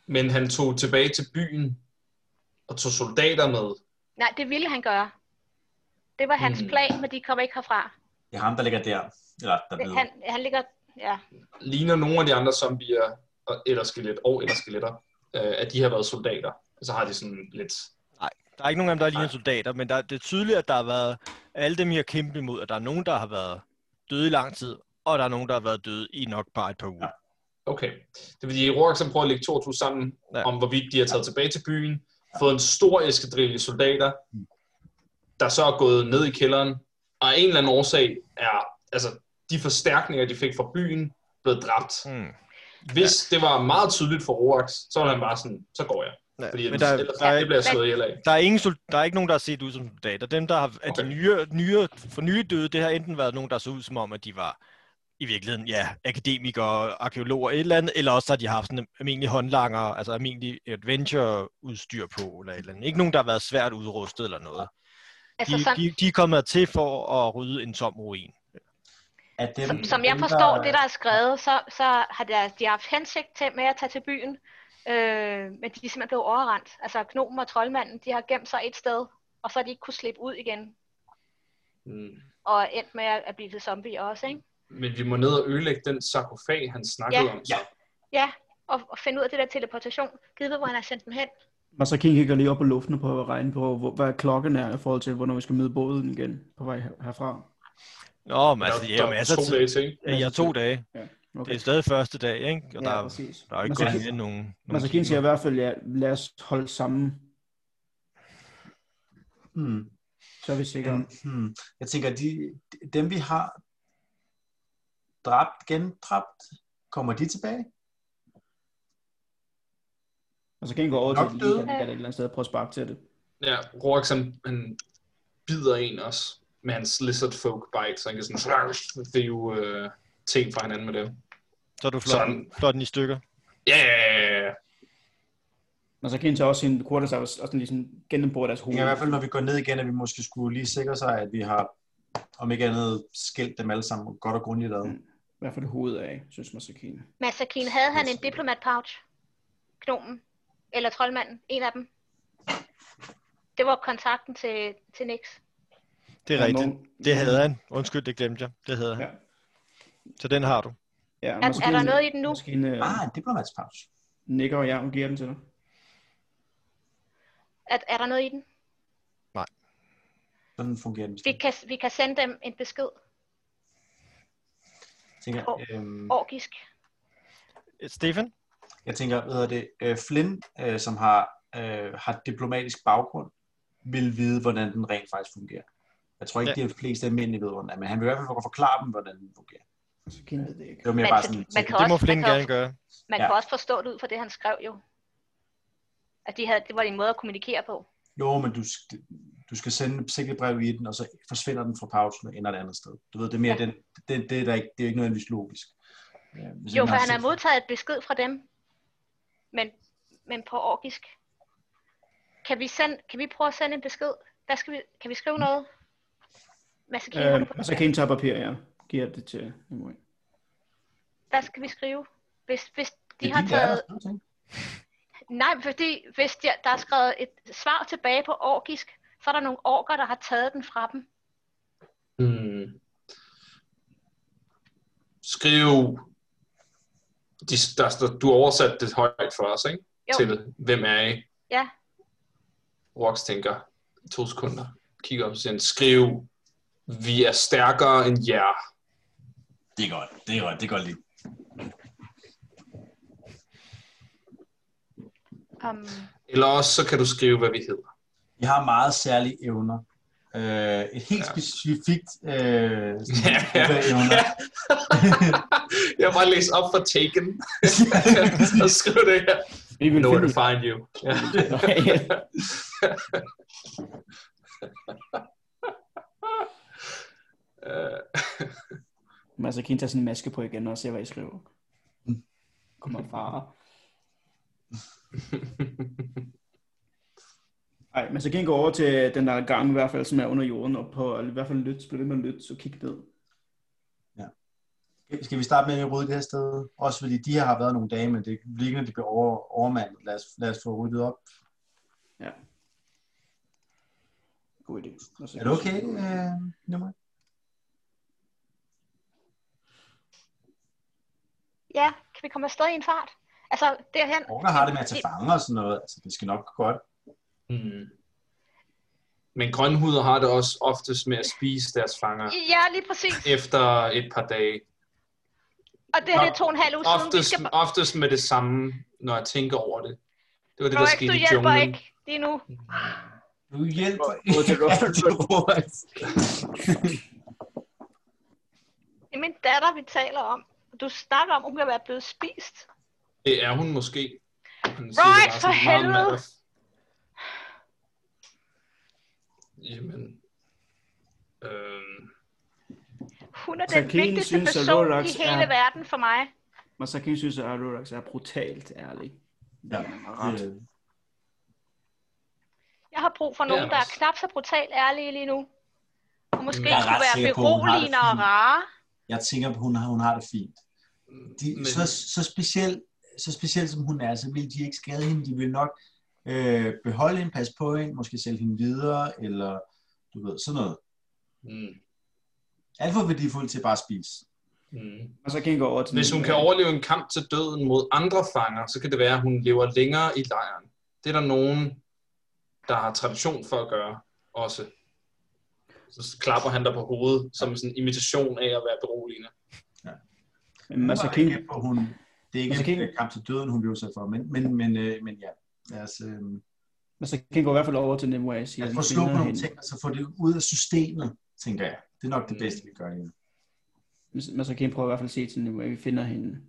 S3: men han tog tilbage til byen og tog soldater med.
S4: Nej, det ville han gøre. Det var hans
S3: Hmm.
S4: plan, men de kom ikke herfra.
S7: Det er ham, der ligger der. Eller der
S4: Det,
S7: ved.
S4: han, han ligger... Ja.
S3: Ligner nogle af de andre zombier og- eller skelet og eller skeletter, øh, at de har været soldater. Og så har de sådan lidt...
S2: Der er ikke nogen af dem, der ligner soldater, men der, det er tydeligt, at der har været alle dem, I har kæmpet imod, og der er nogen, der har været døde i lang tid, og der er nogen, der har været døde i nok bare et par uger.
S3: Okay. Det vil sige, at Rorak så prøver at lægge to og to sammen,
S2: Ja.
S3: ja. om hvorvidt de har taget tilbage til byen, fået en stor eskadrille soldater, der så er gået ned i kælderen, og af en eller anden årsag er, altså, de forstærkninger, de fik fra byen, blevet dræbt.
S2: Ja. Mm.
S3: Hvis ja. det var meget tydeligt for Roax, så var han bare sådan, så går jeg.
S2: Ja.
S3: Fordi
S2: Men
S3: ellers,
S2: der,
S3: ellers,
S2: der, er,
S3: det bliver jeg slået ihjel af.
S2: der, er ingen, sol- der er ikke nogen, der har set ud som soldater. Dem, der har, af de
S3: Okay.
S2: nyere, nyere, for nye døde, det har enten været nogen, der så ud som om, at de var i virkeligheden, ja, akademikere, arkeologer, et eller andet, eller også har de haft sådan almindelig håndlanger, altså almindelig adventure-udstyr på, eller et eller andet. Ikke nogen, der har været svært udrustet eller noget.
S4: Altså,
S2: de,
S4: som,
S2: de, de er kommet til for at rydde en tom ruin.
S7: Er dem,
S4: som, som jeg forstår det, der er skrevet, så, så har der, de haft hensigt til med at tage til byen. Øh, men de er simpelthen blevet overrendt. Altså, gnomen og troldmanden, de har gemt sig et sted, og så har de ikke kunne slippe ud igen.
S3: Mm.
S4: Og endt med at at blive til zombie også, ikke?
S3: Men vi må ned og ødelægge den sarkofag, han snakkede
S4: Ja.
S3: om. Så.
S4: Ja, og, og finde ud af det der teleportation. Givet ved, hvor han har sendt dem hen.
S6: Masakin kigger lige op på luften og prøver at regne på, hvor, hvad klokken er i forhold til, hvornår vi skal møde båden igen på vej her- herfra.
S2: Nå, men
S3: Der,
S2: altså,
S3: der,
S2: det er jo masser af
S3: to
S2: tid.
S3: dage til, ikke?
S2: Ja, jeg to dage.
S6: Okay.
S2: Det er stadig første dag, ikke? Og der,
S6: ja,
S2: er-
S6: præcis.
S2: der er jo ikke gået mere end nogen. nogen
S6: Masakin siger i
S2: timer.
S6: hvert fald, ja, lad os holde sammen,
S7: Hmm.
S6: så er vi sikre.
S7: Hmm. Hmm. Jeg tænker, de, dem vi har dræbt, gendrabt, kommer de tilbage?
S6: Masakin går over til
S7: Nok
S6: det lige,
S7: døde.
S6: eller et eller andet sted og prøver at sparke til det.
S3: Ja, Rorax, han, han bider en også med hans lizard folk bite, så han kan sådan <laughs> rive øh, ting fra hinanden med det.
S2: Så du flår den,
S3: Sådan.
S2: flår den i stykker.
S3: Ja, ja, ja, ja.
S6: Masakin tager også sin quarterstaff og sådan ligesom gennembruger deres hoved.
S7: Jeg i hvert fald, når vi går ned igen, at vi måske skulle lige sikre sig, at vi har, om ikke andet, skilt dem alle sammen godt og grundigt ad.
S6: Mm. I hvert fald hovedet af, synes Masakin.
S4: Masakin, havde han en diplomat pouch? Gnomen? Eller troldmanden? En af dem? Det var kontakten til, til Nix.
S2: Det er
S6: Ja,
S2: rigtigt.
S6: nogen-
S2: Det havde han. Undskyld, det glemte jeg. Det havde han.
S6: Ja.
S2: Så den har du.
S6: Ja,
S4: Er, er der noget i den nu?
S6: Masakin øh,
S7: Ah, en diplomatspause.
S6: nikker, og jeg giver den til dig.
S4: Er, er der noget i den?
S7: Sådan fungerer den.
S4: Vi kan, vi kan sende dem en besked.
S5: tænker,
S4: Åh.
S5: øhm,
S4: Orgisk.
S2: Øh, Stefan?
S5: jeg tænker, hvad hedder det, øh, Flynn, øh, som har, øh, har diplomatisk baggrund, vil vide, hvordan den rent faktisk fungerer. Jeg tror ikke, ja.
S2: Ja.
S5: de fleste almindelige ved, hvordan den er, men han vil i hvert fald forklare dem, hvordan den fungerer.
S6: Så kendte det ikke.
S5: Det var mere
S4: Man
S5: bare
S4: kan-
S5: sådan,
S4: man kan
S2: Det må
S4: Også-
S2: Flynn
S4: man kan
S2: gerne gøre.
S4: Man
S5: Ja.
S4: ja. kan også forstå det ud fra det, han skrev jo. At de havde, det var en måde at kommunikere på.
S5: jo, men du, sk- du skal sende et sikkerhedsbrev i den, og så forsvinder den fra pausen og ender et andet sted. Du ved, det er mere, ja.
S4: Ja.
S5: den, det, det, er der ikke, det er jo ikke nødvendigvis logisk. Øh, hvis
S4: Jo,
S5: man
S4: for
S5: har
S4: han har
S5: set-
S4: modtaget et besked fra dem. Men, men på orkisk. Kan vi, sende, kan vi prøve at sende en besked? Hvad skal vi, kan vi skrive noget? Masakine, har du
S6: Øh,
S4: på-
S6: og så kan I tage papir, ja. Giver det til <laughs> Nimue.
S4: Hvad skal vi skrive? Hvis, hvis de
S5: Det er
S4: har
S5: din, der er
S4: taget...
S5: der, ikke?
S4: Nej, fordi hvis de, der er skrevet et svar tilbage på orkisk, så er der nogle orker, der har taget den fra dem.
S3: Hmm. Skriv... De, der, der, du oversatte det højt for os, ikke?
S4: Jo.
S3: Til, hvem er I?
S4: Ja.
S3: Rox tænker, to sekunder, kigger op og siger, skriv, vi er stærkere end jer.
S7: Det er godt, det er godt, det er godt lige.
S4: Um,
S3: Eller også så kan du skrive, hvad vi hedder.
S7: Vi har meget særlige evner. Øh, et helt
S3: Ja.
S7: specifikt øh,
S3: Ja, ja.
S7: ja. evner.
S3: Jeg har bare læst op for Taken, og skriv det her.
S6: Vi vil
S3: Know where
S6: finde
S3: to find you. Ja. Øh,
S6: Men så kan I tage sådan en maske på igen og se, hvad I skriver. Kommer far. Nej, men så kan I gå over til den der gang i hvert fald, som er under jorden, og på, i hvert fald lytte, blive ved med at lytte, så kig ned.
S7: Skal vi starte med at rydde det her sted? Også fordi de her har været nogle dage, men det ligner, at de bliver over, overmandet. Lad os, lad os få ryddet op.
S6: Ja. God idé. Og så
S7: Er det okay, øh, nummer?
S4: ja, kan vi komme afsted i en fart? Altså, derhen...
S7: Orker har det med at tage fanger og sådan noget. Altså, det skal nok gå godt.
S3: hmm. Men grønhuder har det også oftest med at spise deres fanger
S4: Ja, lige præcis.
S3: efter et par dage.
S4: Og det her det er to og en halv uge siden. Vi
S3: Oftest,
S4: skal bare...
S3: oftest med det samme, når jeg tænker over det. Det var det, der
S4: Rorik,
S3: skete
S4: du
S3: i
S4: hjælper
S3: junglen.
S4: ikke lige nu.
S7: Du hjælper
S6: Gå til
S4: Det er min datter, vi taler om. Du snakker om, hun kan være blevet spist.
S3: Det er hun måske. Han
S4: Right,
S3: bare
S4: for
S3: sådan meget
S4: helvede.
S3: matter of- Jamen. Øh,
S4: Hun er
S6: Så
S4: den
S6: Keen
S4: vigtigste
S6: synes, at
S4: person
S6: Rorax
S4: i hele
S6: er-
S4: verden for mig.
S6: Men så kan I synes, at Arlorax er brutalt ærlig.
S7: Ja,
S6: Ret.
S7: det,
S4: Jeg har brug for
S3: Ja,
S4: nogen, der er
S3: også.
S4: knap så brutalt ærlige lige nu. Og måske
S3: Jeg er
S4: kunne
S7: ret
S4: være
S7: sikker på, hun har det
S4: beroligende og
S7: fint.
S4: rare.
S7: jeg tænker, hun, har- hun har det fint. de,
S3: men,
S7: så, så, speciel, så speciel som hun er, så vil de ikke skade hende. De vil nok øh, beholde hende, passe på hende, måske sælge hende videre, eller du ved, sådan noget.
S3: mm,
S7: Alt for værdifuldt til bare at spise.
S3: mm.
S6: Og så kan I gå over til...
S3: Hvis hun kan overleve en kamp til døden mod andre fanger, så kan det være, at hun lever længere i lejren. Det er der nogen, der har tradition for at gøre også. Så klapper han dig på hovedet, som sådan en imitation af at være beroligende.
S6: Men så
S7: Jeg er
S6: kan
S7: ikke, hvor hun, det er ikke
S6: Altså,
S7: en
S6: King-
S7: øh, kamp til døden, hun bliver udsat for, men, men, men, øh, men ja. Lad os, øh,
S6: Men så kan I gå i hvert fald over til Nimue og sige,
S7: lad
S6: at
S7: os
S6: vi
S7: prøve at slå på
S6: finder
S7: nogle
S6: hende.
S7: ting, og så få det ud af systemet, tænker jeg. Det er nok det
S3: Mm.
S7: bedste, vi gør lige
S6: Men- Men så kan I prøve i hvert fald at se til Nimue, at vi finder hende.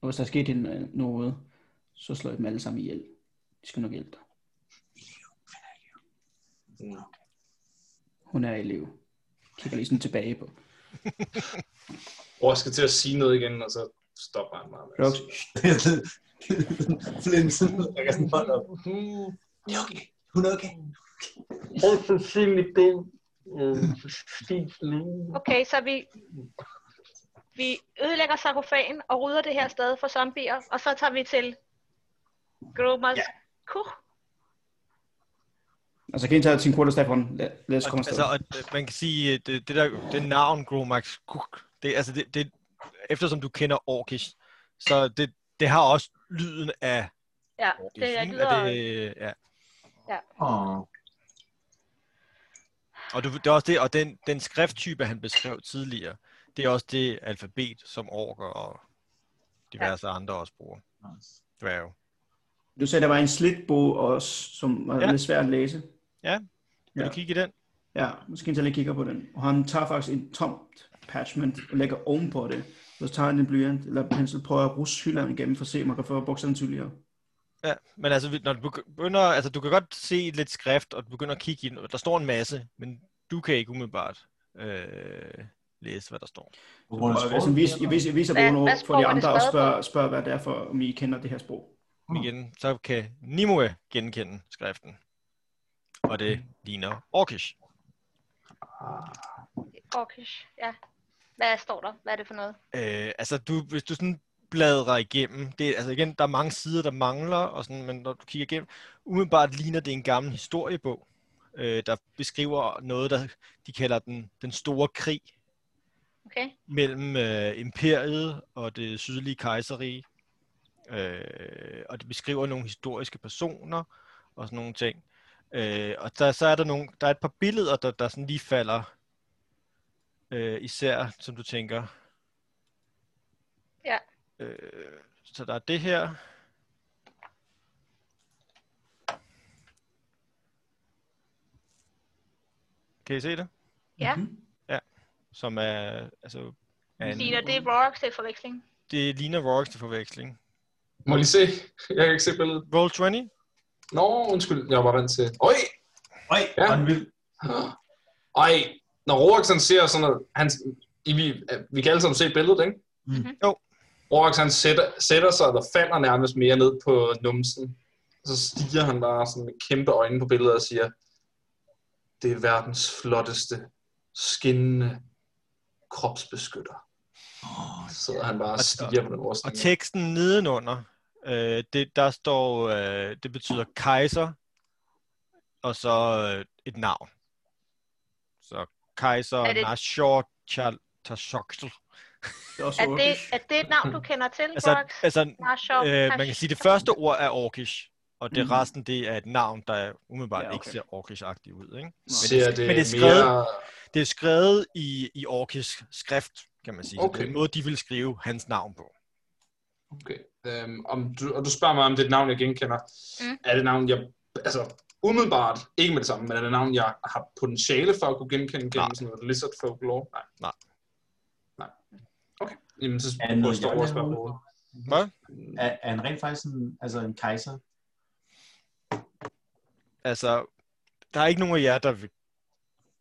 S6: Og hvis der er sket hende øh, noget, så slår I dem alle sammen ihjel. De skal nok hjælpe dig.
S3: Mm.
S6: Hun er i live. Kigger lige sådan tilbage på.
S3: Bror skal til at sige noget igen, og så stopper han bare med. at
S6: Rox,
S3: sige noget.
S7: Flinsen, jeg kan sådan hold op. Det er okay. Hun er okay.
S9: Højst sandsynligt død. Øh, fint længe.
S4: Okay, så vi, vi ødelægger sarkofagen og rydder det her sted for zombier, og så tager vi til Gromers ja. Kuh.
S6: altså kan I tage sin quarterstaff hånd. Lad, lad os
S2: Og-
S6: komme
S2: Altså,
S6: afsted.
S2: og det- man kan sige, at det, det, der, det navn Gromax Cook, det, altså det, det, eftersom du kender Orkish, så det, det har også lyden af
S4: Ja,
S2: Orkish.
S4: det, jeg
S2: ikke?
S4: lyder,
S2: Og det, øh, ja.
S7: Åh.
S2: Og du, det er også det, og den, den skrifttype, han beskrev tidligere, det Det er også det alfabet, som orker og diverse ja. andre også bruger.
S7: Nice.
S2: Dværge.
S6: Du sagde, der var en slitbog også, som var
S2: Ja.
S6: ja. lidt svær at læse.
S2: Vil ja. du
S6: Ja.
S2: kigge i den?
S6: Ja, måske han lige kigger på den. Og han tager faktisk en tomt parchment og lægger ovenpå det. Så tager han en blyant eller pensel, prøver at russe hylderne igennem for at se, om man kan få bukserne tydeligere.
S2: Ja, men altså, vi- når du begynder, altså, du kan godt se lidt skrift, og du begynder at kigge i den, og der står en masse, men du kan ikke umiddelbart øh, læse, hvad der står.
S7: På grund af
S6: Og
S7: sproget,
S6: altså, vis, jeg, vis, jeg viser
S4: Hvad-
S6: bogen over
S4: hvad
S6: for de
S4: sprog er det
S6: andre og
S4: skrevet på?
S6: spørger, spørger, hvad det er for, om I kender det her sprog.
S2: Men Igen, så kan Nimue genkende skriften, og det ligner Orkish.
S4: Orkish, ja. Hvad står der? Hvad er det for noget?
S2: Øh, altså, du, hvis du sådan bladrer igennem, det, er- altså igen, der er mange sider, der mangler, og sådan, men når du kigger igennem, umiddelbart ligner det en gammel historiebog, øh, der beskriver noget, der de kalder den, den store krig,
S4: Okay.
S2: mellem øh, imperiet og det sydlige kejserige. Øh, og det beskriver nogle historiske personer og sådan nogle ting. Øh, og der, så er der nogle, der er et par billeder, der, der sådan lige falder. Øh, især, som du tænker.
S4: Ja.
S2: Øh, så der er det her. Kan I se det?
S4: Ja.
S2: Som er, altså, er en-
S4: Ligner det er Rorax til forveksling?
S2: det ligner Rorks til forveksling.
S3: Må jeg lige se? Jeg kan ikke se billedet.
S2: Roll 20?
S3: Nå, undskyld. Jeg var vant til... Øj!
S7: Øj,
S3: Ja.
S7: og en vild.
S3: Øj! Når Rorax han ser sådan noget... Han, I, vi, vi kan alle sammen se billedet, ikke?
S7: Mhm.
S2: Jo.
S3: Rorax han sætter, sætter sig, der falder nærmest mere ned på numsen. Og så stiger han bare sådan med kæmpe øjne på billedet og siger, det er verdens flotteste, skinnende kropsbeskytter. Oh, så sidder han bare og stiger på den
S2: Og
S3: overstilling.
S2: teksten nedenunder, øh, det, der står, øh, det betyder kejser, og så øh, et navn. Så kejser
S4: Er det-
S2: Nashor Chal- Tashoksel.
S6: Det er også
S4: Er det,
S6: orkish.
S4: er det et navn, du kender til,
S2: Altså,
S4: Rorax?
S2: altså
S4: Marshall,
S2: øh, man kan sige, det første ord er orkish, og det
S6: Mhm.
S2: resten, det er et navn, der umiddelbart
S6: Ja,
S2: Mm. ja,
S6: okay.
S2: okay. ikke ser orkish-agtigt ud. Ikke?
S3: Ser det,
S2: men det er skrevet-
S3: mere...
S2: Det er skrevet i, i orkisk skrift, kan man sige. Okay.
S3: Okay.
S2: Det er noget, de vil skrive hans navn på.
S3: Okay. Øhm, om du, og du spørger mig, om det er et navn, jeg genkender.
S4: Mm.
S3: Mm. Er det et navn, jeg... Altså, umiddelbart, ikke med det samme, men er det et navn, jeg har potentiale for at kunne genkende gennem
S2: Nej.
S3: sådan noget lizard folklore? Nej.
S2: Nej.
S3: Nej. Okay. Jamen, så
S7: Er det
S3: prøver
S7: noget,
S3: jeg
S7: jeg
S3: at spørge
S7: laver?
S3: på.
S2: Hvad?
S7: Er, er han rent faktisk en, altså en kejser?
S2: altså, der er ikke nogen af jer, der, vil-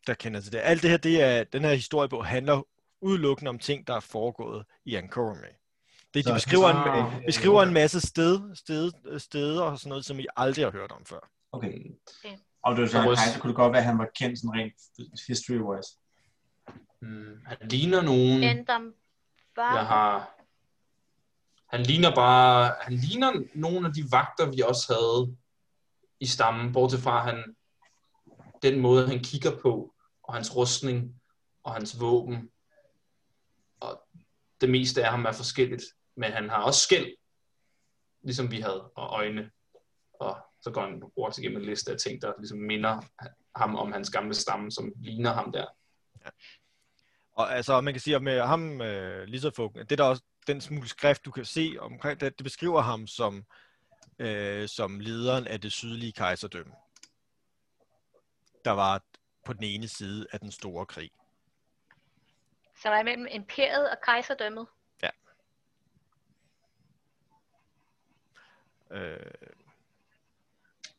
S2: der kender til det. Alt det her, det er, den her historiebog handler udelukkende om ting, der er foregået i Ankorome. Det, de
S7: Så-
S2: beskriver, en,
S7: Ah,
S2: beskriver en masse sted, sted, steder og sådan noget, som I aldrig har hørt om før.
S7: Okay.
S4: Okay.
S7: Og det var så
S3: Jeg
S7: en
S3: ryster.
S7: kejser, kunne det godt være, at han var kendt sådan rent history-wise.
S3: Mm, han ligner nogen,
S4: end dem var.
S3: jeg har... Han ligner bare... Han ligner nogle af de vagter, vi også havde i stammen, bortset fra han, den måde, han kigger på, og hans rustning, og hans våben, og det meste af ham er forskelligt, men han har også skæld, ligesom vi havde, og øjne, og så går han brugt igennem en liste af ting, der ligesom minder ham om hans gamle stamme, som ligner ham der.
S2: Og altså, man kan sige, at med ham, øh, Lizardfolken, det er der også den smule skrift, du kan se omkring det, det beskriver ham som, øh, som lederen af det sydlige kejserdømme. Der var på den ene side af den store krig.
S4: Som er mellem imperiet og kejserdømmet.
S2: Øh,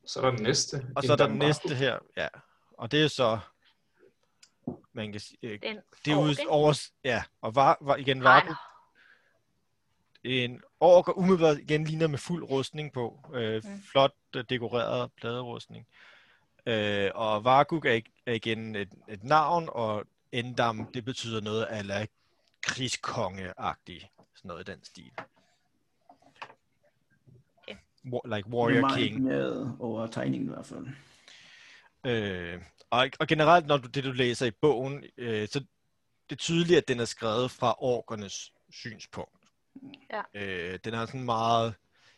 S3: Så er der den næste.
S2: Og så er der den
S3: Endambaku.
S2: næste her, ja. Og det er så, man kan sige, øh,
S4: Den
S2: det er
S4: ork,
S2: ude
S4: ikke?
S2: over, ja, og var, var igen
S4: Nej,
S2: var en ork, og umiddelbart igen ligner med fuld rustning på. Øh,
S4: Mm.
S2: Flot øh, dekoreret pladerustning. Øh, og Varguk er, ig- er igen et, et navn, og Endam, det betyder noget ala krigskonge-agtigt. Sådan noget i den stil.
S4: Okay.
S2: War, like
S6: Jeg er
S2: warrior
S6: meget
S2: king.
S6: imponeret over tegningen i hvert fald.
S2: Øh, og, og generelt, når du, det du læser i bogen, øh, så det er tydeligt, at den er skrevet fra orkernes synspunkt.
S4: Ja.
S2: Øh, den er sådan meget...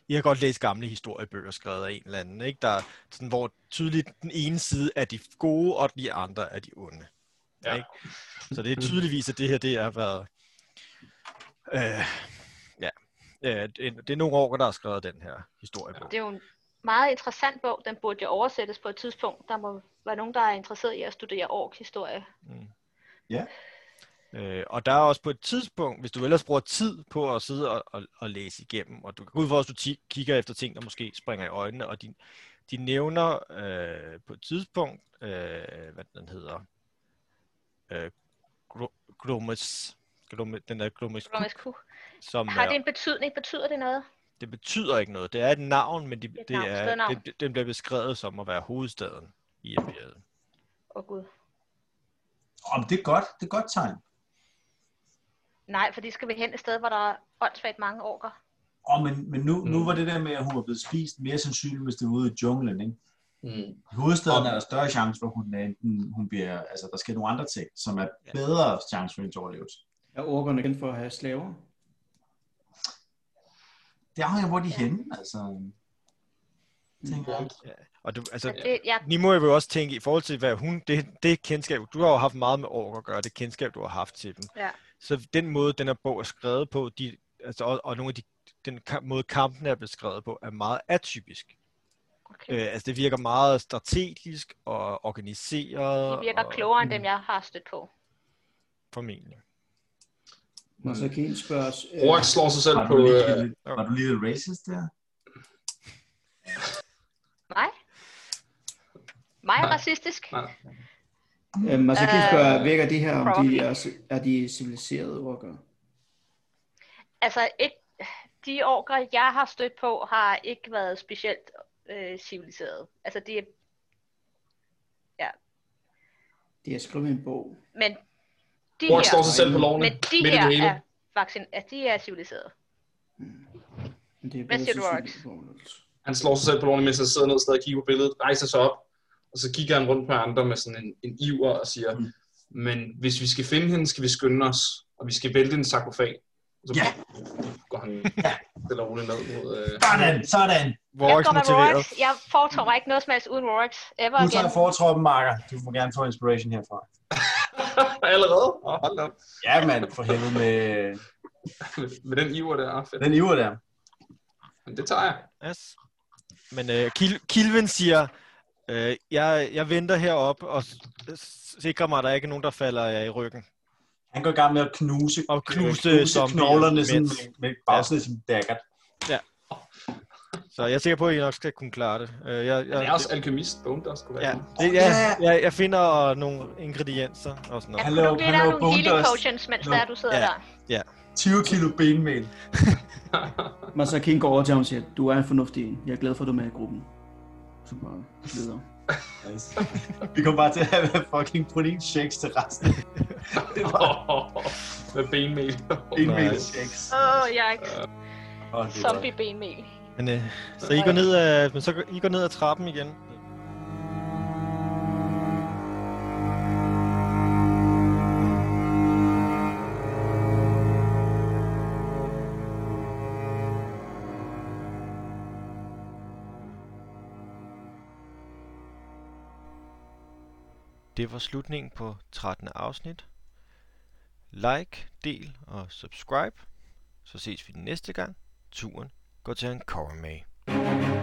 S2: I har godt læst gamle historiebøger skrevet af en eller anden, ikke? Der, er sådan, hvor tydeligt den ene side er de gode, og de andre er de onde.
S3: Ja.
S2: Ikke? Så det er tydeligvis, at det her det har været Øh, ja. Øh, det, det er nogle år, der har skrevet den her historie på.
S4: Det er jo en meget interessant bog. Den burde jo oversættes på et tidspunkt. Der må være nogen, der er interesseret i at studere ork-historie.
S2: Øh, og der er også på et tidspunkt, hvis du ellers bruger tid på at sidde og, og, og læse igennem, og du kan ud for, at du ti- kigger efter ting, der måske springer i øjnene, og de, de nævner øh, på et tidspunkt, øh, hvad den hedder, øh, Gro- Gromes, Grome, den der Gromes, Kuk,
S4: Romanescu.
S2: som
S4: Har det
S2: er,
S4: en betydning? Betyder det noget?
S2: det betyder ikke noget. Det er et navn, men de,
S4: er et
S2: det
S4: navn,
S2: er,
S4: stednavn.
S2: det, den bliver beskrevet som at være hovedstaden i imperiet.
S4: Åh oh, gud.
S5: Åh, men det er godt. Det er et godt tegn.
S4: Nej, for de skal vi hen et sted, hvor der er åndssvagt mange orker.
S5: Åh, men, men nu,
S2: Mm.
S5: nu var det der med, at hun var blevet spist mere sandsynligt, hvis det var ude i junglen, ikke?
S3: Mm.
S5: I hovedstaden er der større chance for, at hun, er enten, hun bliver, altså der sker nogle andre ting, som er bedre chance for hendes overlevelse.
S6: Er orkerne kendt for at have slaver?
S5: Det afhænger, hvor de er henne, altså. Tænker jeg.
S2: Og du, altså,
S4: Men det, jeg,
S2: Nimo vil jo også tænke i forhold til, hvad hun, det, det kendskab, du har jo haft meget med orker at gøre, det kendskab, du har haft til dem.
S4: Ja.
S2: Så den måde, den her bog er skrevet på, de, altså, og, og nogle af de, den kamp, måde, kampen er beskrevet på, er meget atypisk.
S4: okay.
S2: Øh, altså, det virker meget strategisk og organiseret.
S4: De virker
S2: og,
S4: klogere end dem, jeg har stødt på.
S2: Formentlig.
S6: Når så kan spørge os, øh,
S3: Rorik slår sig selv
S5: Var
S3: på...
S5: du lige,
S3: Øh,
S5: lidt- var du lige lidt racist der?
S4: Nej? Mig er
S3: Nej.
S4: racistisk?
S3: Nej.
S6: øh, man så kan
S4: Øh,
S6: spørge, vækker det her, om de
S4: probably.
S6: er, ci- er de civiliserede orker?
S4: Altså, ikke, de orker, jeg har stødt på, har ikke været specielt øh, civiliseret. Altså, det er,
S6: Det er skrevet i en bog.
S4: men de
S3: Rorik slår
S4: her,
S3: sig selv på lovene.
S4: men de
S3: midt i
S4: her
S3: det hele.
S4: er, vaccin, altså, de er civiliseret.
S6: Men det er
S4: Hvad
S6: bedre
S4: siger du,
S6: sandsynligt,
S4: Alex?
S6: det går noget.
S3: Han slår sig selv på lårene, mens han sidder ned og stadig kigger på billedet, rejser sig op, og så kigger han rundt på andre med sådan en, en iver og siger,
S5: Mm.
S3: mm. men hvis vi skal finde hende, skal vi skynde os, og vi skal vælte en sarkofag. Og så
S5: Ja.
S3: går han stille og roligt ned mod... Øh,
S5: Sådan, sådan.
S2: Vorax
S4: jeg går med Rorax.
S2: motiveret.
S4: Jeg foretår mig ikke noget som helst uden Rorax. Ever
S5: Du
S4: again.
S5: tager fortroppen, Marker. Du må gerne få inspiration herfra.
S3: <laughs> allerede? Oh, hold da op.
S5: Ja, mand, for helvede med
S3: <laughs> med den iver der. ah, Fedt.
S5: den iver der.
S3: Men det tager jeg.
S2: Yes. Men øh, Kil- Kilven siger, øh, jeg, jeg venter herop og s- s- sikrer mig, at der ikke er nogen, der falder jer i ryggen.
S5: Han går i gang med at knuse,
S2: Og knuse zombier,
S5: knoglerne sådan,
S2: mens-
S5: med, med bagsen af sin dagger.
S2: Så jeg er sikker på, at I nok skal kunne klare det. Øh, jeg,
S3: Han
S2: jeg,
S3: er også alkemist. Bone der skulle være.
S2: Ja, det, ja, jeg, jeg finder nogle ingredienser og sådan noget.
S5: Han
S4: Han
S5: laver-
S4: laver,
S5: han
S4: han laver
S5: laver
S4: nogle
S5: bone
S4: healing
S5: dust.
S4: potions, mens der er, du sidder
S2: Ja.
S4: der.
S5: 20 kilo benmel.
S6: Man så kan gå over til ham og sige, du er en fornuftig en. Jeg er glad for, at du er med i gruppen. Så bare videre.
S5: Altså, Vi kommer bare til at have fucking protein shakes til resten. det er bare
S3: <laughs> med benmel.
S5: benmel
S2: nice.
S5: shakes.
S4: Åh, oh, jeg er ikke
S5: Åh, det er godt.
S4: zombie-benmel.
S2: Men, øh, så I går ned ad, men så går- I går ned ad trappen igen. Det var slutningen på 13. afsnit. Like, del og subscribe. Så ses vi næste gang. Turen går til en med.